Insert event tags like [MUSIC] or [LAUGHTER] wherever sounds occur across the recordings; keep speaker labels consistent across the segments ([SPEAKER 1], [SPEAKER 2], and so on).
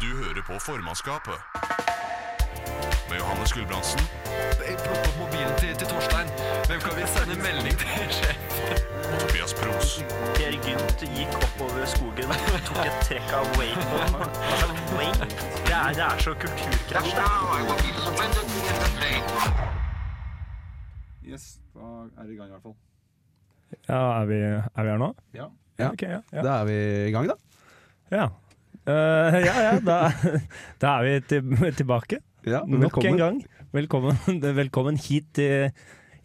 [SPEAKER 1] Du hører på formannskapet. Med Johannes Gulbrandsen
[SPEAKER 2] Jeg plukker opp mobilen til, til Torstein. Hvem kan vi sende melding til? [LAUGHS] sjef?
[SPEAKER 1] og Tobias Pros.
[SPEAKER 3] Per Gynt gikk oppover skogen og tok et trekk av wakeboard. Altså, wake? Det er, det er så kulturkrasj. det.
[SPEAKER 4] Now I will be suspended in the plane.
[SPEAKER 5] Yes, da er det i gang i hvert fall.
[SPEAKER 6] Ja, er vi, Eh, er vi her nå?
[SPEAKER 5] Ja.
[SPEAKER 7] Ja.
[SPEAKER 6] Ok, ja, ja.
[SPEAKER 7] Da er vi i gang, da.
[SPEAKER 6] ja. Eh, ja, ja da, [LAUGHS] da er vi til, tilbake.
[SPEAKER 7] Ja,
[SPEAKER 6] Nok en gang. Velkommen, [LAUGHS] velkommen hit til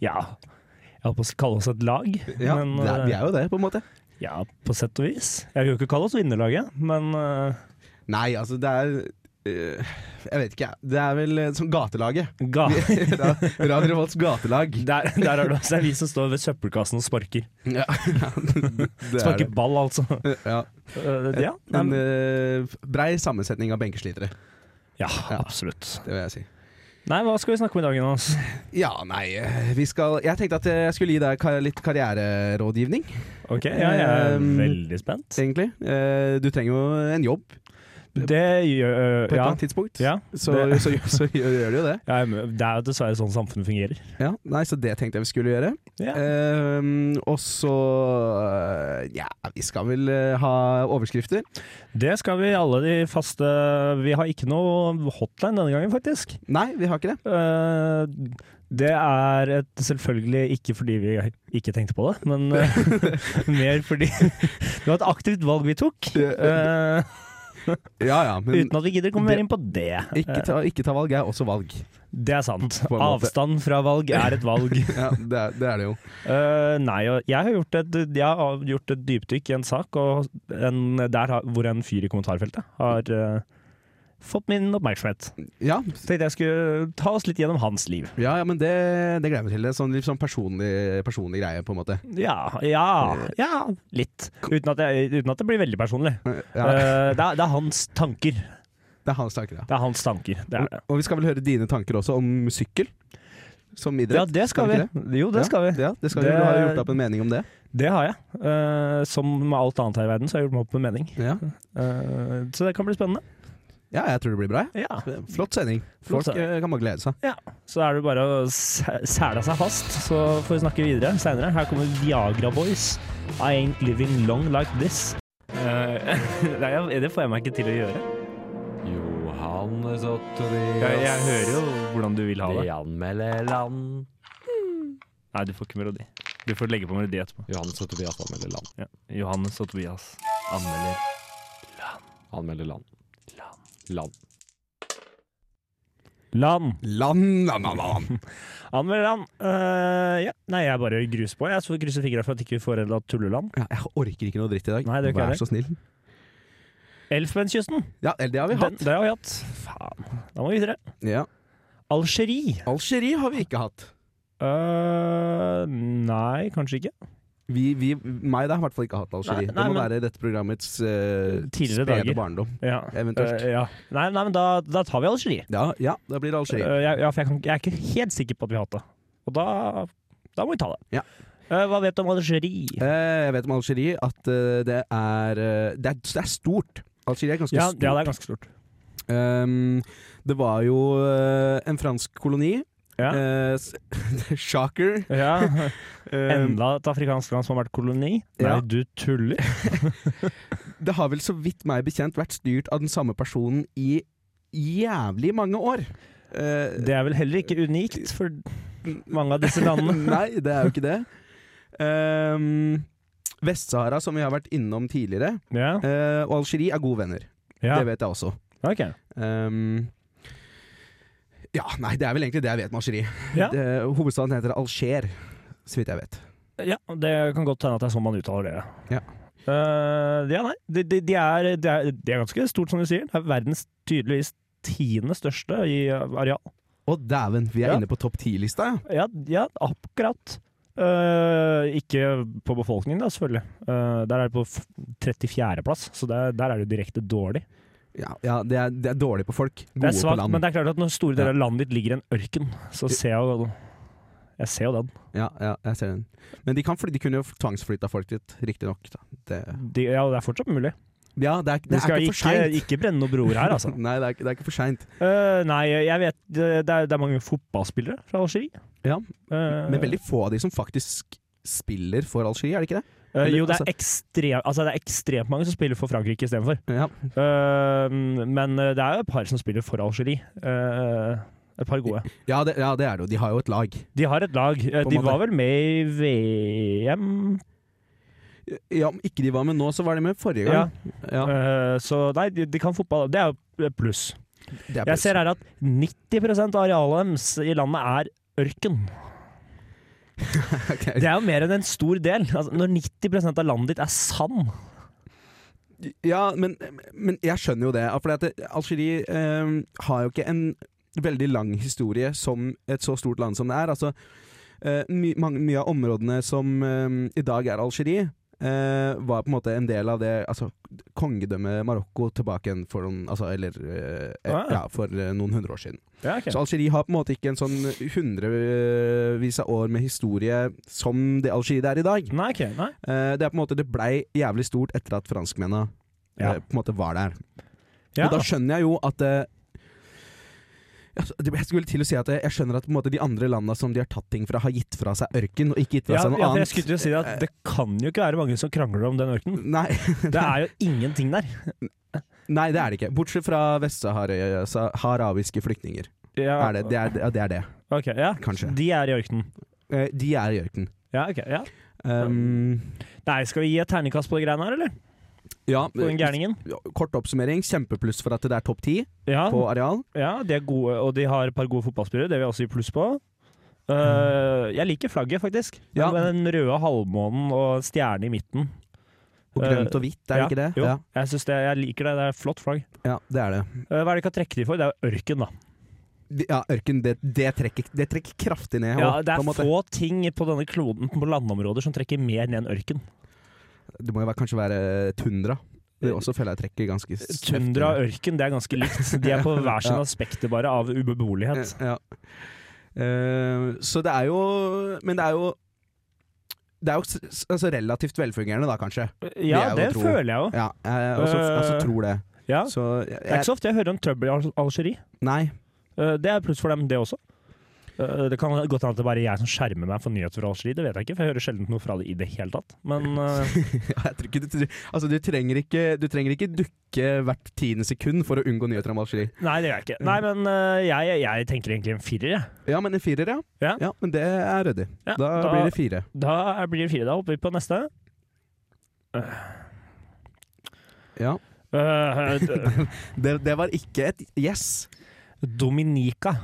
[SPEAKER 6] Ja, jeg holdt på å kalle oss et lag.
[SPEAKER 7] Ja,
[SPEAKER 6] men,
[SPEAKER 7] det er, vi er jo det, på en måte.
[SPEAKER 6] eh, ja, på sett og vis. Jeg vil jo ikke kalle oss vinnerlaget, men eh,
[SPEAKER 7] Nei, altså, det er eh, Jeg vet ikke, jeg. Det er vel eh, som gatelaget. [LAUGHS]
[SPEAKER 6] ga,
[SPEAKER 7] Ra- Radio Revolts gatelag.
[SPEAKER 6] [LAUGHS] der, der er det også vi som står ved søppelkassen og sparker.
[SPEAKER 7] Ja, [LAUGHS] det er
[SPEAKER 6] Sparker
[SPEAKER 7] det.
[SPEAKER 6] ball, altså.
[SPEAKER 7] Ja.
[SPEAKER 6] Eh, ja, nei,
[SPEAKER 7] En eh, brei sammensetning av benkerslitere,
[SPEAKER 6] ja,
[SPEAKER 7] ja.
[SPEAKER 6] absolutt.
[SPEAKER 7] det vil jeg si.
[SPEAKER 6] Nei, hva skal vi snakke om i dag, Jonas?
[SPEAKER 7] [LAUGHS] Ja, nei, eh, vi skal Jeg tenkte at jeg skulle gi deg ka- litt karriererådgivning,
[SPEAKER 6] Ok, ja, jeg er
[SPEAKER 7] Um,
[SPEAKER 6] veldig spent.
[SPEAKER 7] egentlig. Eh, Du trenger jo en jobb på
[SPEAKER 6] Det gjør eh,
[SPEAKER 7] et eller
[SPEAKER 6] Ja.
[SPEAKER 7] annet tidspunkt.
[SPEAKER 6] ja
[SPEAKER 7] [LAUGHS] Så,
[SPEAKER 6] det-
[SPEAKER 7] så, så, gjør, gjør du jo det.
[SPEAKER 6] Ja, men det er jo dessverre sånn samfunnet fungerer. Eh,
[SPEAKER 7] Ja, nei, Så det tenkte jeg vi skulle gjøre.
[SPEAKER 6] Ja.
[SPEAKER 7] Ehm, og så eh, Ja, vi skal vel eh, ha overskrifter.
[SPEAKER 6] Det skal vi alle de faste Vi har ikke noe hotline denne gangen, faktisk.
[SPEAKER 7] Nei, vi har ikke det.
[SPEAKER 6] Eh, Det er et, selvfølgelig ikke fordi vi ikke tenkte på det, men
[SPEAKER 7] [LAUGHS]
[SPEAKER 6] eh, mer fordi [LAUGHS] det var et aktivt valg vi tok. eh,
[SPEAKER 7] Ja ja, men
[SPEAKER 6] uten at vi gidder komme mer inn på det.
[SPEAKER 7] ikke ta, ikke ta valg er også valg.
[SPEAKER 6] Eh, Det er sant.
[SPEAKER 7] På en måte.
[SPEAKER 6] Avstand fra valg er et
[SPEAKER 7] [LAUGHS]
[SPEAKER 6] valg.
[SPEAKER 7] Ja, det er det, er det jo.
[SPEAKER 6] Eh, nei, og jeg har gjort et, jeg har gjort et dypdykk i en sak og en, der har, hvor en fyr i kommentarfeltet har eh, fått min oppmerksomhet.
[SPEAKER 7] Ja,
[SPEAKER 6] Tenkte jeg skulle ta oss litt gjennom hans liv.
[SPEAKER 7] ja, ja men det, det gleder jeg meg til. Det er sånn, litt sånn personlig, personlig greie, på en måte.
[SPEAKER 6] Ja, ja, ja litt. Uten at, jeg, uten at det blir veldig personlig.
[SPEAKER 7] Ja,
[SPEAKER 6] Eh, det, er, det er hans tanker.
[SPEAKER 7] det er hans tanker, ja.
[SPEAKER 6] Det er hans tanker. Det er det.
[SPEAKER 7] Og vi skal vel høre dine tanker også om sykkel som idrett?
[SPEAKER 6] Ja, det skal vi.
[SPEAKER 7] ikke det?
[SPEAKER 6] Jo, det skal vi.
[SPEAKER 7] Ja, det skal
[SPEAKER 6] Det-
[SPEAKER 7] vi. Du har jo gjort deg opp en mening om det.
[SPEAKER 6] Det har jeg. Eh, som med alt annet her i verden, så har jeg gjort meg opp en mening.
[SPEAKER 7] Ja,
[SPEAKER 6] Eh, så det kan bli spennende.
[SPEAKER 7] ja jeg tror det blir bra. jeg.
[SPEAKER 6] Ja.
[SPEAKER 7] Flott sending.
[SPEAKER 6] Flott
[SPEAKER 7] Folk
[SPEAKER 6] sending.
[SPEAKER 7] eh, kan bare glede seg.
[SPEAKER 6] Ja, så er det bare å sæ- sæle seg fast, så får vi snakke videre seinere. Her kommer Viagra Boys. I ain't living long like this. Eh, [LAUGHS] nei, jeg- det får jeg meg ikke til å gjøre.
[SPEAKER 2] Johannes og Tobias.
[SPEAKER 6] Jeg, jeg hører jo hvordan du vil ha
[SPEAKER 2] Vi
[SPEAKER 6] det.
[SPEAKER 2] anmelder land.
[SPEAKER 6] Nei, du får ikke melodi. Du får legge på melodi etterpå.
[SPEAKER 2] Johannes og Tobias anmelder land.
[SPEAKER 6] Ja. Johannes og Tobias anmelder.
[SPEAKER 2] Anmelder land. Land.
[SPEAKER 6] Land!
[SPEAKER 7] Land, land, land, land.
[SPEAKER 6] Anmelder land! Eh, ja. Nei, jeg bare gruser på. Jeg så krysser fingra for at ikke vi får et tulleland.
[SPEAKER 7] Ja, jeg orker ikke noe dritt i dag.
[SPEAKER 6] Nei, det gjør ikke
[SPEAKER 7] Vær
[SPEAKER 6] jeg.
[SPEAKER 7] så snill.
[SPEAKER 6] Elfenbenskysten!
[SPEAKER 7] Ja, eller det har vi
[SPEAKER 6] Den-
[SPEAKER 7] hatt.
[SPEAKER 6] Det har vi hatt. Faen. Da må vi videre.
[SPEAKER 7] Ja.
[SPEAKER 6] Algerie.
[SPEAKER 7] Algerie har vi ikke hatt.
[SPEAKER 6] Eh, nei, kanskje ikke.
[SPEAKER 7] Vi, vi, meg der har i hvert fall ikke hatt Algerie.
[SPEAKER 6] Nei, nei,
[SPEAKER 7] det må
[SPEAKER 6] men-
[SPEAKER 7] være dette programmets eh,
[SPEAKER 6] Tidligere dager.
[SPEAKER 7] spede barndom.
[SPEAKER 6] Ja.
[SPEAKER 7] Eventuelt.
[SPEAKER 6] Eh, ja. Nei, nei, men da, da tar vi Algerie.
[SPEAKER 7] Ja, ja, da blir det
[SPEAKER 6] Eh,
[SPEAKER 7] Algerie.
[SPEAKER 6] ja, ja, for jeg, kan, jeg er ikke helt sikker på at vi har hatt det. Og da, da må vi ta det.
[SPEAKER 7] Ja.
[SPEAKER 6] Eh, hva vet du om Algerie?
[SPEAKER 7] Eh, jeg vet om Algerie at eh, det, er, eh, det er Det er stort. Algerie er ganske
[SPEAKER 6] Ja,
[SPEAKER 7] stort.
[SPEAKER 6] ja, det er ganske stort.
[SPEAKER 7] Ehm, det var jo eh, en fransk koloni.
[SPEAKER 6] Ja.
[SPEAKER 7] Eh, s- [LAUGHS] shocker.
[SPEAKER 6] [LAUGHS]
[SPEAKER 7] [LAUGHS]
[SPEAKER 6] Ja,
[SPEAKER 7] Ehm,
[SPEAKER 6] Enda et afrikansk land som har vært koloni?
[SPEAKER 7] Ja.
[SPEAKER 6] Nei, du tuller.
[SPEAKER 7] det har vel så vidt meg bekjent vært styrt av den samme personen i jævlig mange år. Eh, [LAUGHS]
[SPEAKER 6] Det er vel heller ikke unikt for mange av disse
[SPEAKER 7] [LAUGHS]
[SPEAKER 6] landene.
[SPEAKER 7] Nei, det er jo ikke det. Ehm, Vest-Sahara, som vi har vært innom tidligere,
[SPEAKER 6] Ja,
[SPEAKER 7] eh, og Algerie er gode venner.
[SPEAKER 6] ja.
[SPEAKER 7] Det vet jeg også.
[SPEAKER 6] ok.
[SPEAKER 7] Ehm, ja, nei, det er vel egentlig det jeg vet om Algerie.
[SPEAKER 6] Ja.
[SPEAKER 7] Det- Hovedstaden heter Alger, så vidt jeg vet.
[SPEAKER 6] ja, det kan godt hende at det er sånn man uttaler det.
[SPEAKER 7] Ja.
[SPEAKER 6] Eh, ja, nei. De, de, de, er, de, er, de er ganske stort, som du sier. Det er verdens tydeligvis tiende største i eh, areal.
[SPEAKER 7] Å dæven, vi er
[SPEAKER 6] Ja.
[SPEAKER 7] inne på topp ti-lista,
[SPEAKER 6] Ja,
[SPEAKER 7] ja.
[SPEAKER 6] ja akkurat. Eh, ikke på befolkningen, da, selvfølgelig. Eh, der er det på f- 34. plass, så det, der er det jo direkte dårlig.
[SPEAKER 7] ja. Ja, det er, det er dårlig på folk,
[SPEAKER 6] Det
[SPEAKER 7] gode
[SPEAKER 6] er
[SPEAKER 7] på
[SPEAKER 6] svakt,
[SPEAKER 7] land.
[SPEAKER 6] men det er klart at når store deler av landet ditt ligger i en ørken, så ser jeg jo Jeg ser jo den.
[SPEAKER 7] Ja, ja, jeg ser den. Men de, kan fly, de kunne jo tvangsflytta folk dit, riktignok.
[SPEAKER 6] De, ja, det er fortsatt mulig.
[SPEAKER 7] Ja, det er,
[SPEAKER 6] Vi
[SPEAKER 7] det er
[SPEAKER 6] skal
[SPEAKER 7] ikke for
[SPEAKER 6] ikke,
[SPEAKER 7] seint.
[SPEAKER 6] ikke brenne noen broer her, altså.
[SPEAKER 7] [LAUGHS] Nei, det er, ikke- det er ikke for seint.
[SPEAKER 6] Eh, nei, jeg vet det er, det er mange fotballspillere fra Algerie.
[SPEAKER 7] Ja,
[SPEAKER 6] Eh,
[SPEAKER 7] Men veldig få av de som faktisk spiller for Algerie, er det ikke det?
[SPEAKER 6] eh, jo, det
[SPEAKER 7] altså-
[SPEAKER 6] er, ekstre, altså, det er ekstremt mange som spiller for Frankrike istedenfor.
[SPEAKER 7] Ja.
[SPEAKER 6] Uh, men eh, det er jo et par som spiller for Algerie. Eh, et par gode.
[SPEAKER 7] Ja, det, ja, det er det jo. De har jo et lag.
[SPEAKER 6] De har et lag. Eh,
[SPEAKER 7] På en
[SPEAKER 6] De
[SPEAKER 7] måte.
[SPEAKER 6] var vel med i VM,
[SPEAKER 7] Ja, Om ikke de var med nå, så var de med forrige gang. Ja,
[SPEAKER 6] Eh, så nei, de, de kan fotball. Det er jo et pluss.
[SPEAKER 7] det er
[SPEAKER 6] Jeg ser her at 90 av arealet deres i landet er ørken.
[SPEAKER 7] [LAUGHS] Ok.
[SPEAKER 6] Det er jo mer enn en stor del. Altså, når 90 av landet ditt er sand
[SPEAKER 7] Ja, men, men jeg skjønner jo det. For Algerie eh, har jo ikke en veldig lang historie som et så stort land som det er. Altså, eh, my, mange, mye av områdene som eh, i dag er Algerie, eh, var på en måte en del av det altså, kongedømmet Marokko tilbake igjen for noen, altså, eller, eh, eh,
[SPEAKER 6] Ah.
[SPEAKER 7] ja, for eh, noen hundre år siden.
[SPEAKER 6] ja, ok.
[SPEAKER 7] Så Algerie har på en måte ikke en sånn hundrevis av år med historie som det Algerie det er i dag.
[SPEAKER 6] Nei, ok, nei.
[SPEAKER 7] Eh, det er på en måte Det blei jævlig stort etter at franskmennene
[SPEAKER 6] Ja.
[SPEAKER 7] eh, på en måte var der.
[SPEAKER 6] Ja.
[SPEAKER 7] Og da skjønner jeg jo at eh, altså, det- Jeg skulle til å si at eh, jeg skjønner at på en måte, de andre landa som de har tatt ting fra, har gitt fra seg ørken, og ikke gitt fra
[SPEAKER 6] Ja,
[SPEAKER 7] seg noe
[SPEAKER 6] ja, for jeg
[SPEAKER 7] sånn annet.
[SPEAKER 6] skulle til å si det at det kan jo ikke være mange som krangler om den ørkenen.
[SPEAKER 7] [LAUGHS] Nei,
[SPEAKER 6] Det er jo ingenting der.
[SPEAKER 7] nei, det er det ikke. Bortsett fra vest-saharawiske flyktninger.
[SPEAKER 6] Ja,
[SPEAKER 7] Er det, det, er, ja, det er det,
[SPEAKER 6] ok, ja.
[SPEAKER 7] kanskje.
[SPEAKER 6] De er i ørkenen.
[SPEAKER 7] Eh, de er i ørken.
[SPEAKER 6] Ja, ok, ja.
[SPEAKER 7] Um,
[SPEAKER 6] Nei, skal vi gi et terningkast på de greiene her, eller?
[SPEAKER 7] ja,
[SPEAKER 6] På den gærningen?
[SPEAKER 7] kort oppsummering. Kjempepluss for at det er topp ti
[SPEAKER 6] Ja,
[SPEAKER 7] på areal.
[SPEAKER 6] ja, de er gode, og de har et par gode fotballspillere. Det vil jeg også gi pluss på. Eh, jeg liker flagget, faktisk.
[SPEAKER 7] Mm. Ja.
[SPEAKER 6] Med den røde halvmånen og en stjerne i midten.
[SPEAKER 7] Og grønt og hvitt, er det
[SPEAKER 6] Eh, ja,
[SPEAKER 7] ikke det?
[SPEAKER 6] Jo,
[SPEAKER 7] Ja,
[SPEAKER 6] jeg, synes det, jeg liker det. Det er et flott flagg.
[SPEAKER 7] ja, det er det.
[SPEAKER 6] Eh, hva er det de kan trekke de for? Det er jo ørken, da.
[SPEAKER 7] De- Ja, ørken, det, det, trekker, det trekker kraftig ned.
[SPEAKER 6] Ja,
[SPEAKER 7] også,
[SPEAKER 6] det
[SPEAKER 7] på en
[SPEAKER 6] er
[SPEAKER 7] måte.
[SPEAKER 6] få ting på denne kloden på landområder som trekker mer ned enn ørken.
[SPEAKER 7] Det må jo være, kanskje være eh, tundra. Det også føler jeg trekker ganske s-
[SPEAKER 6] Eh, Tundra og ørken det er ganske
[SPEAKER 7] [LAUGHS]
[SPEAKER 6] likt. De er på hver sin
[SPEAKER 7] Ja.
[SPEAKER 6] aspekter bare av ubeboelighet.
[SPEAKER 7] heftig. Ja. Eh, så det er jo Men det er jo Det er jo s- s- altså relativt velfungerende, da, kanskje.
[SPEAKER 6] Ja,
[SPEAKER 7] vil
[SPEAKER 6] det
[SPEAKER 7] jeg jo tro.
[SPEAKER 6] føler jeg jo.
[SPEAKER 7] Ja, jeg også,
[SPEAKER 6] Eh,
[SPEAKER 7] altså, tror det.
[SPEAKER 6] Ja.
[SPEAKER 7] Så jeg,
[SPEAKER 6] Det er ikke så ofte jeg hører om trøbbel i Al- Algerie.
[SPEAKER 7] Nei. [LAUGHS]
[SPEAKER 6] Eh, Det er pluss for dem, det også. Eh, Det kan godt hende at det bare er jeg som skjermer meg for nyheter fra Algerie, det vet jeg ikke, for jeg hører sjelden noe fra det i det hele tatt. Men eh,
[SPEAKER 7] [LAUGHS] Ja, jeg tror ikke du, tre- altså, du, trenger ikke, du trenger ikke dukke hvert tiende sekund for å unngå nyheter om Algerie.
[SPEAKER 6] nei, det gjør jeg ikke. Nei, men eh, jeg, jeg tenker egentlig en firer, jeg.
[SPEAKER 7] Ja, men en firer, ja.
[SPEAKER 6] Ja.
[SPEAKER 7] men det er ryddig.
[SPEAKER 6] Ja,
[SPEAKER 7] da,
[SPEAKER 6] da-
[SPEAKER 7] blir det fire.
[SPEAKER 6] Da blir det fire. Da hopper vi på neste.
[SPEAKER 7] Ja.
[SPEAKER 6] Eh,
[SPEAKER 7] [LAUGHS]
[SPEAKER 6] d-
[SPEAKER 7] Det, det var ikke et yes.
[SPEAKER 6] Dominica.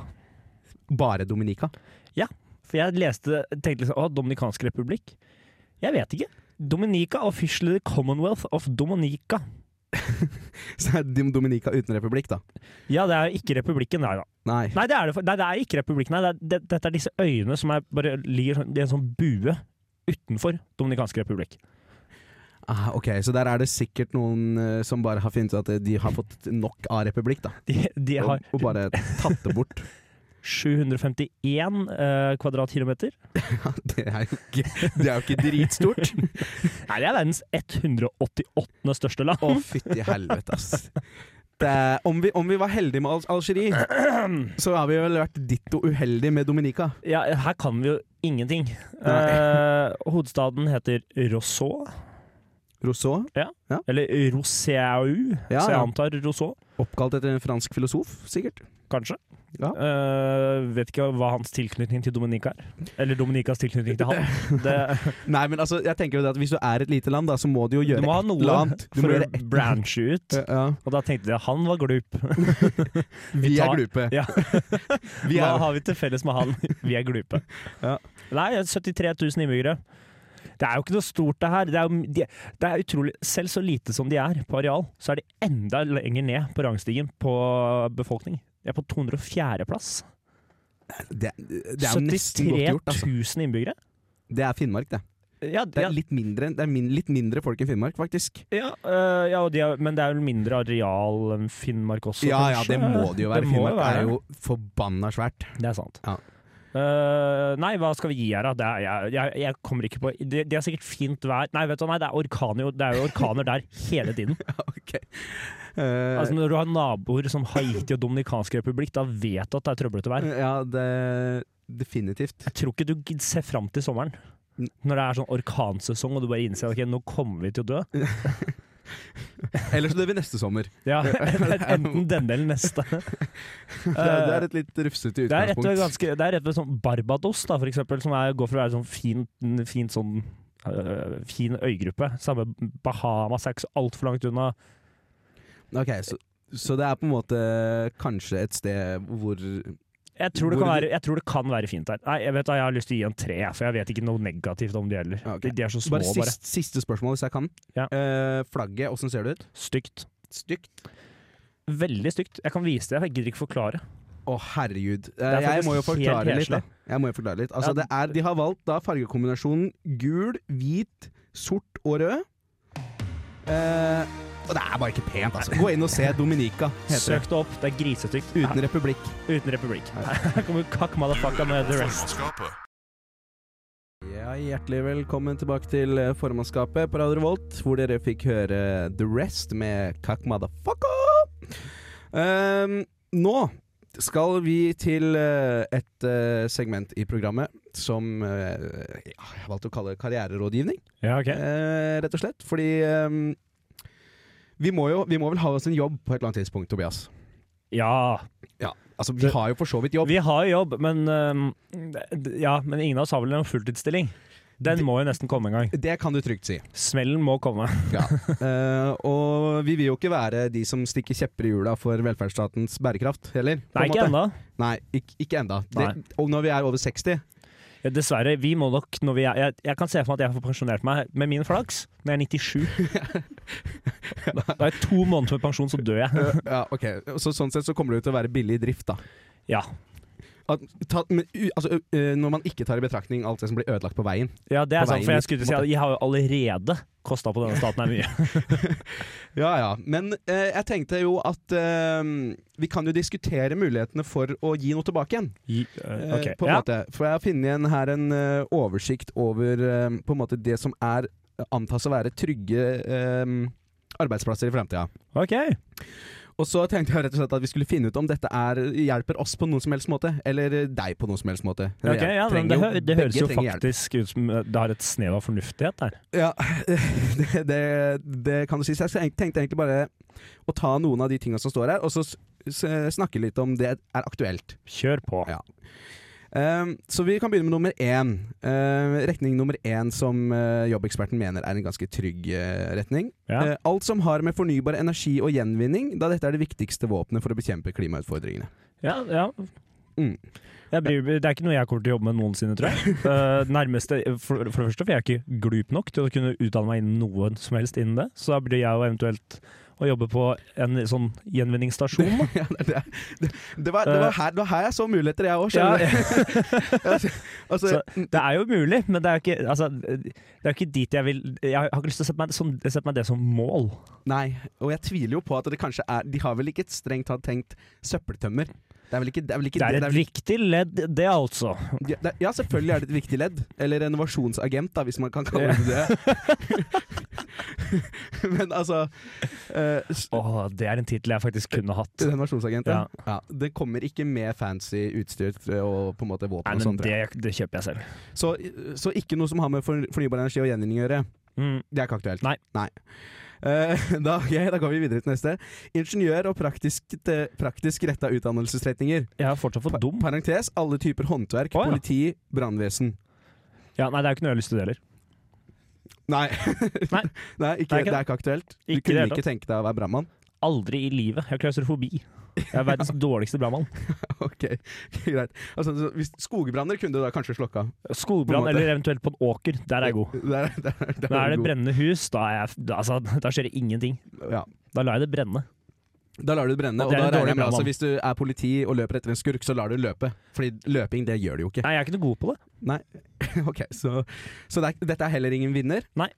[SPEAKER 7] Bare Dominica. [LAUGHS]
[SPEAKER 6] For jeg leste, tenkte liksom, å, Dominikansk republikk? Jeg vet ikke. Dominica officially the Commonwealth of Dominica.
[SPEAKER 7] Så er Dom- Dominica uten republikk, da.
[SPEAKER 6] Ja, det er ikke republikken der, da.
[SPEAKER 7] Nei.
[SPEAKER 6] Nei, det er, det, for- nei, det er ikke republikken her. Det er, det, dette er disse øyene som er, bare ligger sånn- i en sånn bue utenfor Dominikansk republikk.
[SPEAKER 7] Ah, ok, Så der er det sikkert noen eh, som bare har funnet ut at de har fått nok av republikk, da.
[SPEAKER 6] De, de har
[SPEAKER 7] Og, og bare tatt det bort. [LAUGHS]
[SPEAKER 6] 751 eh, kvadratkilometer.
[SPEAKER 7] Ja, det, er jo ikke, det er jo ikke
[SPEAKER 6] [LAUGHS]
[SPEAKER 7] dritstort.
[SPEAKER 6] Nei, det er verdens 188. største land.
[SPEAKER 7] Å, fytti helvete, ass. Det er, om, vi, om vi var heldige med Al
[SPEAKER 6] [CLEARS THROAT]
[SPEAKER 7] Algerie, så har vi vel vært ditto uheldige med Dominica.
[SPEAKER 6] Ja, her kan vi jo ingenting. Eh, hovedstaden heter Rousseau,
[SPEAKER 7] Rousseau,
[SPEAKER 6] eller Rousseau,
[SPEAKER 7] Ja,
[SPEAKER 6] så jeg
[SPEAKER 7] ja.
[SPEAKER 6] antar Rousseau,
[SPEAKER 7] oppkalt etter en fransk filosof, sikkert.
[SPEAKER 6] kanskje.
[SPEAKER 7] Ja.
[SPEAKER 6] Eh, vet ikke hva hans tilknytning til Dominica er. Eller Dominicas tilknytning til
[SPEAKER 7] [LAUGHS]
[SPEAKER 6] han. Det,
[SPEAKER 7] Nei, men altså, jeg tenker jo det at hvis du er et lite land, da, så må du jo
[SPEAKER 6] du
[SPEAKER 7] gjøre
[SPEAKER 6] må ha
[SPEAKER 7] et
[SPEAKER 6] noe
[SPEAKER 7] eller annet. Du må
[SPEAKER 6] for å
[SPEAKER 7] gjøre et-
[SPEAKER 6] branche ut.
[SPEAKER 7] Ja,
[SPEAKER 6] Og da tenkte jeg han var glup.
[SPEAKER 7] Vi
[SPEAKER 6] tar-
[SPEAKER 7] er glupe.
[SPEAKER 6] Ja.
[SPEAKER 7] [LAUGHS] Vi
[SPEAKER 6] Hva
[SPEAKER 7] er,
[SPEAKER 6] har vi til felles med han? [LAUGHS] Vi er glupe.
[SPEAKER 7] Ja.
[SPEAKER 6] Nei, 73 000 innbyggere. Det er jo ikke noe stort, det her. Det er, jo, de, det er utrolig Selv så lite som de er på areal, så er de enda lenger ned på rangstigen på befolkning. De er på 204.-plass.
[SPEAKER 7] det, det er jo
[SPEAKER 6] 73
[SPEAKER 7] nesten godt gjort. Altså.
[SPEAKER 6] 000 innbyggere.
[SPEAKER 7] Det er Finnmark, det.
[SPEAKER 6] Ja,
[SPEAKER 7] Det
[SPEAKER 6] ja,
[SPEAKER 7] er litt mindre, det er min, litt mindre folk i Finnmark, faktisk.
[SPEAKER 6] ja, øh, ja og de er, men det er vel mindre areal enn Finnmark også,
[SPEAKER 7] Ja ja,
[SPEAKER 6] kanskje?
[SPEAKER 7] det må det jo være.
[SPEAKER 6] Det må
[SPEAKER 7] Finnmark
[SPEAKER 6] være.
[SPEAKER 7] er jo forbanna svært. [LAUGHS]
[SPEAKER 6] Det er sant.
[SPEAKER 7] Ja.
[SPEAKER 6] Eh, nei, hva skal vi gi her, da? Det er, jeg, jeg, jeg kommer ikke på det, det er sikkert fint vær Nei, vet du, hva, nei, det, er orkaner, jo- det er jo orkaner der hele tiden.
[SPEAKER 7] [LAUGHS] Ok. Eh,
[SPEAKER 6] Altså, når du har naboer som Haiti og Dominikansk republikk, da vet du at det er trøblete vær.
[SPEAKER 7] ja, det Definitivt.
[SPEAKER 6] Jeg tror ikke du gid- ser fram til sommeren. Når det er sånn orkansesong og du bare innser at ok, nå kommer vi til å dø.
[SPEAKER 7] Ellers så dør vi neste
[SPEAKER 6] [LAUGHS]
[SPEAKER 7] sommer. [LAUGHS]
[SPEAKER 6] Ja, [LAUGHS] Enten denne eller neste. Eh,
[SPEAKER 7] Det er, det er et litt rufsete
[SPEAKER 6] Det er rett og slett
[SPEAKER 7] utgangspunkt.
[SPEAKER 6] ganske Det er rett og slett sånn Barbados, da, for eksempel, som er, går for å være sånn fint, fint sånn øh, fin øygruppe. Samme Bahamas er ikke så altfor langt unna.
[SPEAKER 7] Ok, så, så det er på en måte kanskje et sted hvor
[SPEAKER 6] Jeg tror, det kan
[SPEAKER 7] Hvor-
[SPEAKER 6] være, jeg tror det kan være fint der. Nei, jeg vet da, jeg har lyst til å gi en tre, jeg, for jeg vet ikke noe negativt om de heller.
[SPEAKER 7] Ja, ok.
[SPEAKER 6] De, de er så små,
[SPEAKER 7] Bare
[SPEAKER 6] bare.
[SPEAKER 7] sist, siste spørsmål, hvis jeg kan.
[SPEAKER 6] Ja.
[SPEAKER 7] Eh, flagget, åssen ser det ut?
[SPEAKER 6] Stygt.
[SPEAKER 7] Stygt.
[SPEAKER 6] Veldig stygt. Jeg kan vise det, jeg gidder ikke forklare.
[SPEAKER 7] Å, herregud. Eh,
[SPEAKER 6] er
[SPEAKER 7] jeg må jo
[SPEAKER 6] faktisk helt
[SPEAKER 7] forklare litt, da.
[SPEAKER 6] heslig.
[SPEAKER 7] Jeg må jo forklare litt. Altså,
[SPEAKER 6] Ja,
[SPEAKER 7] det er, de har valgt da fargekombinasjonen gul, hvit, sort og rød. Eh, og det er bare ikke pent, altså. Gå inn og se Dominica, heter det.
[SPEAKER 6] Søk det opp, det er grisestygt.
[SPEAKER 7] Uten republikk.
[SPEAKER 6] Her- uten republikk.
[SPEAKER 7] Nei.
[SPEAKER 6] [LAUGHS] Her kommer kakk
[SPEAKER 1] Du
[SPEAKER 6] motherfucka
[SPEAKER 1] hører
[SPEAKER 6] med
[SPEAKER 1] på
[SPEAKER 6] the rest.
[SPEAKER 1] formannskapet.
[SPEAKER 7] Ja, Hjertelig velkommen tilbake til eh, formannskapet på Radio Revolt, hvor dere fikk høre The Rest med Kak Motherfucker. Ehm, nå skal vi til eh, et eh, segment i programmet som eh, ja, jeg valgte å kalle karriererådgivning,
[SPEAKER 6] Ja, ok.
[SPEAKER 7] eh, rett og slett. Fordi ehm, vi, må jo, vi må vel ha oss en jobb på et eller annet tidspunkt, Tobias.
[SPEAKER 6] Ja.
[SPEAKER 7] Altså, Vi har jo for så vidt jobb.
[SPEAKER 6] Vi har jo jobb, men, øhm, d- ja, men ingen av oss har vel en fulltidsstilling. Den må jo nesten komme en gang.
[SPEAKER 7] Det kan du trygt si.
[SPEAKER 6] Smellen må komme.
[SPEAKER 7] Eh, og vi vil jo ikke være de som stikker kjepper i hjula for velferdsstatens bærekraft heller. på
[SPEAKER 6] Nei,
[SPEAKER 7] en
[SPEAKER 6] ikke
[SPEAKER 7] måte.
[SPEAKER 6] ennå.
[SPEAKER 7] Nei, ikke, ikke enda.
[SPEAKER 6] Nei.
[SPEAKER 7] Det, og når vi er over [LAUGHS] 60
[SPEAKER 6] Ja, dessverre. Vi må nok når vi er, jeg, jeg kan se for meg at jeg får pensjonert meg med min flaks når jeg er 97. Da er jeg to måneder med pensjon, så dør jeg.
[SPEAKER 7] eh, ja, ok. Så Sånn sett så kommer det jo til å være billig i drift, da.
[SPEAKER 6] Ja.
[SPEAKER 7] At, ta, men, u, altså, ø, ø, når man ikke tar i betraktning alt det som blir ødelagt på veien.
[SPEAKER 6] ja, det er
[SPEAKER 7] På veien
[SPEAKER 6] sant. For
[SPEAKER 7] dit,
[SPEAKER 6] jeg skulle
[SPEAKER 7] på
[SPEAKER 6] si
[SPEAKER 7] en måte.
[SPEAKER 6] at jeg har jo allerede kosta på denne staten her mye.
[SPEAKER 7] Ja, ja. Men eh, jeg tenkte jo at eh, vi kan jo diskutere mulighetene for å gi noe tilbake igjen.
[SPEAKER 6] I- øh, [LAUGHS]
[SPEAKER 7] Eh,
[SPEAKER 6] ok.
[SPEAKER 7] På en
[SPEAKER 6] Ja.
[SPEAKER 7] måte. For jeg har funnet igjen her en eh, oversikt over eh, på en måte det som er eh, antas å være trygge eh, arbeidsplasser i fremtida.
[SPEAKER 6] Ok.
[SPEAKER 7] Og så tenkte jeg rett og slett at vi skulle finne ut om dette er, hjelper oss på noen som helst måte, eller deg på noen som helst måte.
[SPEAKER 6] Ok, ja, men
[SPEAKER 7] Trenger
[SPEAKER 6] det,
[SPEAKER 7] jo-
[SPEAKER 6] hø det
[SPEAKER 7] begge
[SPEAKER 6] høres jo
[SPEAKER 7] trenger hjelp.
[SPEAKER 6] faktisk ut som øh, det har et snev av fornuftighet der.
[SPEAKER 7] Ja, [LAUGHS] det, det, det kan du si. Så jeg tenk- tenkte egentlig bare å ta noen av de tinga som står her, og så s- s- snakke litt om det er aktuelt.
[SPEAKER 6] Kjør på.
[SPEAKER 7] Ja. Ehm, så vi kan begynne med nummer én. Ehm, retning nummer én som eh, jobbeksperten mener er en ganske trygg eh, retning.
[SPEAKER 6] Ja.
[SPEAKER 7] Eh, alt som har med fornybar energi og gjenvinning, da dette er det viktigste våpenet for å bekjempe klimautfordringene. [LAUGHS]
[SPEAKER 6] Ja, ja.
[SPEAKER 7] Mm.
[SPEAKER 6] Jeg bryr, det er ikke noe jeg kommer til å jobbe med noensinne, tror jeg. Eh, nærmeste, for, for det første, for jeg er ikke glup nok til å kunne utdanne meg innen noen som helst innen det. Så da blir jeg jo eventuelt å jobbe på en sånn gjenvinningsstasjon. da.
[SPEAKER 7] Ja, det, det, det, det, var, det, var her, det var her jeg så muligheter, jeg
[SPEAKER 6] Eh.
[SPEAKER 7] òg,
[SPEAKER 6] Ja,
[SPEAKER 7] skjønner du. [LAUGHS] Altså, altså,
[SPEAKER 6] Så [LAUGHS] det er jo mulig, men det er jo ikke, altså, det er jo ikke dit jeg vil Jeg har ikke lyst til å sette meg, som, sette meg det som mål.
[SPEAKER 7] Nei, og jeg tviler jo på at det kanskje er De har vel ikke et strengt tatt tenkt søppeltømmer? Det er vel ikke det? Er vel ikke
[SPEAKER 6] Det er et viktig ledd, det altså.
[SPEAKER 7] vel- ja, det, ja, selvfølgelig er det et viktig ledd. Eller renovasjonsagent, da, hvis man kan kalle det det. [LAUGHS] Men altså eh, s-
[SPEAKER 6] Åh, det er en tittel jeg faktisk kunne hatt.
[SPEAKER 7] Renovasjonsagent, ja. ja. Det kommer ikke med fancy utstyr og på en måte
[SPEAKER 6] Nei,
[SPEAKER 7] våpen og
[SPEAKER 6] men
[SPEAKER 7] sånt. tror
[SPEAKER 6] det,
[SPEAKER 7] jeg.
[SPEAKER 6] det kjøper jeg selv.
[SPEAKER 7] Så, så ikke noe som har med for- fornybar energi og gjenvinning å gjøre.
[SPEAKER 6] Mm.
[SPEAKER 7] Det er ikke aktuelt.
[SPEAKER 6] Nei.
[SPEAKER 7] Eh, [LAUGHS] da, ok, da går vi videre til neste. Ingeniør og praktisk, eh, praktisk retta utdannelsesretninger.
[SPEAKER 6] Jeg er fortsatt for dum.
[SPEAKER 7] Parentes alle typer håndverk,
[SPEAKER 6] Å, ja.
[SPEAKER 7] politi, brannvesen.
[SPEAKER 6] Ja, nei, det er jo ikke noe jeg har lyst til det heller.
[SPEAKER 7] Nei. [LAUGHS]
[SPEAKER 6] Nei.
[SPEAKER 7] Nei, ikke,
[SPEAKER 6] Nei, ikke-
[SPEAKER 7] det er ikke aktuelt. Du
[SPEAKER 6] Ikke
[SPEAKER 7] kunne
[SPEAKER 6] det hele
[SPEAKER 7] ikke tenke deg å være brannmann? [LAUGHS]
[SPEAKER 6] Aldri i livet. Jeg har klaustrofobi. Jeg er verdens dårligste brannmann.
[SPEAKER 7] Ok, greit. Altså, så hvis skogbranner kunne du da kanskje slokka. På en
[SPEAKER 6] Skogbrann
[SPEAKER 7] måte.
[SPEAKER 6] eller eventuelt på en åker, der er jeg god.
[SPEAKER 7] [LAUGHS] Der, der, der, der
[SPEAKER 6] Da er det
[SPEAKER 7] god.
[SPEAKER 6] brennende hus, da, er jeg, da, altså, da skjer det ingenting.
[SPEAKER 7] Ja.
[SPEAKER 6] Da lar jeg det brenne.
[SPEAKER 7] Da lar du det brenne.
[SPEAKER 6] Og
[SPEAKER 7] Og,
[SPEAKER 6] det er
[SPEAKER 7] da
[SPEAKER 6] en
[SPEAKER 7] regner jeg
[SPEAKER 6] dårlig
[SPEAKER 7] med altså,
[SPEAKER 6] brannmann.
[SPEAKER 7] Hvis du er politi og løper etter en skurk, så lar du løpe. Fordi løping, det gjør du jo ikke.
[SPEAKER 6] Nei, jeg er ikke noe god på det.
[SPEAKER 7] [LAUGHS] Ok, Så, så det er, dette er heller ingen vinner?
[SPEAKER 6] Nei.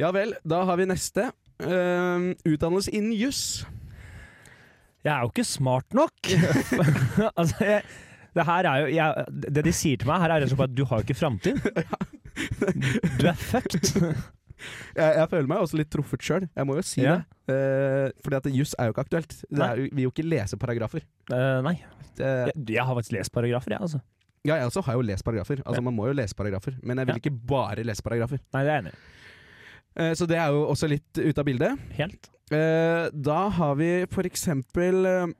[SPEAKER 7] Ja vel, da har vi neste. Ehm, utdannelse innen juss. [LAUGHS]
[SPEAKER 6] Jeg er jo ikke smart nok. [LAUGHS] altså, jeg, Det, her er jo, jeg, det de sier til meg, her er rett og slett bare at du har jo ikke
[SPEAKER 7] [LAUGHS]
[SPEAKER 6] framtid. Du er fucked.
[SPEAKER 7] Jeg, jeg føler meg også litt truffet sjøl, jeg må jo si
[SPEAKER 6] Ja.
[SPEAKER 7] det. Eh, fordi at juss er jo ikke aktuelt. Det er jo, vi vil jo ikke lese paragrafer.
[SPEAKER 6] Eh, nei.
[SPEAKER 7] Det,
[SPEAKER 6] Jeg, jeg har faktisk lest paragrafer, jeg, altså.
[SPEAKER 7] ja, jeg også har jo lest paragrafer.
[SPEAKER 6] Ja.
[SPEAKER 7] Altså, Man må jo lese paragrafer, men jeg vil
[SPEAKER 6] Ja.
[SPEAKER 7] ikke bare lese paragrafer.
[SPEAKER 6] Nei, det er jeg enig i.
[SPEAKER 7] Eh, så det er jo også litt ute av bildet.
[SPEAKER 6] Helt.
[SPEAKER 7] Eh, da har vi for eksempel eh,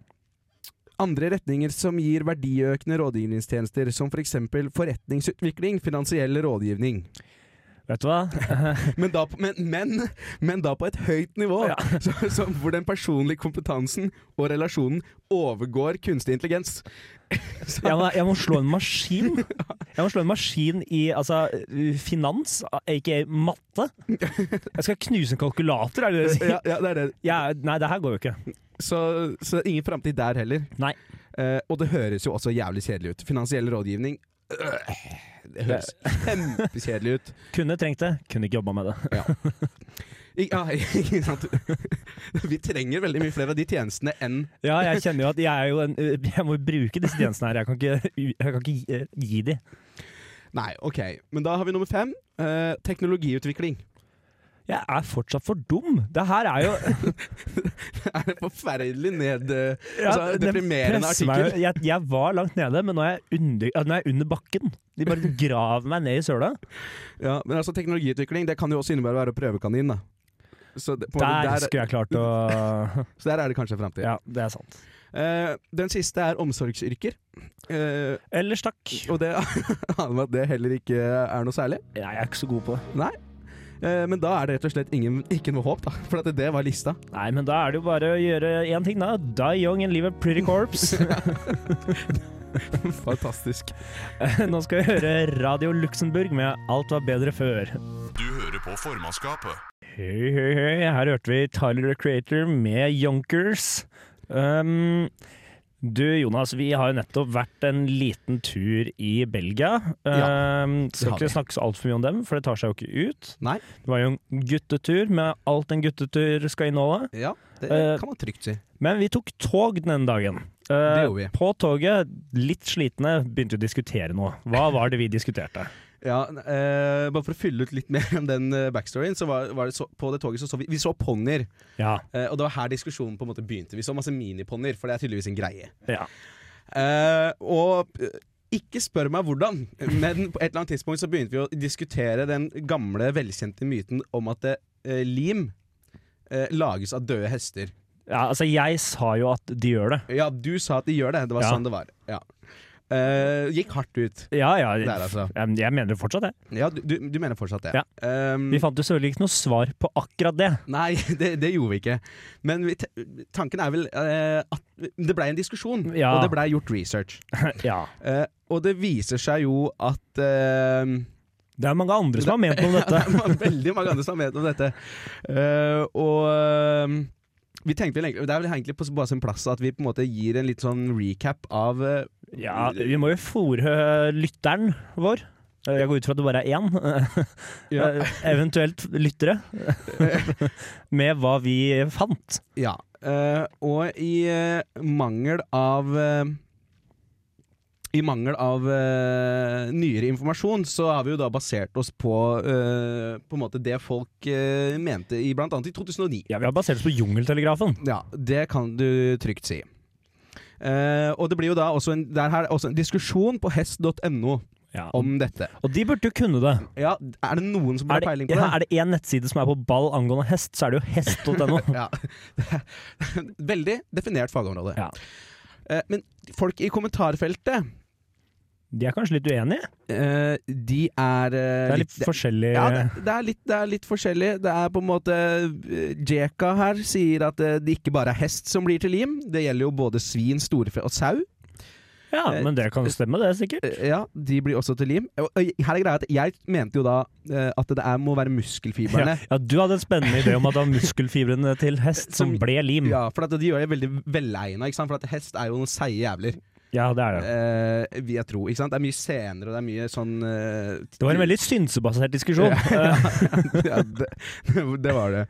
[SPEAKER 7] andre retninger som gir verdiøkende rådgivningstjenester, som for eksempel forretningsutvikling, finansiell
[SPEAKER 6] [LAUGHS]
[SPEAKER 7] rådgivning.
[SPEAKER 6] Vet du hva?
[SPEAKER 7] Men da, på- men, men, men da på et høyt nivå,
[SPEAKER 6] Ja.
[SPEAKER 7] [LAUGHS] så, så, hvor den personlige kompetansen og relasjonen overgår kunstig intelligens. Så,
[SPEAKER 6] Jeg må, jeg må slå en maskin. Jeg må slå en maskin i altså, finans, aka matte. Jeg skal knuse en kalkulator, er det det du sier?
[SPEAKER 7] ja, ja, det er det.
[SPEAKER 6] Jeg, nei, det her går jo ikke.
[SPEAKER 7] Så, så ingen framtid der heller.
[SPEAKER 6] Nei.
[SPEAKER 7] Eh, og det høres jo også jævlig kjedelig ut. Finansiell rådgivning øh, Det høres
[SPEAKER 6] [LAUGHS]
[SPEAKER 7] kjempekjedelig ut.
[SPEAKER 6] Kunne trengt det, kunne ikke jobba med det.
[SPEAKER 7] Ik ja, [LAUGHS] ikke sant? Vi trenger veldig mye flere av de tjenestene enn
[SPEAKER 6] Ja, jeg kjenner jo at jeg er jo en eh, Jeg må jo bruke disse tjenestene her. Jeg kan ikke, jeg kan ikke gi, gi de.
[SPEAKER 7] Nei, OK. Men da har vi nummer fem. eh, teknologiutvikling. [LAUGHS]
[SPEAKER 6] Jeg er fortsatt for dum. Det her er jo
[SPEAKER 7] er det forferdelig ned... eh,
[SPEAKER 6] Ja,
[SPEAKER 7] [LAUGHS] Altså,
[SPEAKER 6] den
[SPEAKER 7] deprimerende
[SPEAKER 6] presser meg jo.
[SPEAKER 7] artikkel.
[SPEAKER 6] Jeg, jeg var langt nede, men nå er jeg under, ja, nå er jeg under bakken. De bare graver meg ned i søla.
[SPEAKER 7] Ja, men altså teknologiutvikling Det kan jo også innebære å være prøvekanin, da. Så det, på en måte
[SPEAKER 6] Der
[SPEAKER 7] der,
[SPEAKER 6] skulle jeg klart å
[SPEAKER 7] [LAUGHS] så der er det kanskje framtid.
[SPEAKER 6] Ja, det er sant.
[SPEAKER 7] Eh, den siste er omsorgsyrker. Eh,
[SPEAKER 6] Ellers takk.
[SPEAKER 7] og det [LAUGHS] aner meg at det heller ikke er noe særlig.
[SPEAKER 6] Nei, Jeg er ikke så god på det.
[SPEAKER 7] Eh, men da er det rett og slett ingen, ikke noe håp, da. [LAUGHS] For at det var lista.
[SPEAKER 6] Nei, men da er det jo bare å gjøre én ting, da. Die young and live a pretty corpse.
[SPEAKER 7] [LAUGHS]
[SPEAKER 6] [LAUGHS]
[SPEAKER 7] Fantastisk.
[SPEAKER 6] Nå skal vi høre Radio Luxembourg med Alt var bedre før.
[SPEAKER 1] Du hører på formannskapet.
[SPEAKER 6] Hei, hei, hei. Her hørte vi Tyler the Creator med Yonkers. Um, du Jonas, vi har jo nettopp vært en liten tur i Belgia.
[SPEAKER 7] Ja,
[SPEAKER 6] Um, skal
[SPEAKER 7] har
[SPEAKER 6] ikke
[SPEAKER 7] vi.
[SPEAKER 6] snakke så altfor mye om dem, for det tar seg jo ikke ut.
[SPEAKER 7] Nei.
[SPEAKER 6] Det var jo en guttetur med alt en guttetur skal inneholde.
[SPEAKER 7] Ja, det
[SPEAKER 6] Eh,
[SPEAKER 7] kan man trygt si.
[SPEAKER 6] Men vi tok tog den ene dagen.
[SPEAKER 7] Det
[SPEAKER 6] Uh,
[SPEAKER 7] gjorde vi.
[SPEAKER 6] på toget, litt slitne, begynte vi å diskutere noe. Hva var det vi diskuterte?
[SPEAKER 7] Ja, eh, bare for å fylle ut litt [LAUGHS] mer om den eh, backstoryen, så var, var det så, på det toget så, så vi, vi så ponnier.
[SPEAKER 6] Ja,
[SPEAKER 7] Eh, og det var her diskusjonen på en måte begynte. Vi så masse miniponnier, for det er tydeligvis en greie.
[SPEAKER 6] ja.
[SPEAKER 7] Eh, og eh, ikke spør meg hvordan, [LAUGHS] men på et eller annet tidspunkt så begynte vi å diskutere den gamle, velkjente myten om at eh, lim eh, lages av døde hester.
[SPEAKER 6] ja altså jeg sa jo at de gjør det.
[SPEAKER 7] Ja, du sa at de gjør det. Det var
[SPEAKER 6] Ja.
[SPEAKER 7] sånn det var. Ja. Eh, gikk hardt ut.
[SPEAKER 6] Ja, ja.
[SPEAKER 7] Der, altså.
[SPEAKER 6] Jeg jeg mener det fortsatt, jeg.
[SPEAKER 7] Ja, du, du, du mener fortsatt det.
[SPEAKER 6] Ja.
[SPEAKER 7] Ehm,
[SPEAKER 6] Vi fant jo selvfølgelig ikke noe svar på akkurat det.
[SPEAKER 7] Nei, [LAUGHS] det, det gjorde vi ikke. Men vi, te- tanken er vel eh, at det blei en diskusjon,
[SPEAKER 6] Ja.
[SPEAKER 7] og det blei gjort research.
[SPEAKER 6] Ja.
[SPEAKER 7] Eh, og det viser seg jo at eh, [LAUGHS]
[SPEAKER 6] Det er mange andre som har ment noe om
[SPEAKER 7] Det
[SPEAKER 6] dette.
[SPEAKER 7] [LAUGHS] er ma- veldig mange andre som har ment om dette. Eh, og eh, vi tenkte vel egentlig, det er vel egentlig på s- bare sin plass at vi på en måte gir en litt sånn recap av eh,
[SPEAKER 6] Ja, vi må jo fòre lytteren vår. Eh, Jeg går ut fra at det bare er én, [LAUGHS] Eh,
[SPEAKER 7] Ja.
[SPEAKER 6] eventuelt lyttere,
[SPEAKER 7] [LAUGHS]
[SPEAKER 6] [LAUGHS] med hva vi fant.
[SPEAKER 7] ja. Eh, og i eh, mangel av eh, i mangel av eh, nyere informasjon, så har vi jo da basert oss på eh, På en måte det folk eh, mente i blant annet i 2009.
[SPEAKER 6] Ja, Vi har basert oss på Jungeltelegrafen.
[SPEAKER 7] Ja, det kan du trygt si. Eh, og det blir jo da også en, der her, er også en diskusjon på hest.no
[SPEAKER 6] Ja.
[SPEAKER 7] om dette.
[SPEAKER 6] Og de burde jo kunne det.
[SPEAKER 7] Ja, Er det noen som har
[SPEAKER 6] Er det,
[SPEAKER 7] peiling på
[SPEAKER 6] ja,
[SPEAKER 7] det?
[SPEAKER 6] er det én nettside som er på ball angående hest, så er det jo hest.no.
[SPEAKER 7] Ja. [LAUGHS] Veldig definert fagområde.
[SPEAKER 6] Ja.
[SPEAKER 7] Eh, men folk i kommentarfeltet,
[SPEAKER 6] [LAUGHS] De er kanskje litt uenige?
[SPEAKER 7] eh, de er eh,
[SPEAKER 6] Det er litt
[SPEAKER 7] det-
[SPEAKER 6] forskjellig
[SPEAKER 7] ja, det, det, er litt, det er litt forskjellig. Det er på en måte eh, Jeka her sier at eh, det ikke bare er hest som blir til lim. Det gjelder jo både svin, storfe og sau.
[SPEAKER 6] Ja, men det kan jo stemme, det, sikkert.
[SPEAKER 7] Eh, Ja, de blir også til lim. Og- og Her er greia at jeg mente jo da eh, at det er, må være
[SPEAKER 6] Ja,
[SPEAKER 7] muskelfibrene.
[SPEAKER 6] ja, du hadde en spennende idé om at det var muskelfibrene til hest som
[SPEAKER 7] Som-
[SPEAKER 6] ble lim.
[SPEAKER 7] Ja, for at de gjør det veldig velegna, ikke sant? for at hest er jo noen seige jævler.
[SPEAKER 6] Ja, det er det.
[SPEAKER 7] Eh, vil jeg tro. Ikke sant? Det er mye senere, og det er mye sånn eh, [LAUGHS]
[SPEAKER 6] Det var en veldig synsebasert diskusjon. Eh,
[SPEAKER 7] ja, det, det var det.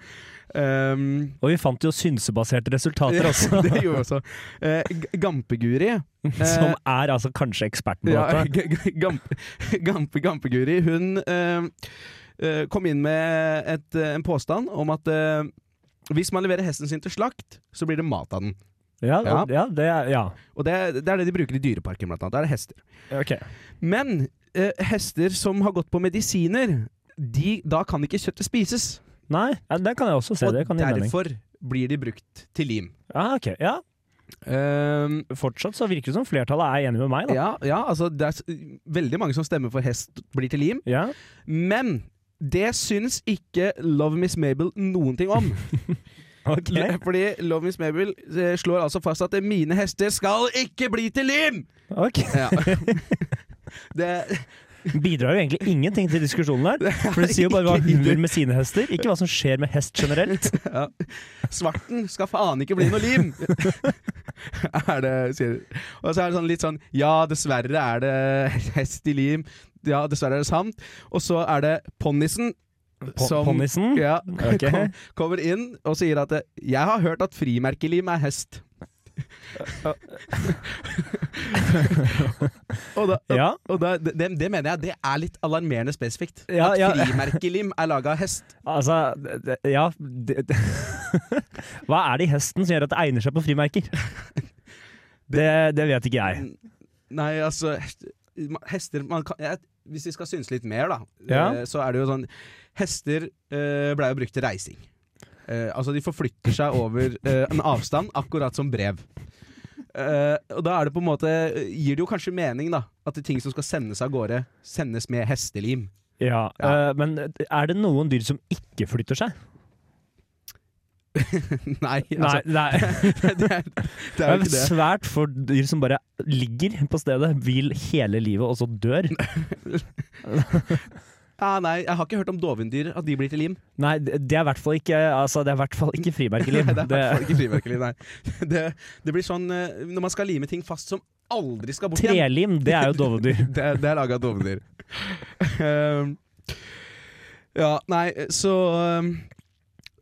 [SPEAKER 7] Ehm,
[SPEAKER 6] [LAUGHS] Og vi fant jo synsebaserte resultater
[SPEAKER 7] [LAUGHS]
[SPEAKER 6] også,
[SPEAKER 7] det gjorde vi også. Eh, G-
[SPEAKER 6] [LAUGHS]
[SPEAKER 7] Gampeguri Eh,
[SPEAKER 6] som er altså kanskje eksperten på
[SPEAKER 7] Ja,
[SPEAKER 6] dette.
[SPEAKER 7] [LAUGHS] G- G- Gamp- Gampe, Gampeguri, hun eh, eh, kom inn med et, eh, en påstand om at eh, hvis man leverer hesten sin til slakt, så blir det mat av den.
[SPEAKER 6] Ja,
[SPEAKER 7] Ja.
[SPEAKER 6] og- ja, det er, ja.
[SPEAKER 7] Og det, det er det de bruker i dyreparken, blant annet. Da er det hester.
[SPEAKER 6] Ok.
[SPEAKER 7] Men eh, hester som har gått på medisiner, de, da kan ikke kjøttet spises.
[SPEAKER 6] Nei, ja, den kan jeg også se.
[SPEAKER 7] Og
[SPEAKER 6] Det kan gi mening.
[SPEAKER 7] derfor blir de brukt til lim.
[SPEAKER 6] Ja, ok. Ja,
[SPEAKER 7] Ehm,
[SPEAKER 6] fortsatt så virker det som flertallet er enig med meg, da.
[SPEAKER 7] ja, ja, altså det er s- veldig mange som stemmer for hest blir til lim.
[SPEAKER 6] Ja.
[SPEAKER 7] Men det syns ikke Love Miss Mabel noen ting om.
[SPEAKER 6] Ok.
[SPEAKER 7] Fordi Love Miss Mabel eh, slår altså fast at 'mine hester skal ikke bli til lim'!
[SPEAKER 6] Ok.
[SPEAKER 7] [LAUGHS] Det,
[SPEAKER 6] [LAUGHS] Bidrar jo egentlig ingenting til diskusjonen der. For det sier jo bare hva hun vil med sine hester, ikke hva som skjer med hest generelt.
[SPEAKER 7] ja. Svarten skal faen ikke bli noe lim! er det, sier de. Og så er det sånn litt sånn Ja, dessverre er det hest i lim. Ja, dessverre er det sant. Og så er det ponnisen.
[SPEAKER 6] Po-
[SPEAKER 7] som-
[SPEAKER 6] Ponnisen?
[SPEAKER 7] Ja,
[SPEAKER 6] Ok.
[SPEAKER 7] [LAUGHS] kom, kommer inn og sier at eh, 'jeg har hørt at frimerkelim er
[SPEAKER 6] [LAUGHS]
[SPEAKER 7] hest'. og da,
[SPEAKER 6] Ja.
[SPEAKER 7] og da, det, det mener jeg det er litt alarmerende spesifikt.
[SPEAKER 6] Ja,
[SPEAKER 7] at
[SPEAKER 6] ja.
[SPEAKER 7] frimerkelim er laga av hest.
[SPEAKER 6] Altså, det- det- ja det, det. [LAUGHS] Hva er det i hesten som gjør at det egner seg på
[SPEAKER 7] [LAUGHS]
[SPEAKER 6] frimerker? Det, det vet ikke jeg.
[SPEAKER 7] Nei, altså hest- ma- Hester man kan, jeg, Hvis vi skal synes litt mer, da,
[SPEAKER 6] Ja.
[SPEAKER 7] eh, så er det jo sånn Hester eh, ble jo brukt til reising. Eh, altså, de forflytter [LAUGHS] seg over eh, en avstand, akkurat som brev. Eh, og da er det på en måte gir det jo kanskje mening, da, at de ting som skal sendes av gårde, sendes med hestelim. [LAUGHS]
[SPEAKER 6] Ja,
[SPEAKER 7] Ja.
[SPEAKER 6] eh, Men er det noen dyr som ikke flytter seg?
[SPEAKER 7] nei, altså,
[SPEAKER 6] nei.
[SPEAKER 7] [LAUGHS] det, er, det er jo
[SPEAKER 6] Det
[SPEAKER 7] ikke det.
[SPEAKER 6] er
[SPEAKER 7] [LAUGHS]
[SPEAKER 6] svært få dyr som bare ligger på stedet, hvil hele livet, og så dør.
[SPEAKER 7] Ja, Ah, nei, jeg har ikke hørt om dovendyr, at de blir [LAUGHS] til lim.
[SPEAKER 6] Nei, det det er i hvert fall ikke altså, Det er i hvert fall ikke frimerkeliv.
[SPEAKER 7] [LAUGHS] Nei, det er i hvert fall
[SPEAKER 6] Det-
[SPEAKER 7] ikke frimerkeliv, nei. [LAUGHS] Det, det blir sånn eh, når man skal lime ting fast som aldri skal bort igjen.
[SPEAKER 6] Trelim, det er jo dovendyr.
[SPEAKER 7] Det, er- det er laga av dovendyr. Ehm, ja, nei, så ehm,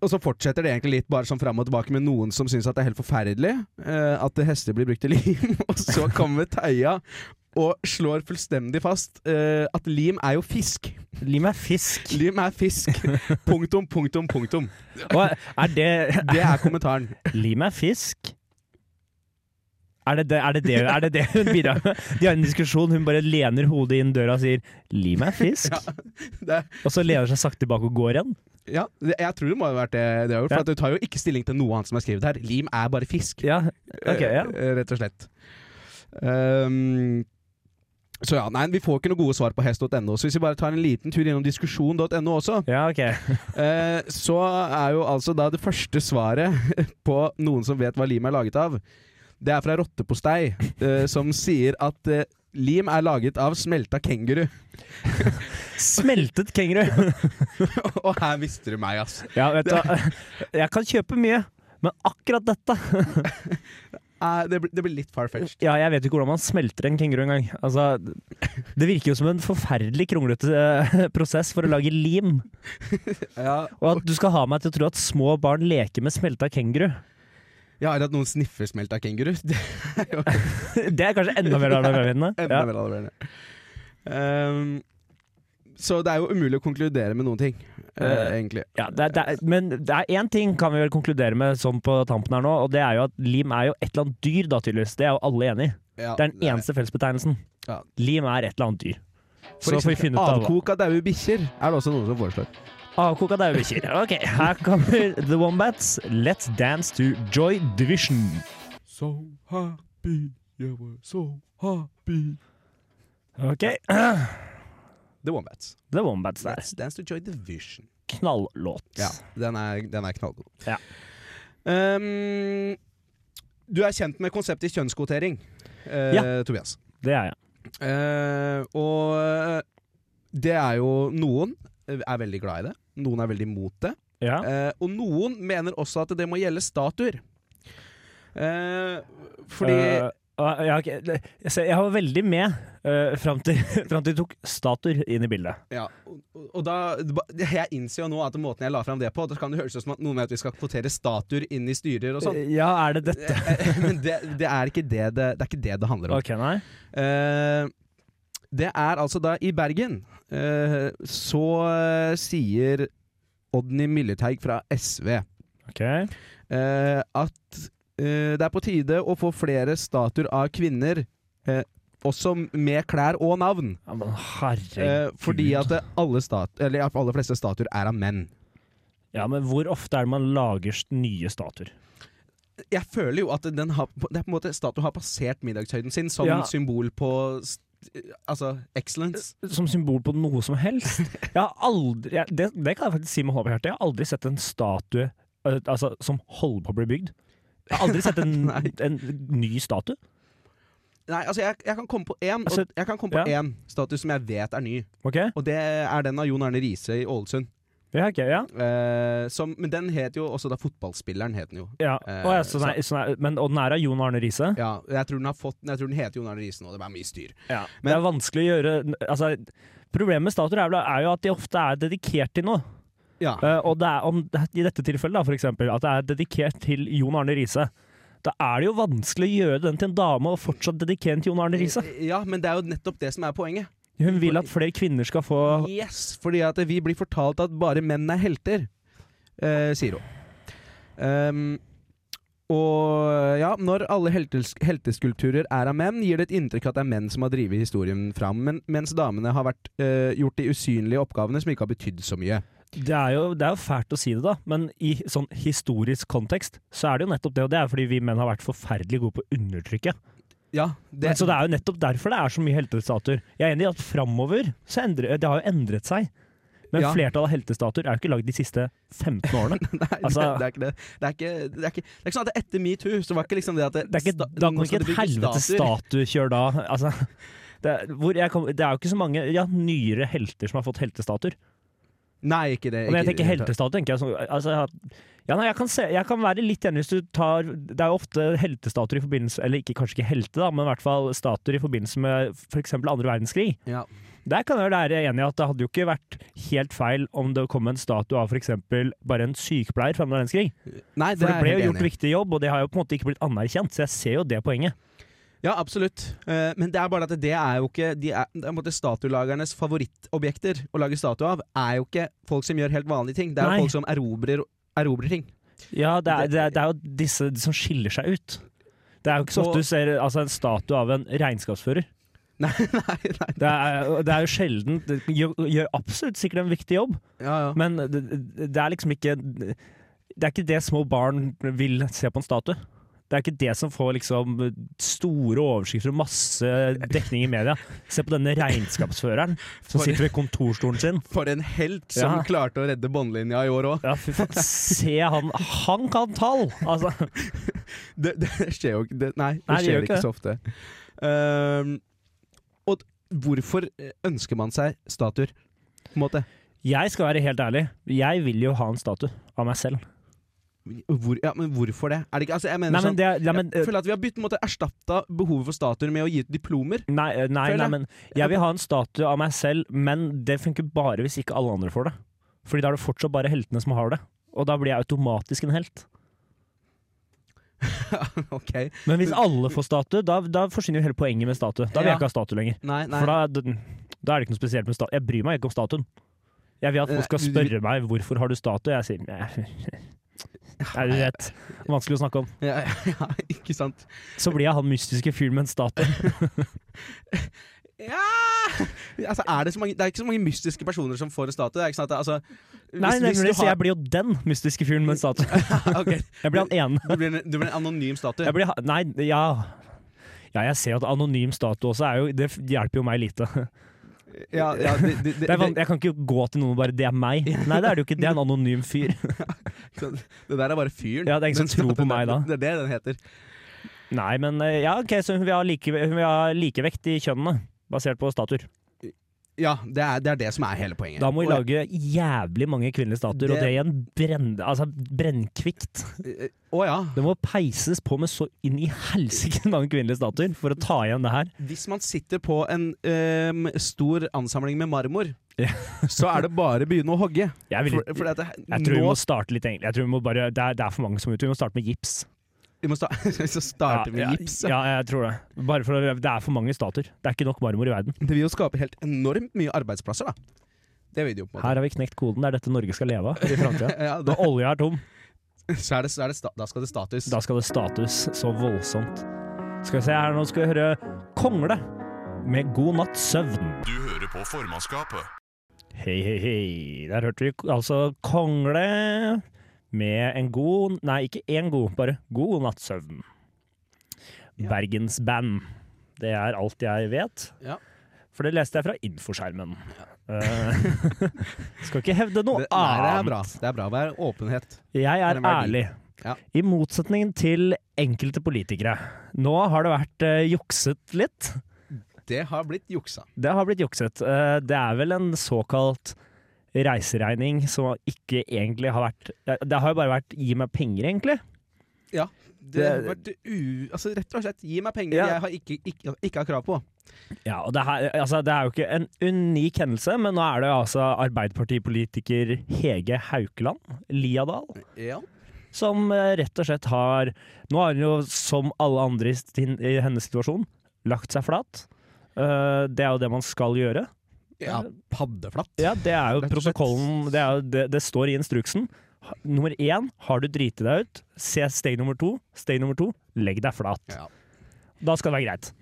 [SPEAKER 7] Og så fortsetter det egentlig litt bare sånn fram og tilbake med noen som syns at det er helt forferdelig eh, at hester blir brukt til lim, [LAUGHS] og så kommer Theia og slår fullstendig fast eh, at lim er jo fisk.
[SPEAKER 6] Lim er fisk.
[SPEAKER 7] Lim er fisk. Punktum, punktum, punktum.
[SPEAKER 6] Og er det
[SPEAKER 7] Det er kommentaren.
[SPEAKER 6] Lim er fisk? Er det det, er det, det, er det, det hun bidrar med? De har en diskusjon, hun bare lener hodet inn døra og sier 'lim er fisk',
[SPEAKER 7] Det er
[SPEAKER 6] og så lener hun seg sakte tilbake og går igjen.
[SPEAKER 7] Ja, det- jeg tror det må ha vært det. det har gjort, for
[SPEAKER 6] Ja.
[SPEAKER 7] at Du tar jo ikke stilling til noe annet som er skrevet her. Lim er bare fisk,
[SPEAKER 6] Ja, ok, ja.
[SPEAKER 7] eh, rett og slett. Ehm, så ja, nei, Vi får ikke noe gode svar på hest.no. Så hvis vi bare tar en liten tur innom diskusjon.no også,
[SPEAKER 6] Ja, ok.
[SPEAKER 7] eh, så er jo altså da det første svaret [LAUGHS] på noen som vet hva lim er laget av, det er fra Rottepostei, eh, som sier at eh, lim er laget av smelta kenguru.
[SPEAKER 6] Smeltet kenguru.
[SPEAKER 7] [LAUGHS] og her mister du meg, ass.
[SPEAKER 6] Ja, vet du hva. Jeg kan kjøpe mye, men akkurat dette
[SPEAKER 7] Eh, det, blir- det blir litt far-fetched.
[SPEAKER 6] Ja, jeg vet jo ikke hvordan man smelter en kenguru engang. Altså, det virker jo som en forferdelig kronglete eh, prosess for å lage lim.
[SPEAKER 7] Ja,
[SPEAKER 6] Og at du skal ha meg til å tro at små barn leker med smelta kenguru, [LAUGHS]
[SPEAKER 7] Ja, eller at noen sniffer smelta kenguru. Det er jo
[SPEAKER 6] det er kanskje enda mer alarmerende.
[SPEAKER 7] enda
[SPEAKER 6] Ja.
[SPEAKER 7] mer alarmerende. Ehm, så det er jo umulig å konkludere med noen ting, eh, egentlig.
[SPEAKER 6] Ja, det er, det er, men det er én ting kan vi vel konkludere med sånn på tampen her nå, og det er jo at lim er jo et eller annet dyr, da tydeligvis. Det er jo alle enig i.
[SPEAKER 7] Ja,
[SPEAKER 6] Det er den eneste fellesbetegnelsen.
[SPEAKER 7] Ja.
[SPEAKER 6] Lim er et eller annet dyr. Så
[SPEAKER 7] For
[SPEAKER 6] får vi
[SPEAKER 7] eksempel
[SPEAKER 6] finne ut av
[SPEAKER 7] Avkok av daue bikkjer er det også noen som foreslår.
[SPEAKER 6] Avkoka dauebikkjer. Ok, her kommer The Wombats. Let's dance to Joy Division.
[SPEAKER 5] So happy, you were so happy.
[SPEAKER 6] Ok, [CLEARS THROAT]
[SPEAKER 7] The Wombats.
[SPEAKER 6] The Wombats der.
[SPEAKER 7] Let's dance to joy division.
[SPEAKER 6] Knalllåt.
[SPEAKER 7] Ja, den er, den er knallgod.
[SPEAKER 6] Ja.
[SPEAKER 7] Ehm, du er kjent med konseptet kjønnskvotering, eh, Tobias.
[SPEAKER 6] Det er jeg.
[SPEAKER 7] Eh, og det er jo Noen er veldig glad i det. Noen er veldig mot det.
[SPEAKER 6] Ja.
[SPEAKER 7] Eh, og noen mener også at det må gjelde statuer. Eh, fordi
[SPEAKER 6] Eh, Ah, ja, ok. Det- jeg, ser, jeg var veldig med uh, fram til, [LAUGHS] fram til de tok statuer inn i bildet.
[SPEAKER 7] Ja, og, og- og da, Jeg innser jo nå at måten jeg la fram det på, da kan det høres ut som at noen mener at vi skal kvotere statuer inn i styrer og
[SPEAKER 6] Eh,
[SPEAKER 7] sånn. eh,
[SPEAKER 6] Ja, er det dette?
[SPEAKER 7] Men det, det, er ikke det det, det er ikke det det handler om.
[SPEAKER 6] Ok, nei.
[SPEAKER 7] Eh, det er altså da i Bergen eh, Så eh, sier Odny Milleteig fra SV
[SPEAKER 6] Ok.
[SPEAKER 7] eh, at eh, det er på tide å få flere statuer av kvinner, eh, også med klær og navn.
[SPEAKER 6] Ja, men
[SPEAKER 7] Eh,
[SPEAKER 6] herregud.
[SPEAKER 7] fordi at eh, alle, stat, eller, ja, aller fleste statuer er av menn.
[SPEAKER 6] Ja, men hvor ofte er det man lager s- nye statuer?
[SPEAKER 7] Jeg føler jo at den har, det er på en måte statuen har passert middagshøyden sin som
[SPEAKER 6] Ja.
[SPEAKER 7] symbol på st, altså excellence.
[SPEAKER 6] Som symbol på noe som
[SPEAKER 7] [LAUGHS]
[SPEAKER 6] helst? Jeg har aldri jeg, det, det kan jeg faktisk si med hånda på hjertet. Jeg har aldri sett en statue eh, altså, som holder på å bli bygd. Jeg har aldri sett en,
[SPEAKER 7] [LAUGHS] Nei.
[SPEAKER 6] en ny statue.
[SPEAKER 7] Nei, altså jeg, jeg kan komme på én
[SPEAKER 6] Altså,
[SPEAKER 7] og- Jeg kan komme på
[SPEAKER 6] ja.
[SPEAKER 7] én statue som jeg vet er ny.
[SPEAKER 6] Ok?
[SPEAKER 7] Og det er den av Jon Arne Riise i Ålesund.
[SPEAKER 6] Ja, ok, ja.
[SPEAKER 7] Eh, som, men den het jo også da fotballspilleren het den jo.
[SPEAKER 6] ja.
[SPEAKER 7] Eh,
[SPEAKER 6] Å, ja så nei, så nei, men, og den er av Jon Arne Riise?
[SPEAKER 7] Ja, jeg tror den, har fått, jeg tror den heter Jon Arne Riise nå. Det er mye styr.
[SPEAKER 6] Ja.
[SPEAKER 7] Men-
[SPEAKER 6] det er vanskelig å gjøre altså, Problemet med statuer er, vel- er jo at de ofte er dedikert til noe.
[SPEAKER 7] Ja,
[SPEAKER 6] Eh, og det er, om, I dette tilfellet, da, for eksempel, at det er dedikert til Jon Arne Riise. Da er det jo vanskelig å gjøre den til en dame og fortsatt dedikere den til Jon Arne Riise.
[SPEAKER 7] ja men det er jo nettopp det som er poenget.
[SPEAKER 6] Hun vil at flere kvinner skal få
[SPEAKER 7] Yes, fordi at vi blir fortalt at bare menn er helter, eh, sier hun. Ehm, og ja, når alle heltes helteskulpturer er av menn, gir det et inntrykk at det er menn som har drevet historien fram, men, mens damene har vært, eh, gjort de usynlige oppgavene som ikke har betydd så mye.
[SPEAKER 6] det er, jo, det er jo fælt å si det, da, men i sånn historisk kontekst så er det jo nettopp det. Og det er fordi vi menn har vært forferdelig gode på å undertrykke.
[SPEAKER 7] Ja,
[SPEAKER 6] Men, så det er jo nettopp derfor det er så mye heltestatuer. Jeg er enig i at framover så endrer, Det har jo endret seg. Men
[SPEAKER 7] Ja.
[SPEAKER 6] flertallet av heltestatuer er jo ikke lagd de siste 15
[SPEAKER 7] [LAUGHS]
[SPEAKER 6] årene.
[SPEAKER 7] [LAUGHS] Nei,
[SPEAKER 6] Altså-
[SPEAKER 7] det, det er ikke det. Det er ikke, det er ikke, det er ikke sånn at det etter metoo så var ikke liksom det at det,
[SPEAKER 6] Det er ikke,
[SPEAKER 7] sta-
[SPEAKER 6] da
[SPEAKER 7] nå
[SPEAKER 6] kan
[SPEAKER 7] skal
[SPEAKER 6] ikke
[SPEAKER 7] det
[SPEAKER 6] et
[SPEAKER 7] bygges
[SPEAKER 6] helvetes
[SPEAKER 7] statuer.
[SPEAKER 6] statuekjør da altså, det, er, hvor jeg kom, det er jo ikke så mange ja, nyere helter som har fått heltestatuer.
[SPEAKER 7] Nei, ikke det.
[SPEAKER 6] Og når jeg
[SPEAKER 7] ikke det.
[SPEAKER 6] tenker heltestatuer, tenker jeg sånn altså, jeg har- ja, nei, jeg, kan se, jeg kan være litt enig hvis du tar Det er jo ofte heltestatuer i forbindelse Eller ikke, kanskje ikke helte, da, men i hvert fall statuer i forbindelse med f.eks. andre verdenskrig.
[SPEAKER 7] Ja.
[SPEAKER 6] Der kan jeg være enig i at det hadde jo ikke vært helt feil om det kom en statue av f.eks. bare en sykepleier fra andre verdenskrig.
[SPEAKER 7] Nei, det
[SPEAKER 6] For det
[SPEAKER 7] er
[SPEAKER 6] ble jo
[SPEAKER 7] jeg helt
[SPEAKER 6] gjort
[SPEAKER 7] enig i.
[SPEAKER 6] viktig jobb, og det har jo på en måte ikke blitt anerkjent, så jeg ser jo det poenget.
[SPEAKER 7] Ja, absolutt. Eh, men det er bare at det er jo ikke de er, det er på en måte Statuelagernes favorittobjekter å lage statue av er jo ikke folk som gjør helt vanlige ting. Det er
[SPEAKER 6] Nei.
[SPEAKER 7] jo folk som erobrer, erobrer ting. [LAUGHS]
[SPEAKER 6] Ja, det er, det er, det er jo disse som skiller seg ut. Det er jo ikke så
[SPEAKER 7] Og-
[SPEAKER 6] ofte du ser altså, en statue av en regnskapsfører.
[SPEAKER 7] Nei, nei, nei.
[SPEAKER 6] Det er, det er jo sjelden Det gjør, gjør absolutt sikkert en viktig jobb,
[SPEAKER 7] Ja, ja.
[SPEAKER 6] men det, det er liksom ikke Det er ikke det små barn vil se på en statue. Det er ikke det som får liksom store overskrifter og masse dekning i media. Se på denne regnskapsføreren som
[SPEAKER 7] For-
[SPEAKER 6] sitter ved kontorstolen sin.
[SPEAKER 7] For en helt som
[SPEAKER 6] Ja.
[SPEAKER 7] klarte å redde båndlinja i år òg.
[SPEAKER 6] Ja, fy faen. [LAUGHS] Se han Han kan tall! Altså.
[SPEAKER 7] Det, det skjer jo ikke det, Nei,
[SPEAKER 6] Nei,
[SPEAKER 7] det
[SPEAKER 6] det
[SPEAKER 7] skjer
[SPEAKER 6] gjør
[SPEAKER 7] ikke
[SPEAKER 6] ikke
[SPEAKER 7] så ofte. Ehm, og hvorfor eh, ønsker man seg statuer, på en måte?
[SPEAKER 6] Jeg skal være helt ærlig. Jeg vil jo ha en statue av meg selv.
[SPEAKER 7] Hvor, ja, men hvorfor det? Er det ikke, altså, jeg mener
[SPEAKER 6] Nei, men
[SPEAKER 7] sånn
[SPEAKER 6] det ja, men, eh,
[SPEAKER 7] Jeg føler at vi har bytt, på en måte, erstatta behovet for statuer med å gi ut
[SPEAKER 6] [LAUGHS]
[SPEAKER 7] diplomer.
[SPEAKER 6] Nei, eh, nei,
[SPEAKER 7] Føler
[SPEAKER 6] nei,
[SPEAKER 7] jeg.
[SPEAKER 6] men jeg vil ha en statue av meg selv, men det funker bare hvis ikke alle andre får det. Fordi da er det fortsatt bare heltene som har det. Og da blir jeg automatisk en helt.
[SPEAKER 7] ok,
[SPEAKER 6] Men hvis alle får statue, da, da forsvinner jo hele poenget med statue. Da vil
[SPEAKER 7] Ja.
[SPEAKER 6] jeg ikke ha statue lenger.
[SPEAKER 7] nei, nei.
[SPEAKER 6] For da, da er det ikke noe spesielt med statue. Jeg bryr meg ikke om statuen. Jeg vil at folk skal
[SPEAKER 7] Nei, Eh, du-
[SPEAKER 6] spørre meg hvorfor har du statue. Jeg sier nei, er du rett? Vanskelig å snakke om.
[SPEAKER 7] Ja, [LAUGHS] ja, ikke sant?
[SPEAKER 6] Så blir jeg han mystiske fyren med en statue.
[SPEAKER 7] Eh, Ja! Altså, er det, så mange, det er ikke så mange mystiske personer som får en statue. Det er ikke sånn at det, altså, hvis,
[SPEAKER 6] Nei,
[SPEAKER 7] hvis
[SPEAKER 6] nemlig,
[SPEAKER 7] du
[SPEAKER 6] så
[SPEAKER 7] har-
[SPEAKER 6] jeg blir jo den mystiske fyren med en statue.
[SPEAKER 7] [LAUGHS] Ok,
[SPEAKER 6] Jeg blir han ene.
[SPEAKER 7] du, blir en, du blir en anonym statue.
[SPEAKER 6] Jeg blir, ha- nei, ja Ja, jeg ser jo at anonym statue også er jo Det f- hjelper jo meg lite. [LAUGHS]
[SPEAKER 7] Ja, ja, det- det-
[SPEAKER 6] Det er, van-
[SPEAKER 7] det-
[SPEAKER 6] jeg kan ikke gå til noen og bare 'det er
[SPEAKER 7] [LAUGHS]
[SPEAKER 6] meg'. Nei, det er det jo ikke. Det er en anonym fyr.
[SPEAKER 7] det der er bare fyren.
[SPEAKER 6] Ja, det er ingen som
[SPEAKER 7] Den-
[SPEAKER 6] tror på
[SPEAKER 7] den-
[SPEAKER 6] meg da.
[SPEAKER 7] Det er det den heter.
[SPEAKER 6] Nei, men eh, ja, ok, så hun vil ha, like, hun vil ha likevekt i kjønnene, basert på statuer.
[SPEAKER 7] Ja, det er, det er det som er hele poenget.
[SPEAKER 6] Da må vi
[SPEAKER 7] Og-
[SPEAKER 6] lage jævlig mange kvinnelige statuer, og
[SPEAKER 7] Det-
[SPEAKER 6] det igjen brenn, altså, brennkvikt.
[SPEAKER 7] Å ja.
[SPEAKER 6] Det må peises på med så inn i helsike mange kvinnelige statuer for å ta igjen det her.
[SPEAKER 7] Hvis man sitter på en øhm, stor ansamling med marmor,
[SPEAKER 6] Ja.
[SPEAKER 7] så er det bare å begynne å hogge.
[SPEAKER 6] Jeg, vil,
[SPEAKER 7] For, for at det,
[SPEAKER 6] jeg tror vi
[SPEAKER 7] nå
[SPEAKER 6] må starte litt egentlig. Jeg tror vi må bare, det, er, det er for mange som er ute. Vi må starte med gips.
[SPEAKER 7] vi må sta [LAUGHS] så starter vi med gips.
[SPEAKER 6] Ja, jeg tror det. Bare for, å- det er for mange statuer. Det er ikke nok marmor i verden.
[SPEAKER 7] Det vil jo skape helt enormt mye arbeidsplasser, da. Det vil det jo på en måte.
[SPEAKER 6] Her har vi knekt koden. Det er dette Norge skal leve av i framtida.
[SPEAKER 7] [LAUGHS] Ja, da,
[SPEAKER 6] Når olja er tom,
[SPEAKER 7] så er det, så er det sta da skal det status.
[SPEAKER 6] da skal det status så voldsomt. Skal vi se her, nå skal vi høre Kongle med God natts søvn.
[SPEAKER 1] Du hører på formannskapet.
[SPEAKER 6] Hei, hei, hei. Der hørte vi k- altså Kongle med en god Nei, ikke én god, bare god nattsøvn.
[SPEAKER 7] Ja.
[SPEAKER 6] Bergensband. Det er alt jeg vet.
[SPEAKER 7] Ja.
[SPEAKER 6] For det leste jeg fra infoskjermen. Eh, [LAUGHS] skal ikke hevde noe
[SPEAKER 7] Det, nei, det er
[SPEAKER 6] annet.
[SPEAKER 7] bra. Det er bra å være åpenhet.
[SPEAKER 6] Jeg
[SPEAKER 7] er
[SPEAKER 6] er
[SPEAKER 7] en verdi.
[SPEAKER 6] ærlig.
[SPEAKER 7] Ja.
[SPEAKER 6] I motsetning til enkelte politikere. Nå har det vært eh, jukset litt.
[SPEAKER 7] Det har blitt juksa.
[SPEAKER 6] Det har blitt jukset. Eh, Det er vel en såkalt reiseregning som ikke egentlig har vært Det har jo bare vært 'gi meg penger', egentlig.
[SPEAKER 7] Det har vært u... Altså, rett og slett, gi meg penger
[SPEAKER 6] Ja.
[SPEAKER 7] jeg har ikke, ikke, ikke har krav på.
[SPEAKER 6] Ja, og det, her, altså, det er jo ikke en unik hendelse, men nå er det jo altså Arbeiderpartipolitiker Hege Haukeland Liadal
[SPEAKER 7] Ja.
[SPEAKER 6] som eh, rett og slett har Nå har hun jo, som alle andre i, sin, i hennes situasjon, lagt seg flat. Eh, Det er jo det man skal gjøre.
[SPEAKER 7] ja paddeflatt.
[SPEAKER 6] Ja, det er jo
[SPEAKER 7] Rett og slett.
[SPEAKER 6] protokollen det, er jo, det, det står i instruksen. Ha- Nummer én, har du driti deg ut, se steg nummer to. Steg nummer to, legg deg flat.
[SPEAKER 7] Ja.
[SPEAKER 6] Da skal det være greit.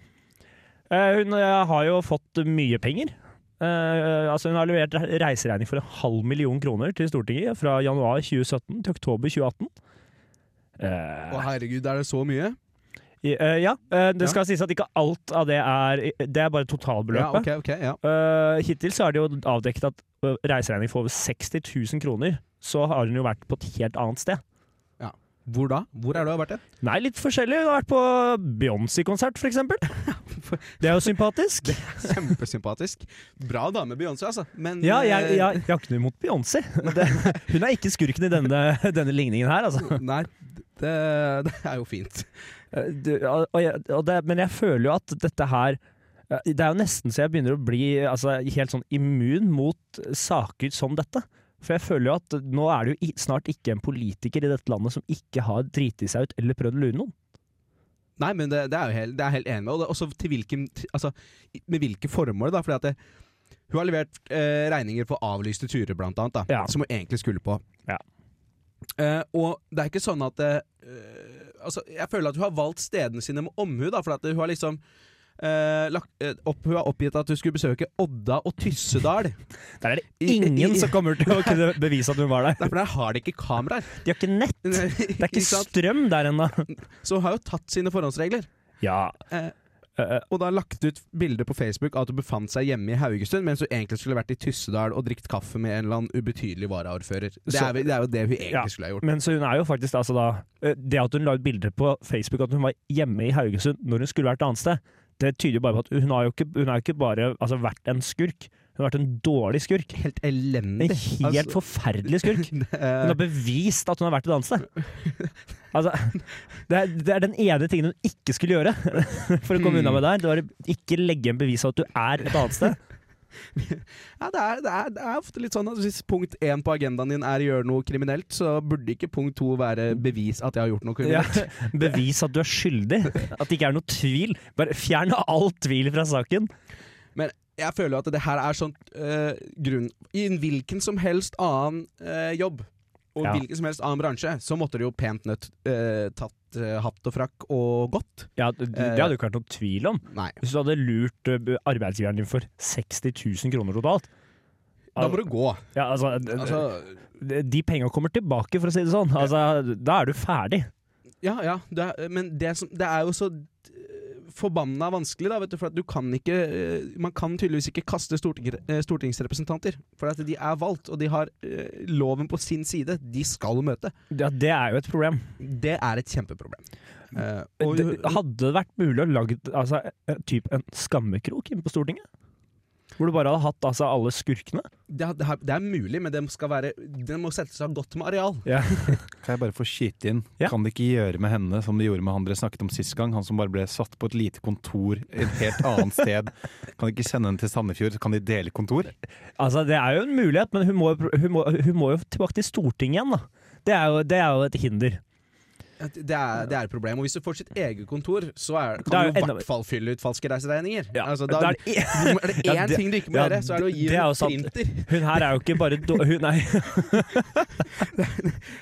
[SPEAKER 6] Eh, hun eh, har jo fått mye penger. Eh, altså hun har levert re- reiseregning for en halv million kroner til Stortinget fra januar 2017 til oktober 2018. Eh,
[SPEAKER 7] Å herregud, er det så mye?
[SPEAKER 6] i- eh, ja, eh, det
[SPEAKER 7] Ja.
[SPEAKER 6] skal sies at ikke alt av det er Det er bare
[SPEAKER 7] Ja,
[SPEAKER 6] totalbeløpet.
[SPEAKER 7] ok, ok, ja.
[SPEAKER 6] Eh, hittil så er det jo avdekket at ø, reiseregning for over 60 000 kroner, så har hun jo vært på et helt annet sted.
[SPEAKER 7] Hvor da? Hvor er du har vært det?
[SPEAKER 6] Nei, litt forskjellig. Hun har vært på Beyoncé-konsert, for eksempel. Det er jo sympatisk.
[SPEAKER 7] Kjempesympatisk. Bra dame, Beyoncé, altså. Men
[SPEAKER 6] Ja, jeg,
[SPEAKER 7] eh,
[SPEAKER 6] jeg, jeg har ikke noe imot Beyoncé. [LAUGHS] Det, hun er ikke skurken i denne, denne ligningen her, altså.
[SPEAKER 7] eh, Nei, det, det er jo fint.
[SPEAKER 6] Eh, du, og- og jeg, og det, men jeg føler jo at dette her eh, Det er jo nesten så jeg begynner å bli altså, helt sånn immun mot saker som dette. For jeg føler jo at nå er det jo i- snart ikke en politiker i dette landet som ikke har driti seg ut eller prøvd å lure noen.
[SPEAKER 7] Nei, men det, det er jo helt, det er jeg helt enig med. Og det, også til hvilken, til- altså, i- med hvilke formål, da. Fordi at det, hun har levert eh, regninger for avlyste turer, blant annet, da,
[SPEAKER 6] Ja.
[SPEAKER 7] som hun egentlig skulle på.
[SPEAKER 6] Ja.
[SPEAKER 7] Eh, og det er ikke sånn at det, eh, altså, Jeg føler at hun har valgt stedene sine med omhu, da, for at hun har liksom eh, lagt, eh, opp, Hun har oppgitt at hun skulle besøke Odda og Tyssedal.
[SPEAKER 6] Der er det
[SPEAKER 7] I- i-
[SPEAKER 6] ingen
[SPEAKER 7] i-
[SPEAKER 6] som kommer til å kunne bevise at hun var der.
[SPEAKER 7] Nei, for der har de ikke kameraer.
[SPEAKER 6] [LAUGHS] De har ikke nett. [LAUGHS] Det er ikke strøm der ennå.
[SPEAKER 7] Så hun har jo tatt sine forhåndsregler.
[SPEAKER 6] Ja.
[SPEAKER 7] Eh,
[SPEAKER 6] eh,
[SPEAKER 7] og da lagt ut bilde på Facebook av at hun befant seg hjemme i Haugesund, mens hun egentlig skulle vært i Tyssedal og drikt kaffe med en eller annen ubetydelig varaordfører. Det
[SPEAKER 6] Så-
[SPEAKER 7] er, vel- det er jo det hun egentlig
[SPEAKER 6] Ja,
[SPEAKER 7] skulle ha gjort.
[SPEAKER 6] Men så hun er jo faktisk altså da eh, Det at hun la ut bilder på Facebook at hun var hjemme i Haugesund når hun skulle vært et annet sted, det tyder jo bare på at hun har jo ikke, hun har jo ikke bare altså, vært en skurk. Hun har vært en dårlig skurk.
[SPEAKER 7] Helt
[SPEAKER 6] En
[SPEAKER 7] elendig.
[SPEAKER 6] helt
[SPEAKER 7] [LAUGHS] Altså,
[SPEAKER 6] forferdelig skurk. Hun har bevist at hun har vært et annet
[SPEAKER 7] [LAUGHS]
[SPEAKER 6] sted. Altså, det, er, det er den ene tingen hun ikke skulle gjøre [LAUGHS] for å komme unna med det her. Det var å ikke legge en bevis av at du er et annet
[SPEAKER 7] [LAUGHS]
[SPEAKER 6] sted.
[SPEAKER 7] ja, det, er, det, er, det er ofte litt sånn at hvis punkt én på agendaen din er å gjøre noe kriminelt, så burde ikke punkt to være bevis at jeg har gjort noe
[SPEAKER 6] Ja,
[SPEAKER 7] kriminelt. [LAUGHS]
[SPEAKER 6] bevis at du er skyldig. At det ikke er noe tvil. Bare fjern all tvil fra saken.
[SPEAKER 7] Men jeg føler jo at det her er sånn eh, grunn I en hvilken som helst annen eh, jobb og
[SPEAKER 6] Ja.
[SPEAKER 7] hvilken som helst annen bransje, så måtte det jo pent nødt eh, tatt eh, hatt og frakk og gått.
[SPEAKER 6] Ja, det,
[SPEAKER 7] Eh.
[SPEAKER 6] det hadde jo ikke vært noen tvil om.
[SPEAKER 7] Nei.
[SPEAKER 6] Hvis du hadde lurt ø, b- arbeidsgiveren din for 60 000 kroner totalt
[SPEAKER 7] Da må du gå.
[SPEAKER 6] ja, altså, d- d-
[SPEAKER 7] Altså,
[SPEAKER 6] De penga kommer tilbake, for å si det sånn. Altså, da er du ferdig.
[SPEAKER 7] ja, ja. Det er, men det, som, det er jo så eh, forbanna vanskelig, da, vet du, for at du kan ikke eh, Man kan tydeligvis ikke kaste storting, eh, stortingsrepresentanter. For at de er valgt, og de har eh, loven på sin side. De skal møte.
[SPEAKER 6] Ja, det er jo et problem.
[SPEAKER 7] Det er et kjempeproblem. Eh, og-
[SPEAKER 6] Det, eh, hadde det vært mulig å lage altså, en- typ en skammekrok inne på Stortinget? Hvor du bare hadde hatt altså, alle skurkene.
[SPEAKER 7] Det, det, er- det er mulig, men den, skal være, den må settes av godt med areal.
[SPEAKER 8] Kan jeg bare få skyte inn?
[SPEAKER 6] Ja.
[SPEAKER 8] Kan de ikke gjøre med henne som de gjorde med han dere snakket om sist gang? Han som bare ble satt på et lite kontor et helt annet sted. Kan de ikke sende henne til Sandefjord, så kan de dele kontor?
[SPEAKER 6] [LAUGHS] Altså, det er jo en mulighet, men hun må, hun må, hun må jo tilbake til Stortinget igjen, da. Det er jo, det er jo et hinder.
[SPEAKER 7] At Det er, det er et problem. Og hvis du får sitt eget kontor, så er,
[SPEAKER 6] Da er
[SPEAKER 7] kan
[SPEAKER 6] jo
[SPEAKER 7] du i
[SPEAKER 6] enda-
[SPEAKER 7] hvert fall fylle ut falske reiseregninger.
[SPEAKER 6] Ja,
[SPEAKER 7] Altså,
[SPEAKER 6] da
[SPEAKER 7] da,
[SPEAKER 6] er det-
[SPEAKER 7] er det én
[SPEAKER 6] Ja, det-
[SPEAKER 7] ting du ikke må
[SPEAKER 6] ja,
[SPEAKER 7] gjøre, så er det å gi
[SPEAKER 6] det er jo
[SPEAKER 7] en
[SPEAKER 6] sant.
[SPEAKER 7] printer.
[SPEAKER 6] Hun her er jo ikke bare do, hun, Nei,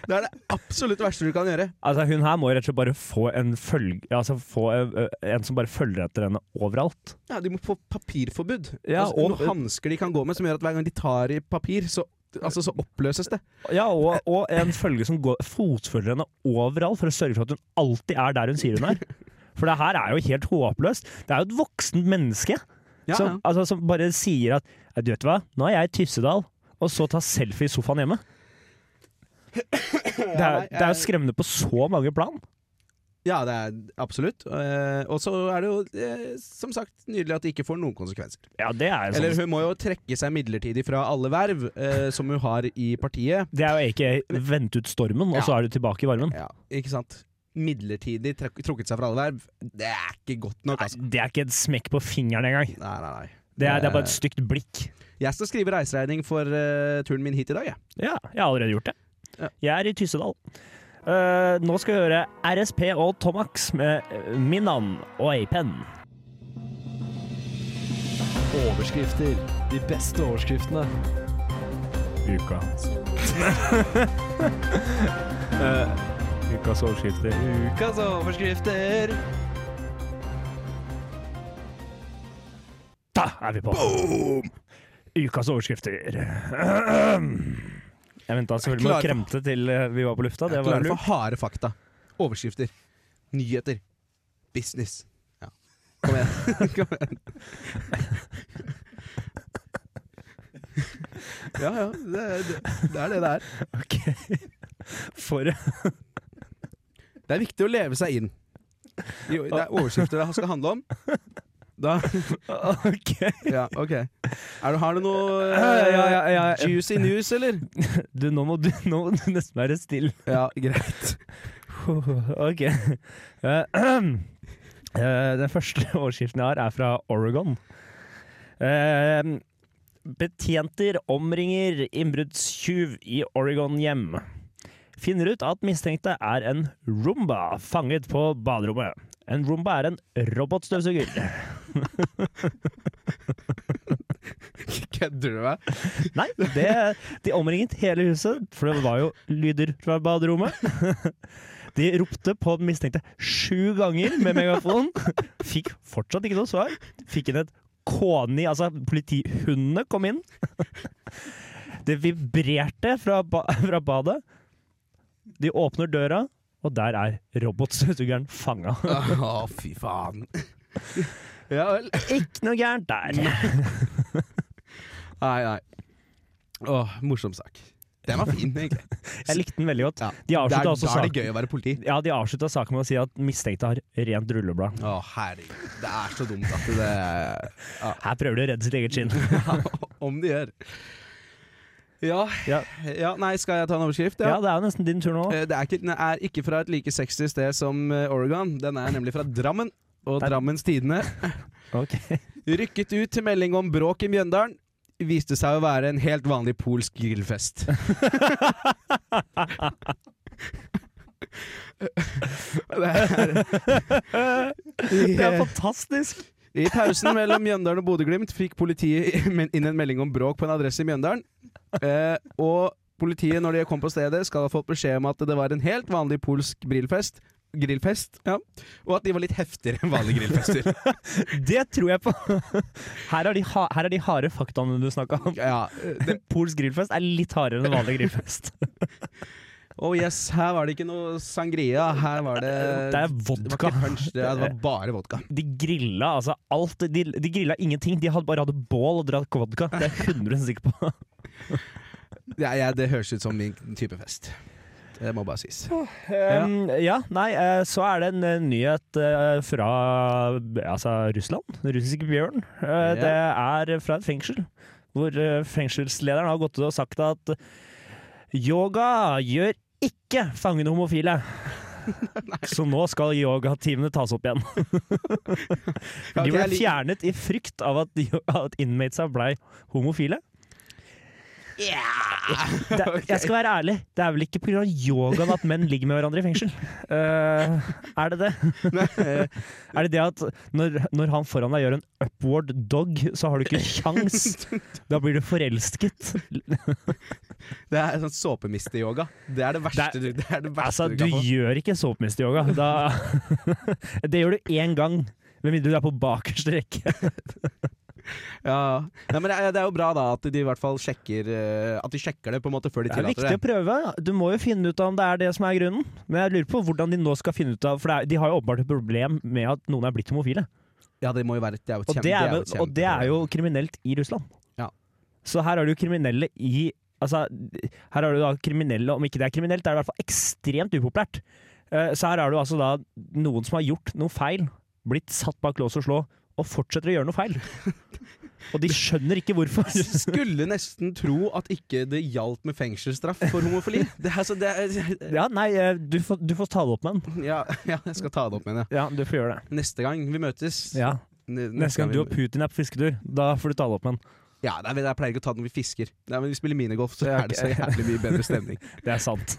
[SPEAKER 7] Det er det absolutt verste du kan gjøre.
[SPEAKER 6] altså hun her må jo rett og slett bare få en følge Altså få ø, en som bare følger etter henne overalt.
[SPEAKER 7] Ja, De må få papirforbud.
[SPEAKER 6] Ja,
[SPEAKER 7] altså,
[SPEAKER 6] og-
[SPEAKER 7] noen hansker de kan gå med som gjør at hver gang de tar i papir, så, altså, så oppløses det.
[SPEAKER 6] Ja, og, og en følge som går, fotfølger henne overalt for å sørge for at hun alltid er der hun sier hun er. For det her er jo helt håpløst. Det er jo et voksent menneske
[SPEAKER 7] Ja,
[SPEAKER 6] som, altså, som bare sier at «Ja, Du vet hva, nå er jeg i Tyssedal, og så tar selfie i sofaen hjemme. Det
[SPEAKER 7] Ja,
[SPEAKER 6] er,
[SPEAKER 7] nei,
[SPEAKER 6] det er jo
[SPEAKER 7] jeg-
[SPEAKER 6] skremmende på så mange plan.
[SPEAKER 7] ja, det er absolutt. Eh, og så er det jo eh, som sagt nydelig at det ikke får noen konsekvenser.
[SPEAKER 6] Ja, det er jo sånn.
[SPEAKER 7] Eller hun må jo trekke seg midlertidig fra alle verv eh, som hun har i partiet.
[SPEAKER 6] det er jo aka vente ut stormen, og så er du tilbake i varmen.
[SPEAKER 7] Ja, ikke sant? Midlertidig trak- trukket seg fra alle verv, det er ikke godt nok, altså.
[SPEAKER 6] Nei, det er ikke et smekk på fingeren engang.
[SPEAKER 7] Nei, nei, nei.
[SPEAKER 6] Det er, det er bare et stygt blikk.
[SPEAKER 7] Jeg skal skrive reiseregning for eh, turen min hit i dag, jeg.
[SPEAKER 6] Ja, jeg har allerede gjort
[SPEAKER 7] Ja.
[SPEAKER 6] det. Jeg er i Tyssedal. Eh, nå skal vi høre RSP og Tomax med eh, Minnan og Apen.
[SPEAKER 9] Overskrifter. De beste overskriftene. [LAUGHS]
[SPEAKER 6] Uka. [LAUGHS] Eh, ukas overskrifter.
[SPEAKER 9] Ukas overskrifter.
[SPEAKER 6] Da er vi på! Ukas overskrifter. Jeg venta selvfølgelig med å
[SPEAKER 7] Jeg klarer
[SPEAKER 6] kremte til eh, vi var på lufta. Det
[SPEAKER 7] Jeg
[SPEAKER 6] var
[SPEAKER 7] klarer for
[SPEAKER 6] lurt.
[SPEAKER 7] harde fakta. Overskrifter. Nyheter. Business. Ja. Kom igjen. [LAUGHS] Kom igjen. Ja, ja. Det, er- det, det er det det er.
[SPEAKER 6] For
[SPEAKER 7] Det er viktig å leve seg inn. I- Det er overskrifter det skal handle om. Da
[SPEAKER 6] [LAUGHS] OK.
[SPEAKER 7] Ja, ok. Er du, har du [LAUGHS] noe
[SPEAKER 6] Ja, ja, ja, ja.
[SPEAKER 7] eh, juicy news, eller?
[SPEAKER 6] Du, nå må du, nå må du nesten være stille.
[SPEAKER 7] Ja,
[SPEAKER 6] [LAUGHS]
[SPEAKER 7] greit.
[SPEAKER 6] Ok. Eh, [CLEARS THROAT] eh, den første [LAUGHS] overskriften jeg har, er fra Oregon. Eh, betjenter omringer innbruddstyv i Oregon-hjem. Finner ut at mistenkte er en Roomba fanget på baderommet. En Roomba er en robotstøvsuger.
[SPEAKER 7] [LAUGHS] Kødder du med meg?
[SPEAKER 6] Nei, det, de omringet hele huset, for det var jo lyder fra baderommet. [LAUGHS] De ropte på den mistenkte sju ganger med megafon. [LAUGHS] Fikk fortsatt ikke noe svar. Fikk inn et koni, altså politihundene kom inn. [LAUGHS] Det vibrerte fra, ba [LAUGHS] fra badet. De åpner døra, og der er robotstøvsugeren fanga.
[SPEAKER 7] [LAUGHS] Å, fy faen. Ja vel.
[SPEAKER 6] [LAUGHS] Ikke noe gærent der.
[SPEAKER 7] Nei, nei. Å, morsom sak. Den var fin, egentlig.
[SPEAKER 6] Jeg likte den veldig godt.
[SPEAKER 7] Ja.
[SPEAKER 6] De
[SPEAKER 7] Der,
[SPEAKER 6] avslutta også
[SPEAKER 7] da er
[SPEAKER 6] saken.
[SPEAKER 7] det gøy å være politi.
[SPEAKER 6] Ja, de avslutta saken med å si at mistenkte har rent rulleblad.
[SPEAKER 7] Å, herregud. Det er så dumt at [LAUGHS] det
[SPEAKER 6] Her prøver de å redde sitt eget skinn.
[SPEAKER 7] ja, Om de gjør. Ja.
[SPEAKER 6] Ja.
[SPEAKER 7] ja. Nei, skal jeg ta en overskrift?
[SPEAKER 6] Ja, det er jo nesten din tur nå.
[SPEAKER 7] Eh, Det er ikke, den er ikke fra et like sexy sted som eh, Oregon. Den er nemlig fra Drammen. Og
[SPEAKER 6] Der-
[SPEAKER 7] Drammens Tidende
[SPEAKER 6] Ok.
[SPEAKER 7] rykket ut til melding om bråk i Mjøndalen. Viste seg å være en helt vanlig polsk grillfest. [LAUGHS] det er,
[SPEAKER 6] Det er fantastisk!
[SPEAKER 7] I pausen mellom Mjøndalen og Bodø-Glimt fikk politiet inn en melding om bråk på en adresse i Mjøndalen. Eh, og politiet, når de kom på stedet, skal ha fått beskjed om at det var en helt vanlig polsk grillfest. Grillfest, ja. Og at de var litt heftigere enn vanlige grillfester.
[SPEAKER 6] [LAUGHS] Det tror jeg på! Her er de, ha her er de harde faktaene du snakka om.
[SPEAKER 7] Ja, eh, det,
[SPEAKER 6] Pols grillfest er litt hardere enn vanlig [LAUGHS] grillfest.
[SPEAKER 7] oh yes, her var det ikke noe sangria. Her var det
[SPEAKER 6] Det er
[SPEAKER 7] Det var
[SPEAKER 6] vodka.
[SPEAKER 7] ikke punch,
[SPEAKER 6] [LAUGHS]
[SPEAKER 7] det, det var bare vodka.
[SPEAKER 6] De grilla altså alt. De, de grilla ingenting. De hadde bare hadde bål og drakk vodka. Det er jeg 100 sikker på.
[SPEAKER 7] Ja, ja, det høres ut som min type fest. Det må bare sies.
[SPEAKER 6] Um, ja, nei, eh, så er det en eh, nyhet eh, fra altså, Russland. Den russiske bjørn. Eh, Det er fra et fengsel, hvor eh, fengselslederen har gått ut og sagt at yoga gjør ikke fangene homofile. Så nå skal yogatimene tas opp igjen.
[SPEAKER 7] ok,
[SPEAKER 6] De ble
[SPEAKER 7] jeg liker-
[SPEAKER 6] fjernet i frykt av at, de- at inmatesa blei homofile. Det, er- Jeg skal være ærlig, det er vel ikke pga. yogaen at menn ligger med hverandre i fengsel? Eh, er det det? [LAUGHS] er det det at når, når han foran deg gjør en upward dog, så har du ikke kjangs? Da blir du
[SPEAKER 7] [LAUGHS]
[SPEAKER 6] forelsket.
[SPEAKER 7] Det er sånn såpemiste-yoga. Det er det verste,
[SPEAKER 6] Det
[SPEAKER 7] du- det er det verste
[SPEAKER 6] Altså,
[SPEAKER 7] du
[SPEAKER 6] du
[SPEAKER 7] kan få.
[SPEAKER 6] gjør ikke såpemisteyoga. Da- [LAUGHS] Det gjør du én gang. Med mindre du er på bakerste rekke.
[SPEAKER 7] Ja. Nei, men det er, det er jo bra da at de i hvert fall sjekker eh, At de sjekker det på en måte før de
[SPEAKER 6] Det er
[SPEAKER 7] tillater
[SPEAKER 6] viktig å
[SPEAKER 7] det.
[SPEAKER 6] prøve. Du må jo finne ut av om det er det som er grunnen. Men jeg lurer på hvordan de nå skal finne ut av For det er, de har jo åpenbart et problem med at noen er blitt homofile.
[SPEAKER 7] Ja, det må jo være, det er jo et
[SPEAKER 6] Og
[SPEAKER 7] kjem-
[SPEAKER 6] det er,
[SPEAKER 7] jo
[SPEAKER 6] vel-
[SPEAKER 7] et
[SPEAKER 6] og det er jo kriminelt i Russland.
[SPEAKER 7] Ja.
[SPEAKER 6] Så her har du jo kriminelle i Altså, her har du da kriminelle Om ikke det er kriminelt, det er i hvert fall ekstremt upopulært. Eh, Så her har du altså da noen som har gjort noe feil, blitt satt bak lås og slå, og fortsetter å gjøre noe [LAUGHS] feil. Og de skjønner ikke hvorfor. [LAUGHS]
[SPEAKER 7] Skulle nesten tro at ikke det gjaldt med fengselsstraff for
[SPEAKER 6] [LAUGHS]
[SPEAKER 7] homofili. Det er, så det er,
[SPEAKER 6] Ja, nei, eh, du får, du får ta det opp med den.
[SPEAKER 7] ja, ja, jeg skal ta det opp med henne.
[SPEAKER 6] Ja, du får gjøre det.
[SPEAKER 7] Neste gang vi møtes
[SPEAKER 6] Ja.
[SPEAKER 7] ne-
[SPEAKER 6] Neste gang du og
[SPEAKER 7] vi,
[SPEAKER 6] Putin er på fisketur, da får du ta det opp med han.
[SPEAKER 7] Ja, nei, men Jeg pleier ikke å ta det når vi fisker. Nei, men Vi spiller minigolf, så er det så jævlig mye
[SPEAKER 6] [LAUGHS]
[SPEAKER 7] bedre stemning.
[SPEAKER 6] Det er
[SPEAKER 7] [LAUGHS]
[SPEAKER 6] sant.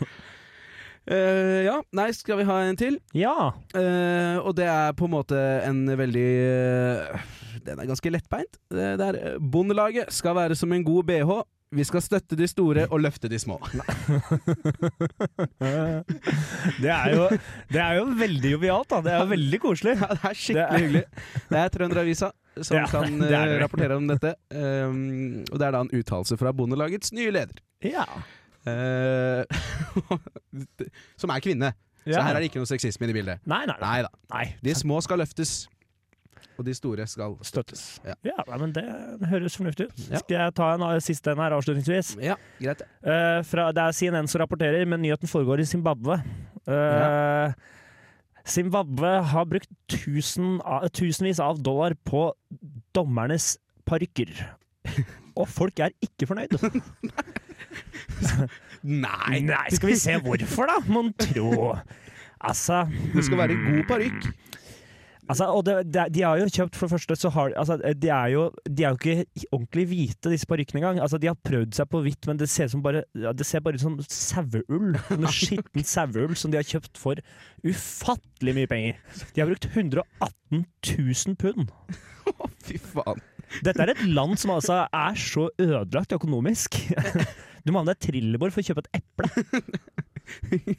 [SPEAKER 7] Eh, ja, nei, skal vi ha en til?
[SPEAKER 6] Ja.
[SPEAKER 7] Eh, og det er på en måte en veldig eh, Den er ganske lettbeint. Det det er eh, Bondelaget skal være som en god bh. Vi skal støtte de store og løfte de små. [LAUGHS]
[SPEAKER 6] Det er jo, det er jo veldig jovialt, da. Det er jo veldig koselig.
[SPEAKER 7] Ja, det er skikkelig hyggelig. Det er Trønderavisa som
[SPEAKER 6] Ja, [LAUGHS]
[SPEAKER 7] kan
[SPEAKER 6] det er
[SPEAKER 7] eh,
[SPEAKER 6] det.
[SPEAKER 7] rapportere om dette. Um, og det er da en uttalelse fra Bondelagets nye leder.
[SPEAKER 6] Ja.
[SPEAKER 7] Eh, [LAUGHS] som er kvinne. Så her er det ikke noe sexisme i bildet.
[SPEAKER 6] Nei, nei, nei.
[SPEAKER 7] Nei da.
[SPEAKER 6] nei.
[SPEAKER 7] De små skal løftes, og de store skal
[SPEAKER 6] Støttes.
[SPEAKER 7] Ja.
[SPEAKER 6] Ja, nei, men det høres fornuftig ut.
[SPEAKER 7] Ja.
[SPEAKER 6] Skal jeg ta en av- siste en her avslutningsvis?
[SPEAKER 7] Ja, greit.
[SPEAKER 6] Eh, fra, det er CNN som rapporterer, men nyheten foregår i Zimbabwe. Eh, Zimbabwe har brukt tusen, av- tusenvis av dollar på dommernes parykker.
[SPEAKER 7] [LAUGHS]
[SPEAKER 6] Og folk er ikke fornøyd.
[SPEAKER 7] Nei!
[SPEAKER 6] Nei, skal vi se hvorfor, da, mon tro. Altså,
[SPEAKER 7] Det skal være god parykk.
[SPEAKER 6] altså Og det, det, de har jo kjøpt, for det første, så har altså, de er jo, De er jo ikke ordentlig hvite, disse parykkene engang. Altså, de har prøvd seg på hvitt, men det ser, som bare, ja, det ser bare ut som saueull. Noe skitten saueull som de har kjøpt for ufattelig mye penger. De har brukt 118 000 pund.
[SPEAKER 7] Å, fy faen. [LAUGHS]
[SPEAKER 6] Dette er et land som altså er så ødelagt økonomisk. Du må ha med deg trillebår for å kjøpe et eple.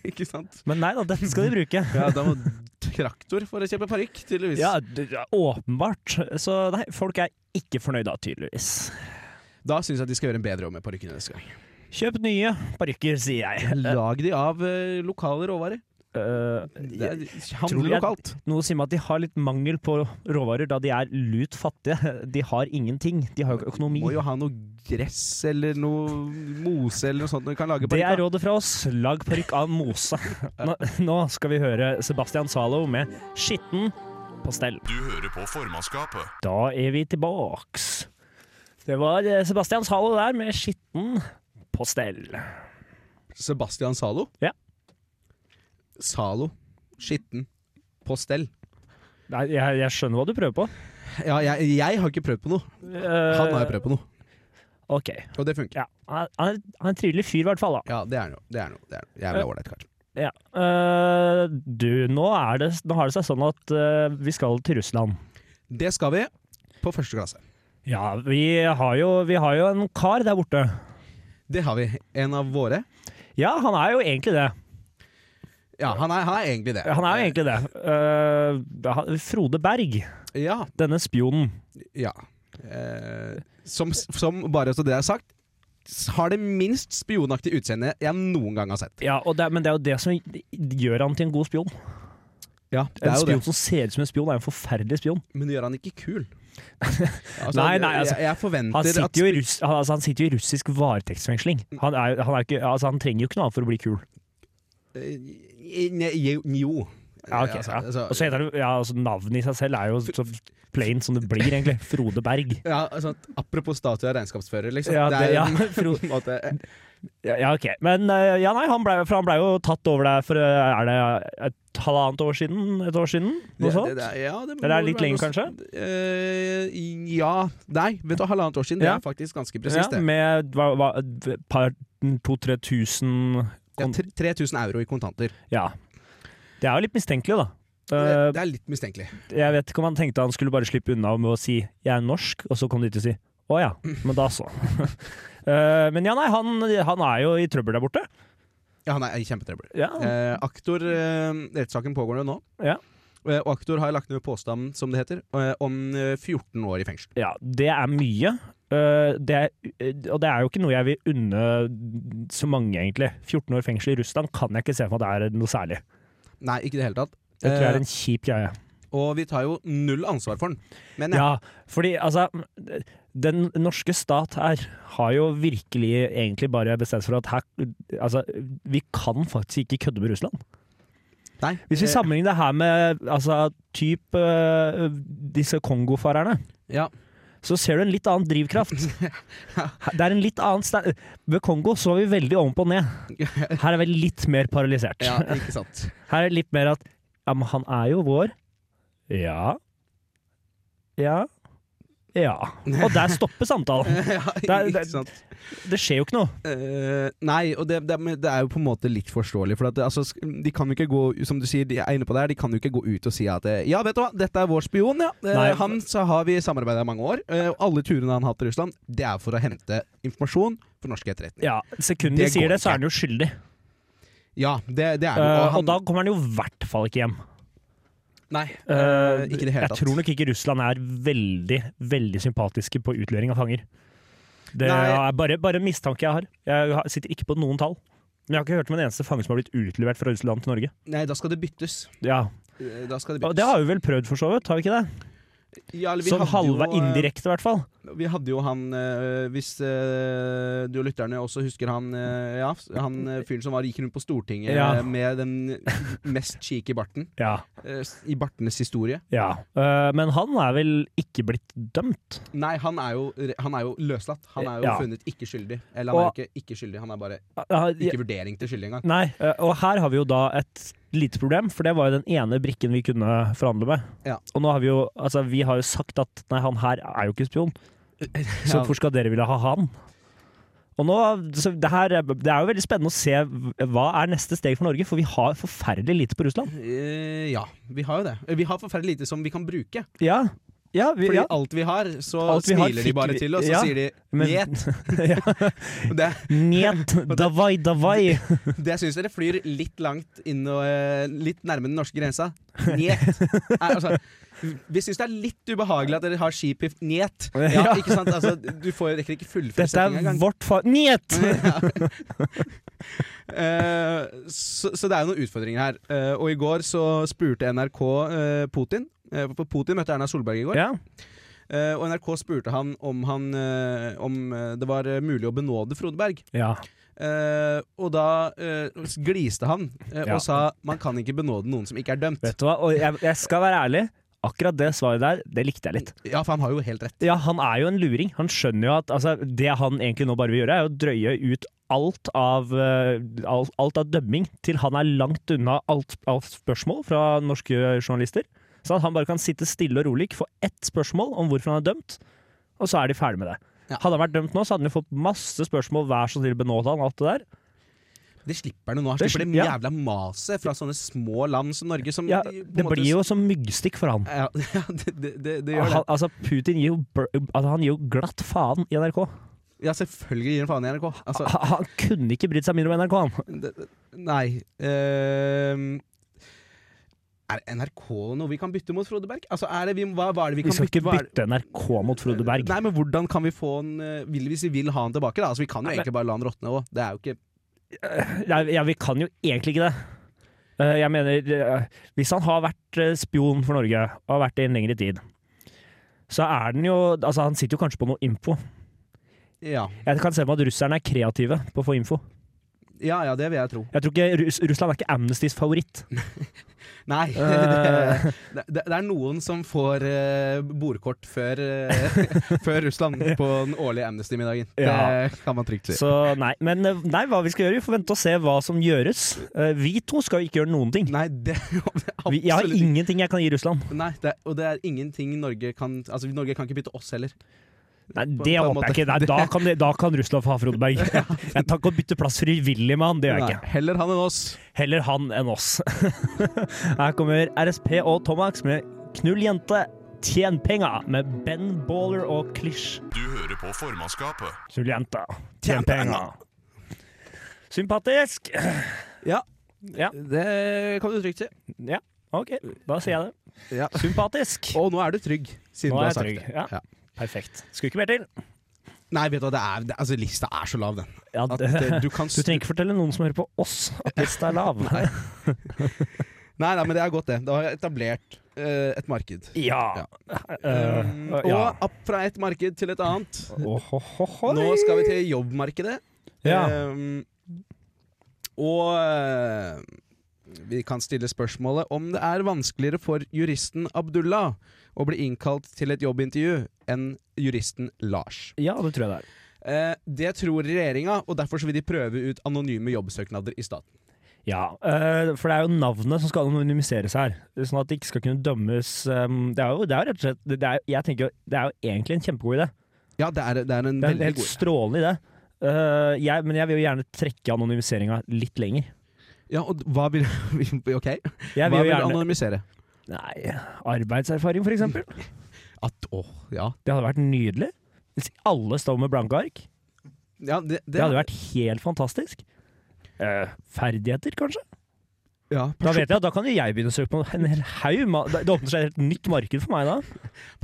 [SPEAKER 7] ikke sant?
[SPEAKER 6] Men nei da, dette skal de bruke.
[SPEAKER 7] Ja, da må traktor for å kjøpe parykk, tydeligvis.
[SPEAKER 6] Ja, d- ja, åpenbart. Så nei, folk er ikke fornøyde da, tydeligvis.
[SPEAKER 7] Da syns jeg de skal gjøre en bedre jobb med parykkene neste gang.
[SPEAKER 6] Kjøp nye parykker, sier
[SPEAKER 7] [LAUGHS]
[SPEAKER 6] jeg.
[SPEAKER 7] Lag de av eh, lokale råvarer.
[SPEAKER 6] Eh,
[SPEAKER 7] Det
[SPEAKER 6] jeg-
[SPEAKER 7] er-
[SPEAKER 6] tror
[SPEAKER 7] Handle
[SPEAKER 6] jeg-
[SPEAKER 7] lokalt.
[SPEAKER 6] noe sier meg at de har litt mangel på råvarer, da de er lut fattige. De har ingenting. De har jo ikke
[SPEAKER 7] Må jo
[SPEAKER 6] økonomi.
[SPEAKER 7] ha noe gress eller noe mose eller noe sånt når du kan lage
[SPEAKER 6] Det er
[SPEAKER 7] parykk.
[SPEAKER 6] rådet fra oss. Lag parykk av
[SPEAKER 7] [LAUGHS]
[SPEAKER 6] mose. Nå, nå skal vi høre Sebastian Zalo med 'Skitten på stell'.
[SPEAKER 1] Du hører på formannskapet.
[SPEAKER 6] Da er vi tilbaks. Det var eh, Sebastian Zalo der med 'Skitten på stell'.
[SPEAKER 7] Sebastian Zalo.
[SPEAKER 6] Ja.
[SPEAKER 7] Zalo. Skitten. På stell.
[SPEAKER 6] Nei, jeg, jeg skjønner hva du prøver på.
[SPEAKER 7] Ja, jeg, jeg har ikke prøvd på noe. Han har jo prøvd på noe,
[SPEAKER 6] Ok.
[SPEAKER 7] og det funker.
[SPEAKER 6] Ja. Han, han er- han er en trivelig fyr, i hvert fall. Da.
[SPEAKER 7] Ja, det er noe. Det er noe. Det er noe. Jævla ålreit kar.
[SPEAKER 6] Ja. Eh, du, nå, er det, nå har det seg sånn at eh, vi skal til Russland.
[SPEAKER 7] Det skal vi på første klasse.
[SPEAKER 6] Ja, vi har jo, vi har jo en kar der borte.
[SPEAKER 7] Det har vi. En av våre.
[SPEAKER 6] Ja, han er jo egentlig det.
[SPEAKER 7] Ja, han er, han er egentlig det.
[SPEAKER 6] Han er jo egentlig det. Eh, han- Frode Berg,
[SPEAKER 7] Ja.
[SPEAKER 6] denne spionen.
[SPEAKER 7] ja. Eh, som, som, bare så det er sagt, s- har det minst spionaktige utseende jeg noen gang har sett.
[SPEAKER 6] Ja, og det, Men det er jo det som gjør han til en god spion.
[SPEAKER 7] Ja, det
[SPEAKER 6] En
[SPEAKER 7] er jo
[SPEAKER 6] spion
[SPEAKER 7] det.
[SPEAKER 6] som ser ut som en spion, er en forferdelig spion.
[SPEAKER 7] Men det gjør han ikke
[SPEAKER 6] [LAUGHS]
[SPEAKER 7] kul. Altså,
[SPEAKER 6] Nei, nei, altså,
[SPEAKER 7] jeg, jeg forventer
[SPEAKER 6] Han
[SPEAKER 7] at
[SPEAKER 6] sitter jo i, russ, han, altså, han sitter jo i russisk varetektsfengsling. Han, er, jo- han, er ikke, altså, han trenger jo ikke noe annet for å bli kul.
[SPEAKER 7] Eh, ne- Njo.
[SPEAKER 6] Ja, ok,
[SPEAKER 7] Altså,
[SPEAKER 6] ja.
[SPEAKER 7] altså-
[SPEAKER 6] Og så heter det, ja, altså Navnet i seg selv er jo så plain som det blir, egentlig. Frode Berg.
[SPEAKER 7] [LAUGHS] Ja, altså, apropos statue av regnskapsfører, liksom.
[SPEAKER 6] Ja,
[SPEAKER 7] det
[SPEAKER 6] det,
[SPEAKER 7] er
[SPEAKER 6] ja, [LAUGHS]
[SPEAKER 7] en-
[SPEAKER 6] Frode,
[SPEAKER 7] på en [LAUGHS] måte
[SPEAKER 6] Ja, ja, ok. Men eh, ja, nei, han blei for han ble jo tatt over der for eh, er det et halvannet år siden? Et år siden? Noe
[SPEAKER 7] Ja,
[SPEAKER 6] sånt?
[SPEAKER 7] det- det- ja, det må
[SPEAKER 6] Eller er det litt
[SPEAKER 7] være
[SPEAKER 6] lenger,
[SPEAKER 7] noe-
[SPEAKER 6] kanskje?
[SPEAKER 7] Eh, ja Nei, vet du, halvannet år siden.
[SPEAKER 6] Ja.
[SPEAKER 7] Det er faktisk ganske presist,
[SPEAKER 6] ja,
[SPEAKER 7] det.
[SPEAKER 6] med hva, hva, et par 2000-3000 tusen
[SPEAKER 7] Ja, tre- 3000 euro i kontanter.
[SPEAKER 6] Ja. Det er jo litt mistenkelig, da. Eh,
[SPEAKER 7] Det, det er litt mistenkelig.
[SPEAKER 6] jeg vet ikke om han tenkte han skulle bare slippe unna med å si 'jeg er norsk', og så kom de til å si 'å ja, men da så'. [LAUGHS] Eh, men ja, nei, han, han er jo i trøbbel der borte.
[SPEAKER 7] Ja, han er i kjempetrøbbel.
[SPEAKER 6] Ja,
[SPEAKER 7] Eh, aktor eh, Rettssaken pågår jo nå.
[SPEAKER 6] Ja.
[SPEAKER 7] Eh, og aktor har lagt ned påstand, som det heter, eh, om eh, 14 år i fengsel.
[SPEAKER 6] ja det er mye. Eh, det er, eh, og det er jo ikke noe jeg vil unne så mange, egentlig. 14 år fengsel i Russland kan jeg ikke se for meg at det er noe særlig.
[SPEAKER 7] Nei, ikke i det hele tatt.
[SPEAKER 6] Det tror jeg er
[SPEAKER 7] Eh,
[SPEAKER 6] en kjip greie.
[SPEAKER 7] og vi tar jo null ansvar for den. Men ja.
[SPEAKER 6] Ja, fordi altså Den norske stat her har jo virkelig egentlig bare bestemt seg for at her Altså, vi kan faktisk ikke kødde med Russland.
[SPEAKER 7] Nei,
[SPEAKER 6] Hvis vi
[SPEAKER 7] eh,
[SPEAKER 6] sammenligner det her med altså, typ eh, disse kongofarerne,
[SPEAKER 7] ja.
[SPEAKER 6] så ser du en litt annen
[SPEAKER 7] [LAUGHS]
[SPEAKER 6] drivkraft. Det er en litt annen ste- Ved Kongo så var vi veldig ovenpå
[SPEAKER 7] [LAUGHS]
[SPEAKER 6] og ned. Her er vi litt mer paralysert.
[SPEAKER 7] ja, ikke sant. [LAUGHS]
[SPEAKER 6] Her er det litt mer at ja, men han er jo vår. Ja. Ja. Ja. Og der stopper samtalen.
[SPEAKER 7] ja,
[SPEAKER 6] er- det er-
[SPEAKER 7] ikke sant.
[SPEAKER 6] Det skjer jo ikke noe.
[SPEAKER 7] Eh, nei, og det, det, men det er jo på en måte litt forståelig. For at, altså, sk- de kan jo ikke gå Som du sier, de er inne på det her, de kan jo ikke gå ut og si at eh, Ja, vet du hva, dette er vår spion, ja. Eh,
[SPEAKER 6] Nei.
[SPEAKER 7] han så har vi samarbeida i mange år. eh, og alle turene han har hatt til Russland, det er for å hente informasjon for norsk etterretning.
[SPEAKER 6] Ja, Sekunden de
[SPEAKER 7] Det
[SPEAKER 6] sier
[SPEAKER 7] går
[SPEAKER 6] det, så
[SPEAKER 7] ikke.
[SPEAKER 6] er han jo skyldig.
[SPEAKER 7] Ja, det, det er det.
[SPEAKER 6] Eh,
[SPEAKER 7] jo,
[SPEAKER 6] og da kommer han jo i hvert fall ikke hjem.
[SPEAKER 7] Nei,
[SPEAKER 6] Eh,
[SPEAKER 7] eh, ikke i det hele
[SPEAKER 6] jeg
[SPEAKER 7] tatt.
[SPEAKER 6] tror nok ikke Russland er veldig, veldig sympatiske på utlevering av fanger. Det
[SPEAKER 7] Nei.
[SPEAKER 6] er bare, bare en mistanke jeg har. Jeg har- sitter ikke på noen tall. Men jeg har ikke hørt om en eneste fange som har blitt utlevert fra Russland til Norge.
[SPEAKER 7] Nei, da skal det byttes.
[SPEAKER 6] Ja,
[SPEAKER 7] Eh, Da skal det
[SPEAKER 6] og
[SPEAKER 7] byttes.
[SPEAKER 6] Det har vi vel prøvd, for så vidt? Har vi ikke det?
[SPEAKER 7] Ja, eller vi
[SPEAKER 6] Sånn
[SPEAKER 7] hadde
[SPEAKER 6] halva
[SPEAKER 7] jo, eh,
[SPEAKER 6] indirekte, i hvert fall.
[SPEAKER 7] Vi hadde jo han eh, Hvis eh, du og lytterne også husker han eh, Ja, han eh, fyren som var, gikk rundt på Stortinget
[SPEAKER 6] Ja.
[SPEAKER 7] eh, med den mest cheeky barten.
[SPEAKER 6] Ja.
[SPEAKER 7] eh, s- I bartenes historie.
[SPEAKER 6] ja. Eh, men han er vel ikke blitt dømt?
[SPEAKER 7] Nei, han er jo, re- han er jo løslatt. Han er jo
[SPEAKER 6] Ja.
[SPEAKER 7] funnet ikke skyldig. Eller han
[SPEAKER 6] Og-
[SPEAKER 7] er jo ikke ikke skyldig, han er bare
[SPEAKER 6] Ja,
[SPEAKER 7] ikke vurdering til skyldig engang.
[SPEAKER 6] Nei, eh, og her har vi jo da et lite problem, for det var jo den ene brikken vi kunne forhandle med.
[SPEAKER 7] Ja.
[SPEAKER 6] Og nå har vi jo, altså vi har jo sagt at nei, han her er jo ikke spion, så
[SPEAKER 7] Ja.
[SPEAKER 6] hvorfor skal dere ville ha han? Og nå, så det, her, er- det er jo veldig spennende å se hva er neste steg for Norge, for vi har forferdelig lite på Russland.
[SPEAKER 7] Eh, ja, vi har jo det. Vi har forferdelig lite som vi kan bruke.
[SPEAKER 6] Ja, ja, vi,
[SPEAKER 7] Fordi
[SPEAKER 6] ja.
[SPEAKER 7] alt vi har, så
[SPEAKER 6] Alt vi har,
[SPEAKER 7] smiler
[SPEAKER 6] fikk
[SPEAKER 7] de bare
[SPEAKER 6] vi-
[SPEAKER 7] til, og så
[SPEAKER 6] ja.
[SPEAKER 7] sier de
[SPEAKER 6] Men-
[SPEAKER 7] njet.
[SPEAKER 6] [LAUGHS] ja.
[SPEAKER 7] Det,
[SPEAKER 6] Njet, [LAUGHS] davai, davai.
[SPEAKER 7] det syns dere flyr litt langt inn og eh, litt nærme den norske grensa.
[SPEAKER 6] [LAUGHS]
[SPEAKER 7] Njet. Nei, altså, vi syns det er litt ubehagelig at dere har skip i f- njet. Ja,
[SPEAKER 6] Ja.
[SPEAKER 7] ikke sant? Altså, du får, rekker ikke fullføre
[SPEAKER 6] Dette
[SPEAKER 7] setninga
[SPEAKER 6] er
[SPEAKER 7] engang.
[SPEAKER 6] vårt fa... Njet!
[SPEAKER 7] Eh, så, så det er jo noen utfordringer her. Eh, og i går så spurte NRK eh, Putin. Eh, for Putin møtte Erna Solberg i går.
[SPEAKER 6] Ja,
[SPEAKER 7] Eh, og NRK spurte han om, han, eh, om eh, det var eh, mulig å benåde Frode Berg.
[SPEAKER 6] ja.
[SPEAKER 7] Eh, og da eh, gliste han eh,
[SPEAKER 6] Ja.
[SPEAKER 7] og sa man kan ikke benåde noen som ikke er dømt.
[SPEAKER 6] Vet du hva, og jeg, jeg skal være ærlig, akkurat det svaret der, det likte jeg litt.
[SPEAKER 7] Ja, for han har jo helt rett.
[SPEAKER 6] Ja, han er jo en luring. Han skjønner jo at altså, det han egentlig nå bare vil gjøre, er å drøye ut alt av, eh, alt, alt av dømming til han er langt unna alt, alt spørsmål fra norske journalister. Så at han bare kan sitte stille og rolig, få ett spørsmål om hvorfor han er dømt, og så er de ferdig med det.
[SPEAKER 7] Ja.
[SPEAKER 6] Hadde han vært dømt nå, så hadde han jo fått masse spørsmål hver så snill benåde han, alt det der.
[SPEAKER 7] Mm, Det slipper han jo nå. Han
[SPEAKER 6] Det
[SPEAKER 7] slipper det
[SPEAKER 6] sli- ja.
[SPEAKER 7] jævla maset fra sånne små land som Norge. Som
[SPEAKER 6] Ja,
[SPEAKER 7] på en
[SPEAKER 6] det
[SPEAKER 7] måte-
[SPEAKER 6] blir jo som myggstikk for han.
[SPEAKER 7] ja, [LAUGHS] ja, det, det, det, det gjør det.
[SPEAKER 6] Han, altså, Putin gir jo, br- altså, han gir jo glatt faen i NRK.
[SPEAKER 7] Ja, selvfølgelig gir han faen i NRK. Altså,
[SPEAKER 6] Han, han kunne ikke brydd seg mindre om NRK, han.
[SPEAKER 7] det, det- nei Ehm, Er NRK noe vi kan bytte mot Frode Berg? Altså, er det vi, hva, hva er det vi
[SPEAKER 6] Vi
[SPEAKER 7] kan
[SPEAKER 6] skal
[SPEAKER 7] bytte?
[SPEAKER 6] ikke
[SPEAKER 7] hva er det-
[SPEAKER 6] bytte NRK mot Frode Berg.
[SPEAKER 7] Nei, men hvordan kan vi få han eh, vil, Hvis vi vil ha han tilbake, da? Altså, vi kan jo
[SPEAKER 6] Nei, men-
[SPEAKER 7] egentlig bare la han råtne òg. Det er jo ikke
[SPEAKER 6] Nei, ja, vi kan jo egentlig ikke det. Eh, Jeg mener, eh, hvis han har vært eh, spion for Norge, og har vært det i en lengre tid, så er den jo Altså, han sitter jo kanskje på noe info.
[SPEAKER 7] Ja.
[SPEAKER 6] Jeg kan se for meg at russerne er kreative på å få info.
[SPEAKER 7] Ja ja, det vil jeg tro.
[SPEAKER 6] Jeg tror ikke Russ Russland er ikke Amnestys favoritt.
[SPEAKER 7] Nei.
[SPEAKER 6] Eh.
[SPEAKER 7] [LAUGHS] Det, det, det er noen som får eh, bordkort før, eh, [LAUGHS] før Russland på den årlige Amnesty-middagen.
[SPEAKER 6] Ja.
[SPEAKER 7] Det kan man trygt si.
[SPEAKER 6] Så nei, men eh, nei, hva vi skal gjøre, vi får vente og se hva som gjøres. Eh, Vi to skal jo ikke gjøre noen ting.
[SPEAKER 7] Nei, det [LAUGHS] absolutt
[SPEAKER 6] Vi, jeg har
[SPEAKER 7] ikke.
[SPEAKER 6] ingenting jeg kan gi Russland.
[SPEAKER 7] Nei, det, er- og det er ingenting Norge kan Altså, Norge kan ikke bytte oss heller.
[SPEAKER 6] Nei,
[SPEAKER 7] På-
[SPEAKER 6] det
[SPEAKER 7] på en
[SPEAKER 6] håper
[SPEAKER 7] måte.
[SPEAKER 6] jeg ikke. Nei, da, kan, det- da kan Russland få ha
[SPEAKER 7] [LAUGHS]
[SPEAKER 6] Frodeberg. Jeg tar ikke å bytte plass frivillig med han, det gjør jeg
[SPEAKER 7] Nei,
[SPEAKER 6] ikke.
[SPEAKER 7] heller han enn oss.
[SPEAKER 6] Heller han enn oss. [LAUGHS] Her kommer RSP og Tomax med 'Knull jente, tjen penga' med Ben Baller og Klisj.
[SPEAKER 1] Du hører på formannskapet.
[SPEAKER 6] Knull jenta, tjen penga. Sympatisk.
[SPEAKER 7] Det kan du trygt si.
[SPEAKER 6] Ja, OK, da sier jeg det.
[SPEAKER 7] Ja.
[SPEAKER 6] Sympatisk.
[SPEAKER 7] Og nå er du trygg, siden
[SPEAKER 6] Nå er
[SPEAKER 7] du har
[SPEAKER 6] jeg
[SPEAKER 7] sagt
[SPEAKER 6] trygg,
[SPEAKER 7] det.
[SPEAKER 6] ja. Perfekt. Skulle ikke mer til.
[SPEAKER 7] Nei, vet du hva, det er, det, altså, lista er så lav, den.
[SPEAKER 6] Ja, [LAUGHS]
[SPEAKER 7] At
[SPEAKER 6] det,
[SPEAKER 7] eh, du kan
[SPEAKER 6] du trenger ikke fortelle noen som hører på oss at lista er lav.
[SPEAKER 7] Nei, nei, men det er godt, det. Det har etablert eh, et marked.
[SPEAKER 6] Ja. Eh,
[SPEAKER 7] Um,
[SPEAKER 6] ja.
[SPEAKER 7] Og opp fra et marked til et annet.
[SPEAKER 6] Ohohohoi.
[SPEAKER 7] Nå skal vi til jobbmarkedet.
[SPEAKER 6] Ja.
[SPEAKER 7] Um, og eh, vi kan stille spørsmålet om det er vanskeligere for juristen Abdullah å bli innkalt til et jobbintervju enn juristen Lars.
[SPEAKER 6] ja, det tror jeg det er.
[SPEAKER 7] Eh, det tror regjeringa, og derfor så vil de prøve ut anonyme jobbsøknader i staten.
[SPEAKER 6] Ja, eh, for det er jo navnet som skal anonymiseres her. Sånn at det ikke skal kunne dømmes eh, Det er jo det er rett og slett det er, Jeg tenker jo- det er jo egentlig en kjempegod idé.
[SPEAKER 7] Ja, det er, det er
[SPEAKER 6] Det er
[SPEAKER 7] en
[SPEAKER 6] en
[SPEAKER 7] veldig
[SPEAKER 6] helt
[SPEAKER 7] god
[SPEAKER 6] strålende idé. Eh, jeg, men jeg vil jo gjerne trekke anonymiseringa litt lenger.
[SPEAKER 7] Ja, og hva vil [LAUGHS] Ok,
[SPEAKER 6] Jeg
[SPEAKER 7] hva
[SPEAKER 6] vil jo
[SPEAKER 7] vil du
[SPEAKER 6] gjerne
[SPEAKER 7] anonymisere?
[SPEAKER 6] Nei, arbeidserfaring, for eksempel.
[SPEAKER 7] At åh, ja.
[SPEAKER 6] Det hadde vært nydelig. Hvis alle står med blanke ark.
[SPEAKER 7] ja det, det,
[SPEAKER 6] Det hadde vært helt fantastisk. Eh, ferdigheter, kanskje?
[SPEAKER 7] ja,
[SPEAKER 6] Da vet jeg at da kan jo jeg begynne å søke på en hel haug. ma- Det åpner seg et helt nytt marked for meg da.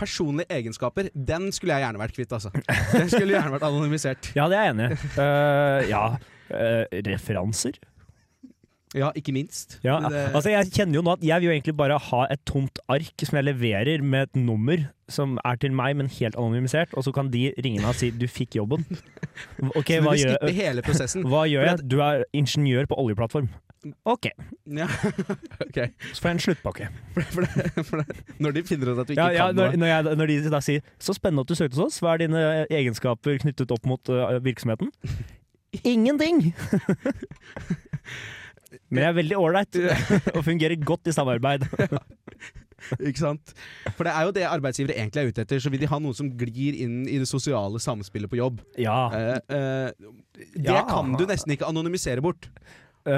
[SPEAKER 7] Personlige egenskaper, den skulle jeg gjerne vært kvitt, altså. Den skulle gjerne vært anonymisert.
[SPEAKER 6] Ja, det er jeg enig i. Eh, ja. Eh, referanser?
[SPEAKER 7] Ja, ikke minst.
[SPEAKER 6] Ja.
[SPEAKER 7] Men det-
[SPEAKER 6] Altså, jeg kjenner jo nå at jeg vil jo egentlig bare ha et tomt ark som jeg leverer med et nummer som er til meg, men helt anonymisert, og så kan de ringe meg og si 'du fikk [LAUGHS] jobben'. OK,
[SPEAKER 7] så du
[SPEAKER 6] hva
[SPEAKER 7] vil skippe
[SPEAKER 6] gjør,
[SPEAKER 7] hele
[SPEAKER 6] [LAUGHS]
[SPEAKER 7] prosessen?
[SPEAKER 6] hva gjør jeg? Du er ingeniør på oljeplattform. OK,
[SPEAKER 7] ja. [LAUGHS] ok.
[SPEAKER 6] så får jeg en sluttpakke.
[SPEAKER 7] For, for, det, for det, når de finner ut at du ikke
[SPEAKER 6] Ja, ja,
[SPEAKER 7] kan
[SPEAKER 6] når,
[SPEAKER 7] noe
[SPEAKER 6] når, jeg, når de da sier 'så spennende at du søkte hos oss', hva er dine egenskaper knyttet opp mot ø, virksomheten? Ingenting! [LAUGHS] Men jeg er veldig ålreit
[SPEAKER 7] [LAUGHS]
[SPEAKER 6] og fungerer godt i samarbeid.
[SPEAKER 7] Ikke sant? For det er jo det arbeidsgivere egentlig er ute etter. Så vil de ha noen som glir inn i det sosiale samspillet på jobb.
[SPEAKER 6] Ja.
[SPEAKER 7] Eh, eh, det
[SPEAKER 6] Ah. Ja.
[SPEAKER 7] kan du nesten ikke anonymisere bort.
[SPEAKER 6] ø,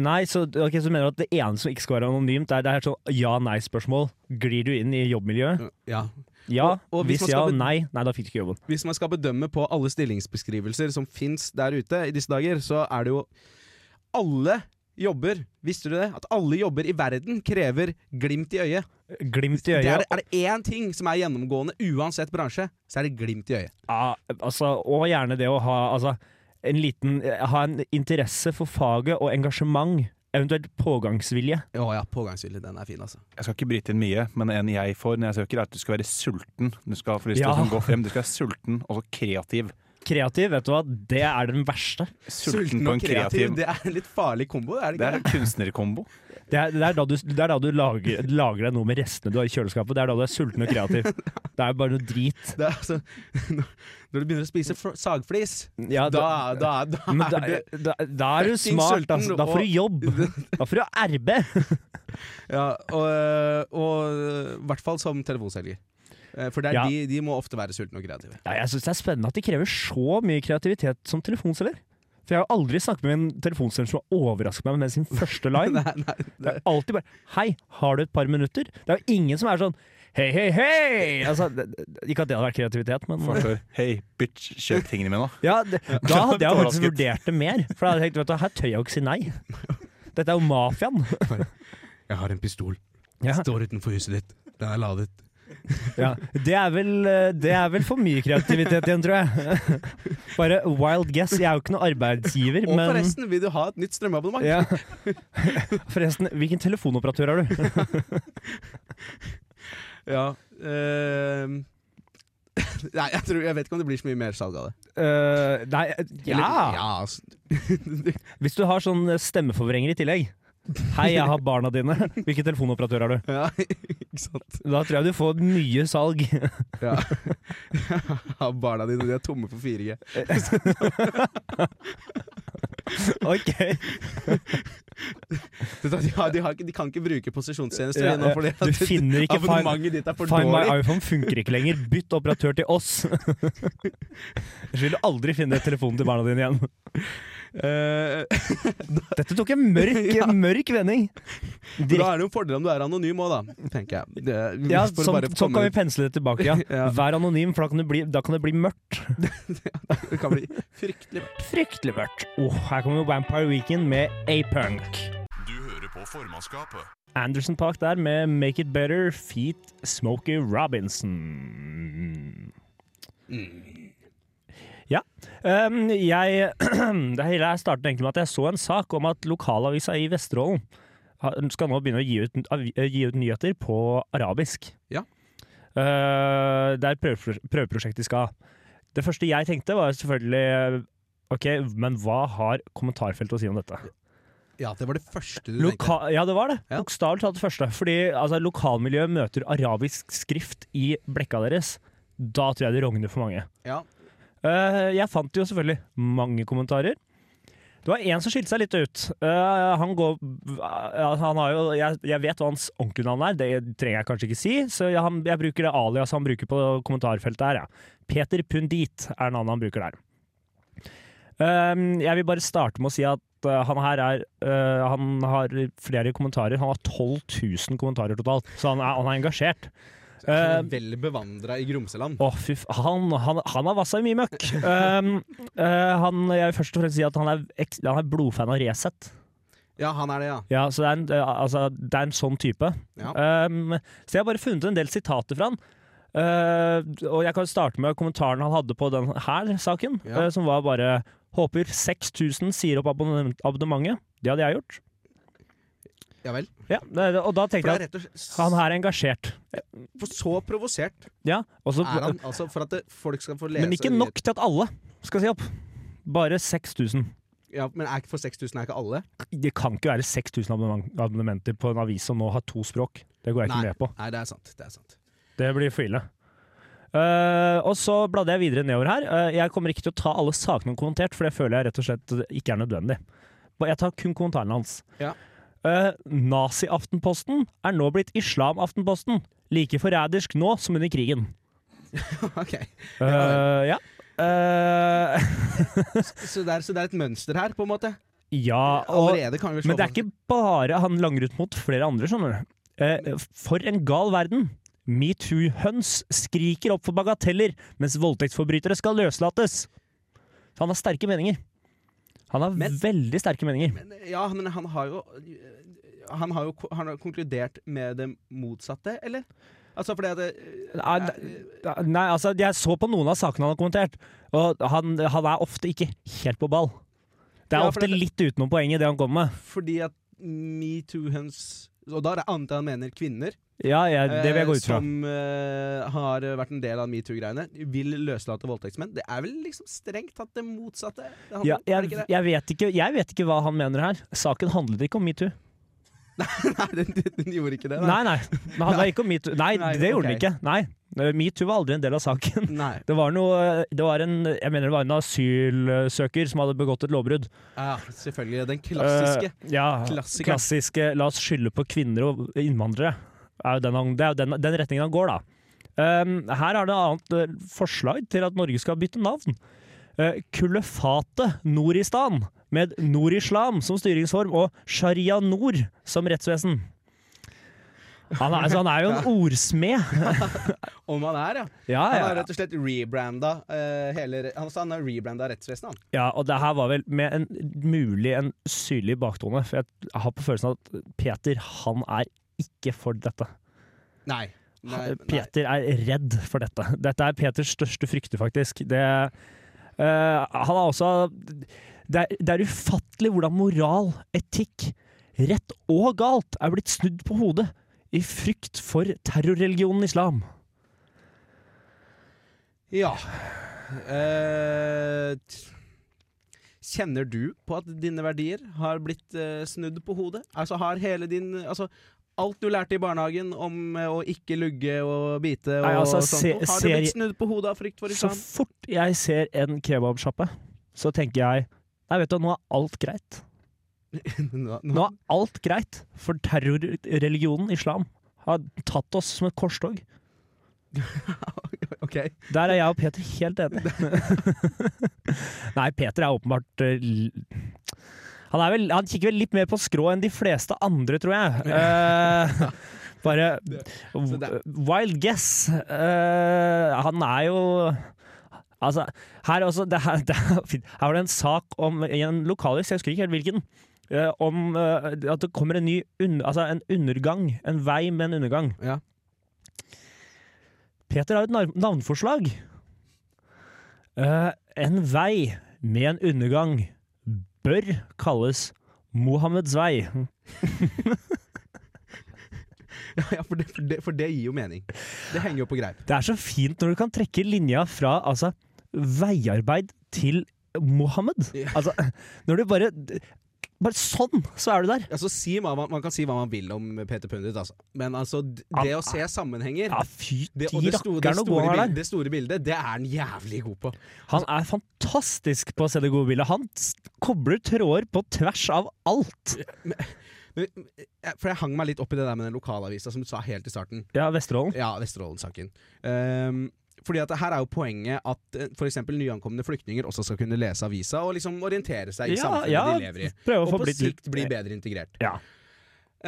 [SPEAKER 6] nei, så, ok, så mener du at det eneste som ikke skal være anonymt, er det her sånn ja-nei-spørsmål. Glir du inn i jobbmiljøet?
[SPEAKER 7] Ja.
[SPEAKER 6] Ja.
[SPEAKER 7] Og- og hvis
[SPEAKER 6] hvis
[SPEAKER 7] man
[SPEAKER 6] ja,
[SPEAKER 7] skal be-
[SPEAKER 6] nei. Nei, da fikk du ikke jobben.
[SPEAKER 7] Hvis man skal bedømme på alle stillingsbeskrivelser som fins der ute i disse dager, så er det jo alle jobber Visste du det? At alle jobber i verden krever glimt i øyet.
[SPEAKER 6] Glimt i
[SPEAKER 7] Det er,
[SPEAKER 6] øyet.
[SPEAKER 7] er det én ting som er gjennomgående uansett bransje, så er det glimt i øyet.
[SPEAKER 6] Ja, altså, og gjerne det å ha, altså, en liten, eh, ha en interesse for faget og engasjement, eventuelt pågangsvilje.
[SPEAKER 7] Å ja, pågangsvilje. Den er fin, altså.
[SPEAKER 8] Jeg skal ikke bryte inn mye, men en jeg får når jeg søker, er at du skal være sulten. Du skal få lyst til
[SPEAKER 6] Ja.
[SPEAKER 8] å sånn gå frem. Du skal være sulten og så kreativ.
[SPEAKER 6] Kreativ, vet du hva, det er den verste.
[SPEAKER 8] Sulten, på en kreativ.
[SPEAKER 7] Det er en litt farlig kombo, er det
[SPEAKER 8] Det
[SPEAKER 7] ikke?
[SPEAKER 8] er en kunstnerkombo.
[SPEAKER 6] Det er, det er da du, det er da du lager, lager deg noe med restene du har i kjøleskapet. Det er da du er sulten og kreativ. Det er bare noe drit.
[SPEAKER 7] Det, er altså, [LAUGHS] når du begynner å spise fr- sagflis,
[SPEAKER 6] Ja,
[SPEAKER 7] da, da, da,
[SPEAKER 6] men da,
[SPEAKER 7] [LAUGHS] er
[SPEAKER 6] da, da er du
[SPEAKER 7] fucking
[SPEAKER 6] smart,
[SPEAKER 7] sulten
[SPEAKER 6] altså. Da får
[SPEAKER 7] og-
[SPEAKER 6] du jobb.
[SPEAKER 7] [LAUGHS]
[SPEAKER 6] Da får du arbeid.
[SPEAKER 7] du ja, Og, og i hvert fall som telefonselger. Eh, For det er
[SPEAKER 6] Ja.
[SPEAKER 7] de, de må ofte være sultne og kreative.
[SPEAKER 6] Ja, jeg syns det er spennende at de krever så mye kreativitet som telefonselger. For jeg har jo aldri snakket med en telefonselger som har overrasket meg med sin
[SPEAKER 7] [LAUGHS]
[SPEAKER 6] første line.
[SPEAKER 7] Nei, nei,
[SPEAKER 6] Det er alltid bare Hei, har du et par minutter? Det er jo ingen som er sånn Hei, hei, hei! Altså, det- det- ikke at det hadde vært kreativitet, men
[SPEAKER 8] Forstår. Hei, bitch, kjøp tingene mine, da.
[SPEAKER 6] ja, det, Da hadde jeg faktisk
[SPEAKER 8] Overrasket.
[SPEAKER 6] vurdert det mer. For da hadde jeg tenkt vet du, her tør jeg jo ikke si nei. Dette er jo mafiaen.
[SPEAKER 7] Jeg har en pistol.
[SPEAKER 6] Ja,
[SPEAKER 7] Står utenfor huset ditt. Den er ladet.
[SPEAKER 6] ja. Det, er vel, eh, det er vel for mye kreativitet igjen, tror jeg. [LAUGHS] Bare wild guess. Jeg er jo ikke noen arbeidsgiver,
[SPEAKER 7] Og
[SPEAKER 6] men
[SPEAKER 7] forresten, vil du ha et nytt strømabonnement?
[SPEAKER 6] ja. [LAUGHS] Forresten, hvilken telefonoperatør har
[SPEAKER 7] [LAUGHS]
[SPEAKER 6] du?
[SPEAKER 7] Ja, ehm. eh, [LAUGHS] Nei, jeg, tror, jeg vet ikke om det blir så mye mer salg av det.
[SPEAKER 6] Eh, nei,
[SPEAKER 7] Eller-
[SPEAKER 6] ja!
[SPEAKER 7] ja s-
[SPEAKER 6] Hvis du har sånn stemmeforvrenger i tillegg. Hei, jeg har barna dine. Hvilken telefonoperatør har du?
[SPEAKER 7] [LAUGHS] ja, ikke sant.
[SPEAKER 6] Da tror jeg du får mye salg.
[SPEAKER 7] Ja. [LAUGHS] Ja, Barna dine de er tomme for 4G.
[SPEAKER 6] [LAUGHS] Ok.
[SPEAKER 7] De, har, de, har ikke, de kan ikke bruke posisjonstjenester
[SPEAKER 6] Ja,
[SPEAKER 7] nå
[SPEAKER 6] ja.
[SPEAKER 7] fordi at
[SPEAKER 6] Du finner ikke Find,
[SPEAKER 7] [LAUGHS] abonnementet ditt er for
[SPEAKER 6] find My
[SPEAKER 7] dårlig.
[SPEAKER 6] iPhone funker ikke lenger. Bytt operatør til
[SPEAKER 7] [LAUGHS]
[SPEAKER 6] oss. Ellers vil du aldri finne telefonen til barna dine igjen.
[SPEAKER 7] Eh, [LAUGHS]
[SPEAKER 6] Dette tok en mørk,
[SPEAKER 7] Ja.
[SPEAKER 6] mørk vending.
[SPEAKER 7] men da er det jo en fordel om du er anonym òg, da, tenker jeg. Det,
[SPEAKER 6] Ja,
[SPEAKER 7] for å
[SPEAKER 6] sånn,
[SPEAKER 7] bare
[SPEAKER 6] sånn kan
[SPEAKER 7] komme-
[SPEAKER 6] vi pensle det tilbake. Ja.
[SPEAKER 7] [LAUGHS] Ja.
[SPEAKER 6] Vær anonym, for da kan det bli, da kan det bli mørkt.
[SPEAKER 7] Det kan bli fryktelig
[SPEAKER 6] Fryktelig mørkt. Oh, her kommer Vampire Weekend med A-Punk.
[SPEAKER 1] Du hører på formannskapet.
[SPEAKER 6] Anderson Park der med Make It Better feat Smokey Robinson. Ja. Um, jeg [CLEARS THROAT] Det hele her startet egentlig med at jeg så en sak om at lokalavisa i Vesterålen har- skal nå begynne å gi ut, avi- gi ut nyheter på arabisk.
[SPEAKER 7] Ja.
[SPEAKER 6] Uh, det er et prøveprosjekt, prøveprosjekt de skal ha. Det første jeg tenkte, var selvfølgelig OK, men hva har kommentarfeltet å si om dette?
[SPEAKER 7] Ja, det var det første du tenkte.
[SPEAKER 6] Loka ja, det var det.
[SPEAKER 7] Ja.
[SPEAKER 6] Bokstavelig talt det første. Fordi altså, lokalmiljøet møter arabisk skrift i blekka deres. Da tror jeg det rogner for mange.
[SPEAKER 7] Ja.
[SPEAKER 6] Eh, jeg fant jo selvfølgelig mange kommentarer. Det var en som skilte seg litt ut. Eh, han går ja, han har jo, jeg, jeg vet hva hans ordentlige navn er, det trenger jeg kanskje ikke si, så jeg, han, jeg bruker det alias han bruker på kommentarfeltet her. Ja. Peter Pundit er navnet han bruker der. Eh, jeg vil bare starte med å si at eh, han her er eh, Han har flere kommentarer. Han har 12 000 kommentarer totalt, så han er, han er engasjert.
[SPEAKER 7] Han
[SPEAKER 6] Eh,
[SPEAKER 7] er Vel bevandra i Gromseland.
[SPEAKER 6] å, fy f... Han, han, han har vassa i mye møkk. Um, eh, han, jeg vil først og fremst si at han er, ek- han er blodfan av Resett.
[SPEAKER 7] Ja, han er det, ja.
[SPEAKER 6] Ja, så det er en, eh, altså, det er en sånn type.
[SPEAKER 7] Ja.
[SPEAKER 6] Um, så jeg har bare funnet en del sitater fra han. Eh, og jeg kan starte med kommentaren han hadde på den her saken,
[SPEAKER 7] Ja.
[SPEAKER 6] eh, som var bare Håper 6000 sier opp abonnement- abonnementet. Det hadde jeg gjort.
[SPEAKER 7] Ja vel.
[SPEAKER 6] Ja, det- det- og da
[SPEAKER 7] For det
[SPEAKER 6] tenkte
[SPEAKER 7] er
[SPEAKER 6] jeg
[SPEAKER 7] rett og
[SPEAKER 6] at han
[SPEAKER 7] slett
[SPEAKER 6] her er engasjert.
[SPEAKER 7] for så provosert
[SPEAKER 6] Ja, og så,
[SPEAKER 7] er han, altså, for at det, folk skal få lese
[SPEAKER 6] men ikke nok til at alle skal si opp. Bare 6000.
[SPEAKER 7] Ja, men er ikke for 6000 er ikke alle?
[SPEAKER 6] Det kan ikke være 6000 abonnement- abonnementer på en avis som nå har to språk. Det går jeg ikke
[SPEAKER 7] Nei.
[SPEAKER 6] med på.
[SPEAKER 7] Nei, det er sant. Det er sant. [LAUGHS]
[SPEAKER 6] Det blir for ille. Eh, og så bladde jeg videre nedover her. Eh, jeg kommer ikke til å ta alle sakene han kommentert, for det føler jeg rett og slett ikke er nødvendig. Ba- Jeg tar kun kommentarene hans.
[SPEAKER 7] Ja.
[SPEAKER 6] Eh, Nazi-Aftenposten er nå blitt Islam-Aftenposten. Like forrædersk nå som under krigen.
[SPEAKER 7] Ok.
[SPEAKER 6] Eh, ja. Eh,
[SPEAKER 7] Så det, er, så det er et mønster her, på en måte?
[SPEAKER 6] ja, Eh, og
[SPEAKER 7] Allerede kan vi slå
[SPEAKER 6] Men det er ikke bare han langer ut mot flere andre, skjønner du. Eh, for en gal verden. Metoo-høns skriker opp for bagateller, mens voldtektsforbrytere skal løslates. Så han har sterke meninger. Han har
[SPEAKER 7] Men-
[SPEAKER 6] veldig sterke meninger.
[SPEAKER 7] Men, eh, Ja, men han har jo Han har jo ko- han har konkludert med det motsatte, eller? Altså fordi at det,
[SPEAKER 6] Nei, d- nei, altså, jeg så på noen av sakene han har kommentert, og han, han er ofte ikke helt på ball. Det er
[SPEAKER 7] Ja, for
[SPEAKER 6] ofte
[SPEAKER 7] det-
[SPEAKER 6] litt utenom poenget, det han kommer med.
[SPEAKER 7] Fordi at metoo-høns Og da er det annet han mener kvinner,
[SPEAKER 6] Ja, jeg, det vil jeg gå
[SPEAKER 7] eh,
[SPEAKER 6] ut fra.
[SPEAKER 7] som eh, har vært en del av metoo-greiene, vil løslate voldtektsmenn. Det er vel liksom strengt tatt det motsatte? Det handler,
[SPEAKER 6] Ja,
[SPEAKER 7] er det
[SPEAKER 6] jeg,
[SPEAKER 7] ikke det? [LAUGHS]
[SPEAKER 6] jeg, vet ikke, jeg vet ikke hva han mener her. Saken handlet ikke om metoo.
[SPEAKER 7] Nei, den, den gjorde ikke det.
[SPEAKER 6] Nei, nei. Den handla ikke om metoo. Nei,
[SPEAKER 7] Nei,
[SPEAKER 6] det gjorde
[SPEAKER 7] ok.
[SPEAKER 6] den ikke. Nei. Eh, Metoo var aldri en del av saken. [LAUGHS]
[SPEAKER 7] Nei.
[SPEAKER 6] Det var, noe, eh, det var en Jeg mener det var en asylsøker som hadde begått et lovbrudd.
[SPEAKER 7] Ja, selvfølgelig. Den klassiske.
[SPEAKER 6] Eh, ja,
[SPEAKER 7] Klassiker.
[SPEAKER 6] klassiske 'la oss skylde på kvinner og innvandrere'. Er jo den, han- det er jo den, den retningen han går, da. Um, her er det et annet eh, forslag til at Norge skal bytte navn. Uh, Kulefatet Noristan, med Norislam som styringsform og Sharia Nor som rettsvesen. Han er, altså, han er jo
[SPEAKER 7] [LAUGHS]
[SPEAKER 6] en ordsmed.
[SPEAKER 7] Om han er, ja.
[SPEAKER 6] Ja,
[SPEAKER 7] Han har
[SPEAKER 6] ja.
[SPEAKER 7] rett og slett rebranda eh, hele re- altså, Han har rebranda rettsvesenet, han.
[SPEAKER 6] ja, og det her var vel med en mulig en syrlig baktone. For jeg har på følelsen at Peter, han er ikke for dette.
[SPEAKER 7] Nei. Nei,
[SPEAKER 6] Han-
[SPEAKER 7] nei.
[SPEAKER 6] Peter er redd for dette. Dette er Peters største frykte, faktisk. Det, eh, han er også det er, det er ufattelig hvordan moral, etikk, rett og galt er blitt snudd på hodet i frykt for terrorreligionen islam.
[SPEAKER 7] Ja Eh, t- Kjenner du på at dine verdier har blitt eh, snudd på hodet? Altså har hele din altså, Alt du lærte i barnehagen om eh, å ikke lugge og bite og
[SPEAKER 6] Nei, altså,
[SPEAKER 7] sånt,
[SPEAKER 6] se-
[SPEAKER 7] noe, har
[SPEAKER 6] ser-
[SPEAKER 7] det blitt snudd på hodet av frykt for
[SPEAKER 6] Så
[SPEAKER 7] islam?
[SPEAKER 6] fort jeg ser en kebabsjappe, så tenker jeg Nei, vet du, nå er alt greit.
[SPEAKER 7] Nå-
[SPEAKER 6] Nå er alt greit, for terrorreligionen islam har tatt oss som et korstog.
[SPEAKER 7] ok. [LAUGHS]
[SPEAKER 6] Der er jeg og Peter helt enige. Nei, Peter er åpenbart eh, l- han, er vel, han kikker vel litt mer på skrå enn de fleste andre, tror jeg. Eh, [LAUGHS] bare
[SPEAKER 7] det-
[SPEAKER 6] Wild guess. Eh, han er jo Altså, her også det her, [LAUGHS] det er fint. her var det en sak om, i en lokalis, jeg husker ikke helt hvilken, eh, om eh, at det kommer en ny un, altså en undergang. En vei med en undergang.
[SPEAKER 7] Ja.
[SPEAKER 6] Peter har et nav- navnforslag. Eh, en vei med en undergang bør kalles Mohammeds vei.
[SPEAKER 7] Ja, for det, for, det, for det gir jo mening. Det henger jo på greip.
[SPEAKER 6] Det er så fint når du kan trekke linja fra altså, veiarbeid til Mohammed.
[SPEAKER 7] Ja.
[SPEAKER 6] Altså, når du bare Bare sånn, så er du der.
[SPEAKER 7] Altså, si hva man, man kan si hva man vil om Peter Pundit, altså. men altså, d-
[SPEAKER 6] Ah,
[SPEAKER 7] det å se sammenhenger
[SPEAKER 6] Ja, fy
[SPEAKER 7] det, og
[SPEAKER 6] ti
[SPEAKER 7] det, sto, det,
[SPEAKER 6] rakkeren og gå han er
[SPEAKER 7] store bildet,
[SPEAKER 6] der.
[SPEAKER 7] det store bildet, det er han jævlig god på.
[SPEAKER 6] Han er fantastisk på å se det gode bildet. Han s- kobler tråder på tvers av alt.
[SPEAKER 7] Men, eh, For jeg hang meg litt opp i det der med den lokalavisa som du sa helt i starten.
[SPEAKER 6] Ja, Vesterålen.
[SPEAKER 7] Ja, Vesterålen-saken. Ehm, fordi at det her er jo poenget at f.eks. nyankomne flyktninger også skal kunne lese avisa og liksom orientere seg i
[SPEAKER 6] Ja,
[SPEAKER 7] samfunnet
[SPEAKER 6] ja,
[SPEAKER 7] de lever i.
[SPEAKER 6] prøve å
[SPEAKER 7] Og
[SPEAKER 6] få
[SPEAKER 7] på
[SPEAKER 6] blitt litt
[SPEAKER 7] sikt bli bedre integrert.
[SPEAKER 6] Ja.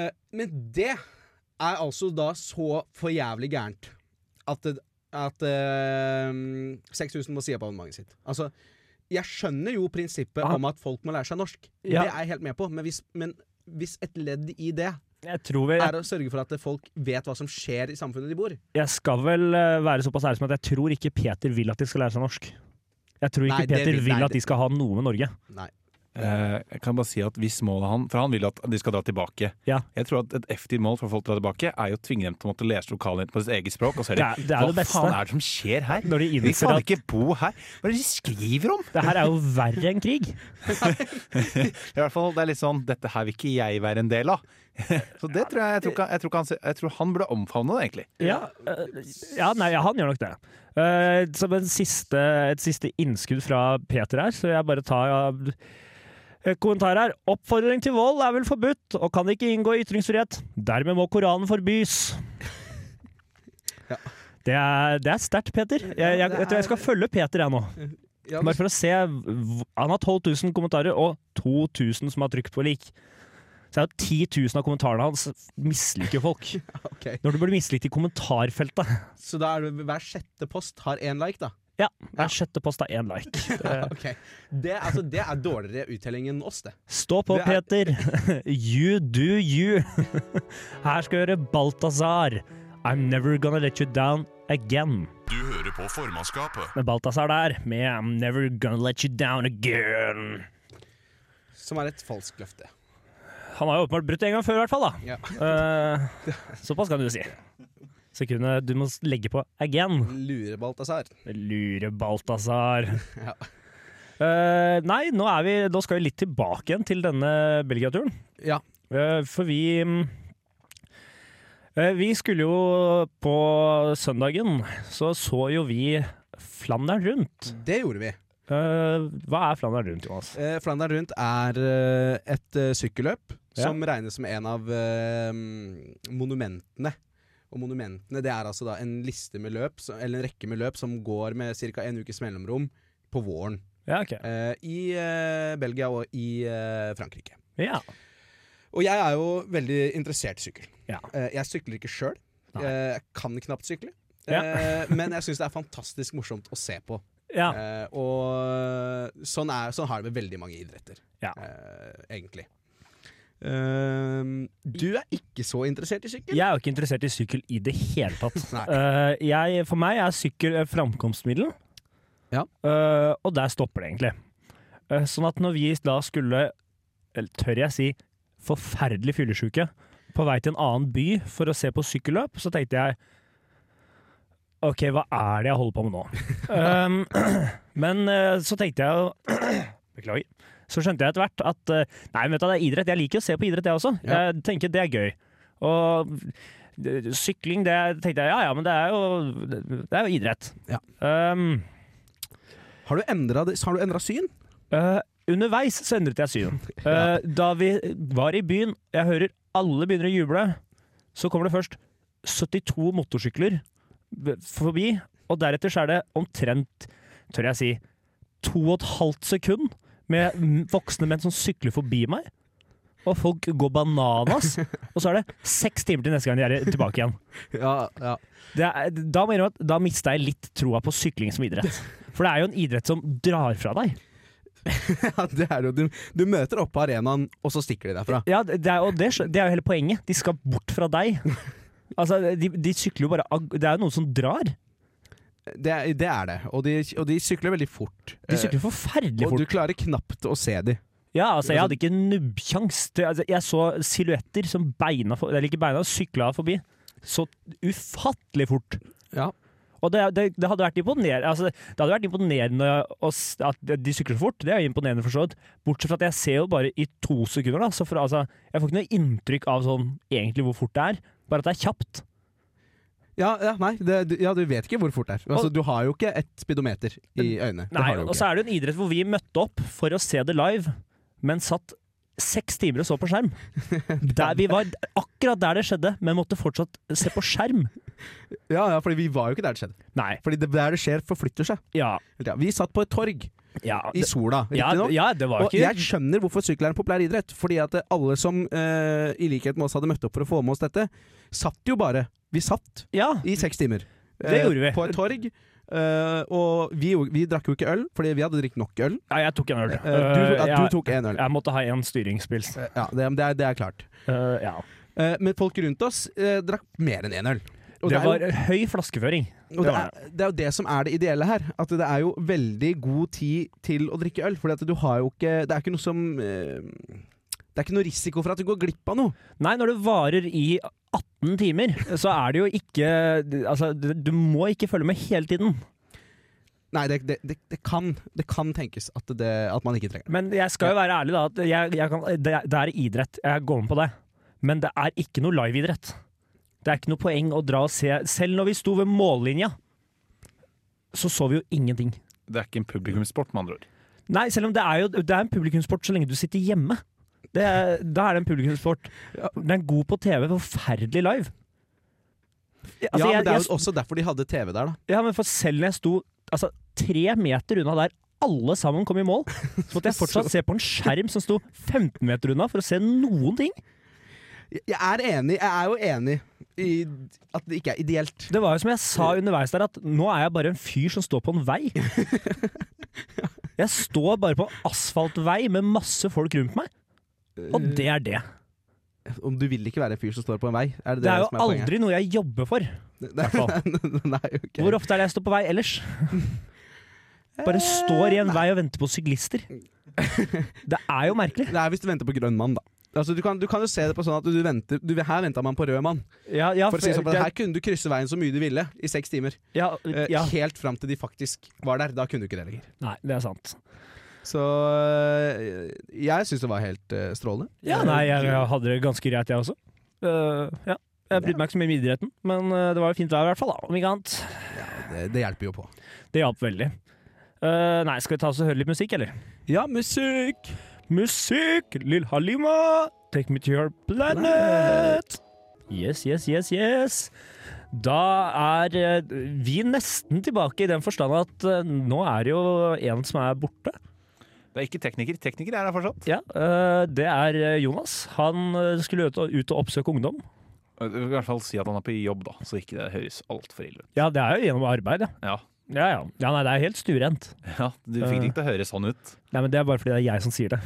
[SPEAKER 7] Eh, men det er altså da så for jævlig gærent at, det, at eh, 6000 må si opp abonnementet sitt. Altså, jeg skjønner jo prinsippet
[SPEAKER 6] Ah.
[SPEAKER 7] om at folk må lære seg norsk.
[SPEAKER 6] Ja.
[SPEAKER 7] Det er jeg helt med på, men hvis, men hvis et ledd i det
[SPEAKER 6] Jeg tror vi
[SPEAKER 7] er å sørge for at folk vet hva som skjer i samfunnet de bor.
[SPEAKER 6] Jeg skal vel eh, være såpass ærlig som at jeg tror ikke Peter vil at de skal lære seg norsk. Jeg tror ikke
[SPEAKER 7] Nei, det
[SPEAKER 6] Peter
[SPEAKER 7] vil-
[SPEAKER 6] vil,
[SPEAKER 7] nei,
[SPEAKER 6] at de
[SPEAKER 7] det-
[SPEAKER 6] skal ha noe med Norge.
[SPEAKER 7] Nei.
[SPEAKER 8] Eh, Jeg kan bare si at hvis målet han For han vil at de skal dra tilbake.
[SPEAKER 6] Ja.
[SPEAKER 8] Jeg tror at Et effektivt mål for folk til å dra tilbake er jo å tvinge dem til å måtte lese lokalnytt på sitt eget språk. Og så er det,
[SPEAKER 6] Det er det, er
[SPEAKER 8] Hva
[SPEAKER 6] det beste.
[SPEAKER 8] faen er det som skjer her?
[SPEAKER 6] Når de
[SPEAKER 8] Vi
[SPEAKER 6] innser
[SPEAKER 8] kan
[SPEAKER 6] at
[SPEAKER 8] ikke bo her! Hva er det de skriver om?!
[SPEAKER 6] det her er jo verre enn krig.
[SPEAKER 7] [LAUGHS]
[SPEAKER 8] I hvert fall, det er litt sånn Dette her vil ikke jeg være en del av. [LAUGHS] Så det tror jeg Jeg tror, ikke, jeg tror, ikke han, jeg tror han burde omfavne det, egentlig.
[SPEAKER 6] Ja, eh, ja nei, han gjør nok det. Eh, som en siste, et siste innskudd fra Peter her, så jeg bare tar eh, kommentar her. Oppfordring til vold er vel forbudt, og kan ikke inngå i ytringsfrihet. Dermed må Koranen forbys.
[SPEAKER 7] [LAUGHS] Ja.
[SPEAKER 6] Det er, det er sterkt, Peter. Jeg, jeg, jeg tror jeg skal følge Peter, jeg nå.
[SPEAKER 7] Ja,
[SPEAKER 6] Bare for å se hv- Han har 12 000 kommentarer, og 2000 som har trykt på lik. Så er jo 10 000 av kommentarene hans misliker folk.
[SPEAKER 7] ok.
[SPEAKER 6] Når du blir mislikt i kommentarfeltet
[SPEAKER 7] Så da er det hver sjette post har én like, da?
[SPEAKER 6] Ja, hver sjette post har én like.
[SPEAKER 7] [LAUGHS]
[SPEAKER 6] Eh,
[SPEAKER 7] Ok. Det, altså, det er dårligere uttelling enn oss, det.
[SPEAKER 6] Stå på,
[SPEAKER 7] Det er-
[SPEAKER 6] Peter! [LAUGHS] You do you! [LAUGHS] Her skal vi høre Balthazar. I'm never gonna let you down again.
[SPEAKER 1] Du hører på formannskapet.
[SPEAKER 6] Med Balthazar der, med I'm never gonna let you down again.
[SPEAKER 7] Som er et falskt løfte.
[SPEAKER 6] Han har jo åpenbart brutt det en gang før, i hvert fall. da
[SPEAKER 7] Ja.
[SPEAKER 6] Eh, såpass kan du si. Sekundet du må legge på again.
[SPEAKER 7] Lurer Balthazar.
[SPEAKER 6] Lure Balthazar.
[SPEAKER 7] Ja.
[SPEAKER 6] Eh, nei, nå, er vi, nå skal vi litt tilbake igjen til denne Belgia-turen.
[SPEAKER 7] Ja.
[SPEAKER 6] Eh, for vi mm, eh, Vi skulle jo på søndagen, så så jo vi Flandern rundt.
[SPEAKER 7] Det gjorde vi.
[SPEAKER 6] Eh, hva er Flandern rundt, Jonas?
[SPEAKER 7] Eh, Flandern rundt er eh, et eh, sykkelløp
[SPEAKER 6] Ja.
[SPEAKER 7] som regnes som en av eh, monumentene. Og monumentene det er altså da en liste med løp, som- eller en rekke med løp som går med ca. en ukes mellomrom på våren.
[SPEAKER 6] Ja, ok.
[SPEAKER 7] eh, I eh, Belgia og i eh, Frankrike.
[SPEAKER 6] Ja.
[SPEAKER 7] Og jeg er jo veldig interessert i sykkel.
[SPEAKER 6] Ja.
[SPEAKER 7] Eh, Jeg sykler ikke sjøl. Eh,
[SPEAKER 6] Nei.
[SPEAKER 7] Jeg kan knapt sykle.
[SPEAKER 6] Ja.
[SPEAKER 7] Eh, Men jeg syns det er fantastisk morsomt å se på.
[SPEAKER 6] ja.
[SPEAKER 7] Eh, Og sånn, er, sånn har det med veldig mange idretter,
[SPEAKER 6] Ja.
[SPEAKER 7] eh, egentlig. Eh, Du er ikke så interessert i sykkel?
[SPEAKER 6] Jeg er jo ikke interessert i sykkel i det hele tatt.
[SPEAKER 7] [LAUGHS] Nei.
[SPEAKER 6] Eh, jeg, for meg er sykkel eh, framkomstmiddel,
[SPEAKER 7] Ja.
[SPEAKER 6] Eh, og der stopper det egentlig. Eh, sånn at når vi da skulle, eller tør jeg si, forferdelig fyllesyke, på vei til en annen by
[SPEAKER 7] [LAUGHS]
[SPEAKER 6] for å se på sykkelløp, så tenkte jeg Ok, hva er det jeg holder på med nå? Um, [CLEARS THROAT] men eh, så tenkte jeg jo [CLEARS THROAT] Beklager. Så skjønte jeg etter hvert at eh, Nei, men vet du, det er idrett. Jeg liker å se på idrett, jeg også.
[SPEAKER 7] Ja.
[SPEAKER 6] Jeg tenker det er gøy. Og eh, sykling, det tenkte jeg ja ja, men det er jo, det er jo idrett.
[SPEAKER 7] Ja.
[SPEAKER 6] Um,
[SPEAKER 7] Har du endra det- har du endra syn?
[SPEAKER 6] Eh, underveis så endret jeg syn. Eh, da vi var i byen, jeg hører alle begynner å juble, så kommer det først 72 motorsykler b- forbi, og deretter så er det omtrent, tør jeg si, to og et halvt sekund med m- voksne menn som sykler forbi meg. Og folk går bananas. Og så er det seks timer til neste gang de er tilbake igjen.
[SPEAKER 7] Ja, [LAUGHS] ja.
[SPEAKER 6] Det er, da må jeg innrømme at da mista jeg litt troa på sykling som idrett. For det er jo en idrett som drar fra deg.
[SPEAKER 7] det er jo, du, du møter opp på arenaen, og så stikker de derfra.
[SPEAKER 6] Ja, det er, og det, skjø- det er jo hele poenget. De skal bort fra deg. Altså, de, de sykler jo bare ag- Det er jo noen som drar.
[SPEAKER 7] Det, er- det er det. Og de, og de sykler veldig fort.
[SPEAKER 6] De sykler forferdelig
[SPEAKER 7] Og du
[SPEAKER 6] fort.
[SPEAKER 7] klarer knapt å se de.
[SPEAKER 6] Ja, Eh, altså, jeg hadde ikke nubbkjangs. Det- Altså, jeg så silhuetter som beina for, Eller ikke beina, sykla forbi. Så ufattelig fort.
[SPEAKER 7] Ja.
[SPEAKER 6] Og det, det, det hadde vært imponerende altså, Det hadde vært imponerende å s- at de sykler så fort. Det er jo imponerende, for så vidt. Bortsett fra at jeg ser jo bare i to sekunder, da. Så for, altså, jeg får ikke noe inntrykk av sånn egentlig hvor fort det er. Bare at det er kjapt.
[SPEAKER 7] Ja, ja, nei, det, du- ja, du vet ikke hvor fort det er. Altså,
[SPEAKER 6] Og-
[SPEAKER 7] du har jo ikke et speedometer i øynene. Det
[SPEAKER 6] Nei,
[SPEAKER 7] har du jo
[SPEAKER 6] og
[SPEAKER 7] ikke.
[SPEAKER 6] så er det jo en idrett hvor vi møtte opp for å se det live, men satt seks timer og så på
[SPEAKER 7] [LAUGHS]
[SPEAKER 6] skjerm. Der vi var akkurat der det skjedde, men måtte fortsatt se på skjerm.
[SPEAKER 7] Ja, ja, fordi vi var jo ikke der det skjedde.
[SPEAKER 6] Nei,
[SPEAKER 7] Fordi det der det skjer, forflytter seg.
[SPEAKER 6] ja,
[SPEAKER 7] Ja, vi satt på et torg
[SPEAKER 6] ja.
[SPEAKER 7] i
[SPEAKER 6] det-
[SPEAKER 7] sola,
[SPEAKER 6] Ja,
[SPEAKER 7] riktignok.
[SPEAKER 6] ja, det var jo
[SPEAKER 7] Og jeg
[SPEAKER 6] ikke
[SPEAKER 7] skjønner hvorfor sykkel er en populær idrett. Fordi at alle som, eh, i likhet med oss, hadde møtt opp for å få med oss dette, satt jo bare. Vi satt
[SPEAKER 6] Ja,
[SPEAKER 7] i seks timer.
[SPEAKER 6] Det
[SPEAKER 7] eh,
[SPEAKER 6] gjorde vi.
[SPEAKER 7] På et torg. Eh, og vi, gjorde- vi drakk jo ikke øl, fordi vi hadde drukket nok øl.
[SPEAKER 6] ja, jeg tok en øl.
[SPEAKER 7] Eh, du, ja, du
[SPEAKER 6] jeg,
[SPEAKER 7] tok én øl.
[SPEAKER 6] jeg måtte ha en styringspils.
[SPEAKER 7] Eh, Ja, det, det, er, det er klart.
[SPEAKER 6] Eh, ja.
[SPEAKER 7] Eh, men folk rundt oss eh, drakk mer enn én øl. Og
[SPEAKER 6] Det
[SPEAKER 7] er
[SPEAKER 6] var
[SPEAKER 7] jo-
[SPEAKER 6] høy flaskeføring.
[SPEAKER 7] Og det,
[SPEAKER 6] Ja.
[SPEAKER 7] er, det er jo det som er det ideelle her. At det er jo veldig god tid til å drikke øl. Fordi at du har jo ikke Det er ikke noe som eh, Det er ikke noe risiko for at du går glipp av noe.
[SPEAKER 6] Nei, når det varer i 18 timer, så er det jo ikke Altså, du du må ikke følge med hele tiden.
[SPEAKER 7] Nei, det, det, det, det, kan, det kan tenkes at, det, at man ikke trenger det.
[SPEAKER 6] Men jeg skal jo være ærlig, da. At jeg, jeg kan, det, er- det er idrett. Jeg går med på det. Men det er ikke noe liveidrett. Det er ikke noe poeng å dra og se. Selv når vi sto ved mållinja, så så vi jo ingenting.
[SPEAKER 8] Det er ikke en publikumssport, med andre ord.
[SPEAKER 6] Nei, selv om det er jo det er en publikumssport så lenge du sitter hjemme. Det er, da er det en publikumssport. Den er god på TV, forferdelig live. Altså,
[SPEAKER 7] ja,
[SPEAKER 6] jeg-
[SPEAKER 7] men det er
[SPEAKER 6] jeg-
[SPEAKER 7] jo også derfor de hadde TV der, da.
[SPEAKER 6] ja, men for selv når jeg sto altså, tre meter unna der alle sammen kom i mål, så måtte [LAUGHS] jeg fortsatt se på en skjerm som sto 15 meter unna for å se noen ting.
[SPEAKER 7] Jeg- Jeg er enig, jeg er jo enig i at det ikke er ideelt.
[SPEAKER 6] Det var jo som jeg sa underveis der, at nå er jeg bare en fyr som står på en vei. [LAUGHS] Jeg står bare på en asfaltvei med masse folk rundt meg, og det er det.
[SPEAKER 7] Eh, Om du vil ikke være en fyr som står på en vei. Er det, det,
[SPEAKER 6] Det er jo
[SPEAKER 7] som er [LAUGHS] poenget?
[SPEAKER 6] aldri noe jeg jobber for.
[SPEAKER 7] [LAUGHS] Nei, ok.
[SPEAKER 6] Hvor ofte er det jeg står på vei
[SPEAKER 7] [LAUGHS]
[SPEAKER 6] ellers? Bare står i
[SPEAKER 7] Eh,
[SPEAKER 6] en vei og venter på syklister. Det er jo merkelig.
[SPEAKER 7] Det er hvis du venter på grønn mann, da. Altså, du, kan, du kan jo se det på sånn at du venter du, Her venta man på rød mann.
[SPEAKER 6] Ja, ja,
[SPEAKER 7] For å si det sånn, for
[SPEAKER 6] det-
[SPEAKER 7] Her kunne du krysse veien så mye du ville i seks timer.
[SPEAKER 6] ja,
[SPEAKER 7] Eh,
[SPEAKER 6] ja.
[SPEAKER 7] Helt fram til de faktisk var der. Da kunne du ikke det lenger.
[SPEAKER 6] Nei, det er sant.
[SPEAKER 7] Så eh, jeg syns det var helt eh, strålende.
[SPEAKER 6] Ja,
[SPEAKER 7] Eh,
[SPEAKER 6] nei, jeg, jeg hadde det ganske greit, jeg også. Eh, ja. Jeg brydde meg ikke så mye med idretten, men eh, det var jo fint vær i hvert fall, da, om ikke annet.
[SPEAKER 7] det, det hjelper jo på.
[SPEAKER 6] Det hjalp veldig. Eh, nei, skal vi ta oss og høre litt musikk, eller?
[SPEAKER 7] Ja, musikk!
[SPEAKER 6] Musikk! Lill Halima! Take me to your planet! Yes, yes, yes, yes. Da er eh, vi nesten tilbake i den forstand at eh, nå er det jo en som er borte.
[SPEAKER 8] Det er ikke tekniker. Tekniker er her fortsatt.
[SPEAKER 6] Ja, eh, det er eh, Jonas. Han eh, skulle ut og, ut og oppsøke ungdom.
[SPEAKER 8] Jeg vil I hvert fall si at han er på jobb, da, så ikke det høres altfor ille ut.
[SPEAKER 6] Ja, det er jo gjennom arbeid, ja.
[SPEAKER 8] Ja.
[SPEAKER 6] Ja, ja. ja nei, det er helt stuerent.
[SPEAKER 8] ja, du fikk det ikke til å høres sånn ut.
[SPEAKER 6] Nei, men det er bare fordi det er jeg som [LAUGHS] sier det.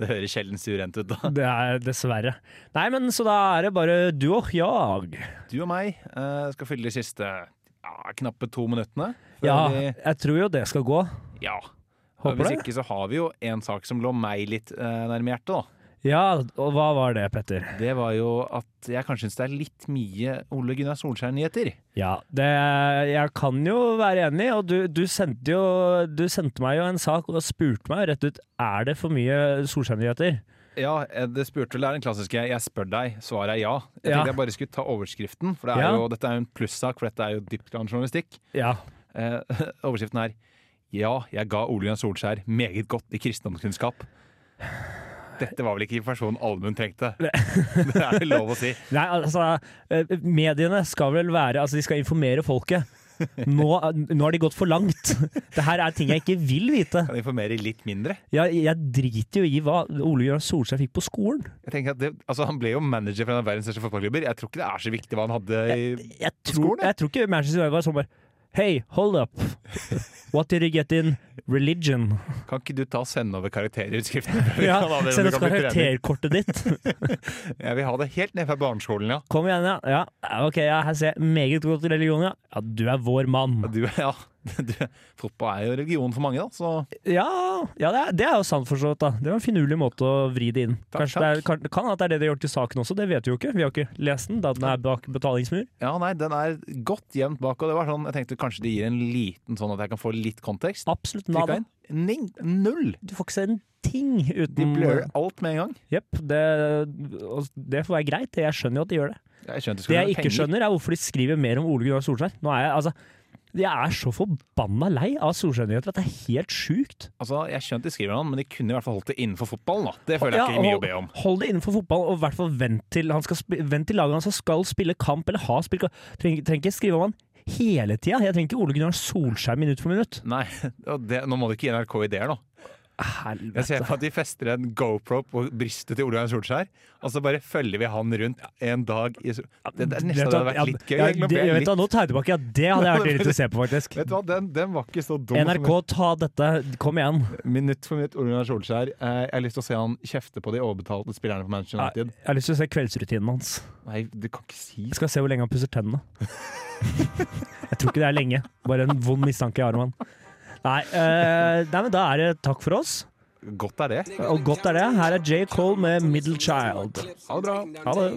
[SPEAKER 8] Det høres sjelden surent ut, da.
[SPEAKER 6] Det er dessverre. Nei, men så da er det bare du og jeg.
[SPEAKER 8] Du og meg eh, skal fylle de siste ja, knappe to minuttene. før
[SPEAKER 6] Ja,
[SPEAKER 8] vi-
[SPEAKER 6] jeg tror jo det skal gå.
[SPEAKER 8] ja.
[SPEAKER 6] Håper
[SPEAKER 8] Hvis
[SPEAKER 6] det.
[SPEAKER 8] ikke så har vi jo en sak som lå meg litt eh, nærme hjertet, da.
[SPEAKER 6] Ja, og hva var det, Petter?
[SPEAKER 8] Det var jo at jeg kanskje syns det er litt mye Ole Gunnar Solskjær-nyheter.
[SPEAKER 6] Ja, det, jeg kan jo være enig, og du, du sendte jo Du sendte meg jo en sak og spurte meg rett ut Er det for mye Solskjær-nyheter.
[SPEAKER 8] Ja, eh, det spurte vel, det er den klassiske 'jeg spør deg', svaret er ja. Jeg
[SPEAKER 6] Ja.
[SPEAKER 8] tenkte jeg bare skulle ta overskriften, for det er
[SPEAKER 6] Ja.
[SPEAKER 8] jo, dette er jo en plussak, for dette er jo dyptgående journalistikk.
[SPEAKER 6] Ja.
[SPEAKER 8] Eh, [LAUGHS] overskriften er 'Ja, jeg ga Ole Gunnar Solskjær meget godt i kristendomskunnskap'. Dette var vel ikke informasjonen allmuen trengte. [LAUGHS] Det er jo lov å si.
[SPEAKER 6] Nei, altså eh, Mediene skal vel være Altså, de skal informere folket. [LAUGHS] Nå, nå har de gått for langt. Det her er ting jeg ikke vil vite.
[SPEAKER 8] Kan informere litt mindre.
[SPEAKER 6] Jeg, jeg driter jo i hva Ole Jørn Solskjær fikk på skolen.
[SPEAKER 8] Jeg tenker at det, altså Han ble jo manager for en av verdens største fotballklubber. Jeg tror ikke det er så viktig hva han hadde i
[SPEAKER 6] Jeg tror,
[SPEAKER 8] skolen, ja.
[SPEAKER 6] jeg tror ikke Manchester United var sånn bare Hey, hold up. What did you get in religion?
[SPEAKER 8] Kan ikke du ta og sende over karakterutskriftene? [LAUGHS]
[SPEAKER 6] Ja,
[SPEAKER 8] Vi kan ha det når
[SPEAKER 6] Send
[SPEAKER 8] vi
[SPEAKER 6] oss
[SPEAKER 8] kan bli trening.
[SPEAKER 6] karakterkortet ditt. [LAUGHS]
[SPEAKER 8] Jeg vil ha det helt ned fra barneskolen, ja.
[SPEAKER 6] Kom igjen, ja. ja. ja, Ok, ja, her ser jeg meget godt til religion, ja. ja. Du er vår mann.
[SPEAKER 8] Ja, [LAUGHS] Du, ja. Du, fotball er jo religion for mange, da. Så
[SPEAKER 6] Ja, ja det, er, det er jo sant for så vidt, da. Det var en finurlig måte å vri det inn.
[SPEAKER 8] Takk,
[SPEAKER 6] Kanskje Det, er, kan, det kan hende at det er det de har gjort i saken også, det vet vi jo ikke. Vi har ikke lest den, da den er bak betalingsmur.
[SPEAKER 8] ja, nei, den er godt jevnt bak. Og det var sånn, jeg tenkte kanskje det gir en liten sånn at jeg kan få litt kontekst.
[SPEAKER 6] Absolutt
[SPEAKER 8] Trykka
[SPEAKER 6] nada.
[SPEAKER 8] inn. Ning, null!
[SPEAKER 6] Du får ikke se en ting uten
[SPEAKER 8] De blør alt med en gang.
[SPEAKER 6] Jepp. Det, og det får være greit, jeg skjønner jo at de gjør det.
[SPEAKER 8] Jeg skjønte
[SPEAKER 6] Det
[SPEAKER 8] skulle
[SPEAKER 6] jeg
[SPEAKER 8] være
[SPEAKER 6] ikke
[SPEAKER 8] penger.
[SPEAKER 6] skjønner, er hvorfor de skriver mer om Ole Gunnar Solskjær. Nå er jeg, altså, jeg er så forbanna lei av Solskjær-nyheter at det er helt sjukt.
[SPEAKER 8] Altså, jeg skjønte de skriver om han, men de kunne i hvert fall holdt det innenfor fotballen. da. Det føler
[SPEAKER 6] Ja,
[SPEAKER 8] jeg ikke mye
[SPEAKER 6] og
[SPEAKER 8] å be om.
[SPEAKER 6] Hold det innenfor fotball, og i hvert fall vent til, han skal sp- vent til laget hans som skal spille kamp eller har spilt kamp. Trenger, trenger ikke skrive om han hele tida. Jeg trenger ikke Ole Gunnar Solskjær minutt for minutt.
[SPEAKER 8] Nei, [LAUGHS] og det, Nå må du ikke gi NRK ideer, nå. Jeg ser
[SPEAKER 6] Helvete.
[SPEAKER 8] for meg at de fester en GoPro på brystet til Ole Gunnar Solskjær, og så bare følger vi han rundt en dag i sol- Det, det er nesten
[SPEAKER 6] Vet
[SPEAKER 8] det
[SPEAKER 6] du
[SPEAKER 8] hadde
[SPEAKER 6] hva-
[SPEAKER 8] vært litt gøy.
[SPEAKER 6] Ja,
[SPEAKER 8] egentlig,
[SPEAKER 6] det,
[SPEAKER 8] for jeg er
[SPEAKER 6] vet du, hva,
[SPEAKER 8] litt-
[SPEAKER 6] nå tar jeg tilbake. Ja, det hadde jeg vært villig til å se på,
[SPEAKER 8] [LAUGHS]
[SPEAKER 6] faktisk.
[SPEAKER 8] Vet du hva, den, den var ikke så dum. som-
[SPEAKER 6] NRK, ta dette. Kom igjen.
[SPEAKER 8] Minutt for minutt, Ole Gunnar Solskjær. Eh, Jeg har lyst til å se han kjefte på de overbetalte spillerne på Manchester
[SPEAKER 6] Jeg,
[SPEAKER 8] United.
[SPEAKER 6] jeg har lyst til å se kveldsrutinen hans.
[SPEAKER 8] Nei, du kan ikke si
[SPEAKER 6] Jeg skal se hvor lenge han pusser
[SPEAKER 8] [LAUGHS]
[SPEAKER 6] tennene. Jeg tror ikke det er lenge. Bare en vond mistanke jeg har om han. Nei, eh, nei, men da er det takk for oss.
[SPEAKER 8] Godt er det.
[SPEAKER 6] Og godt er det. Her er J. Cole med 'Middle Child'.
[SPEAKER 8] Ha det bra.
[SPEAKER 6] Ha det.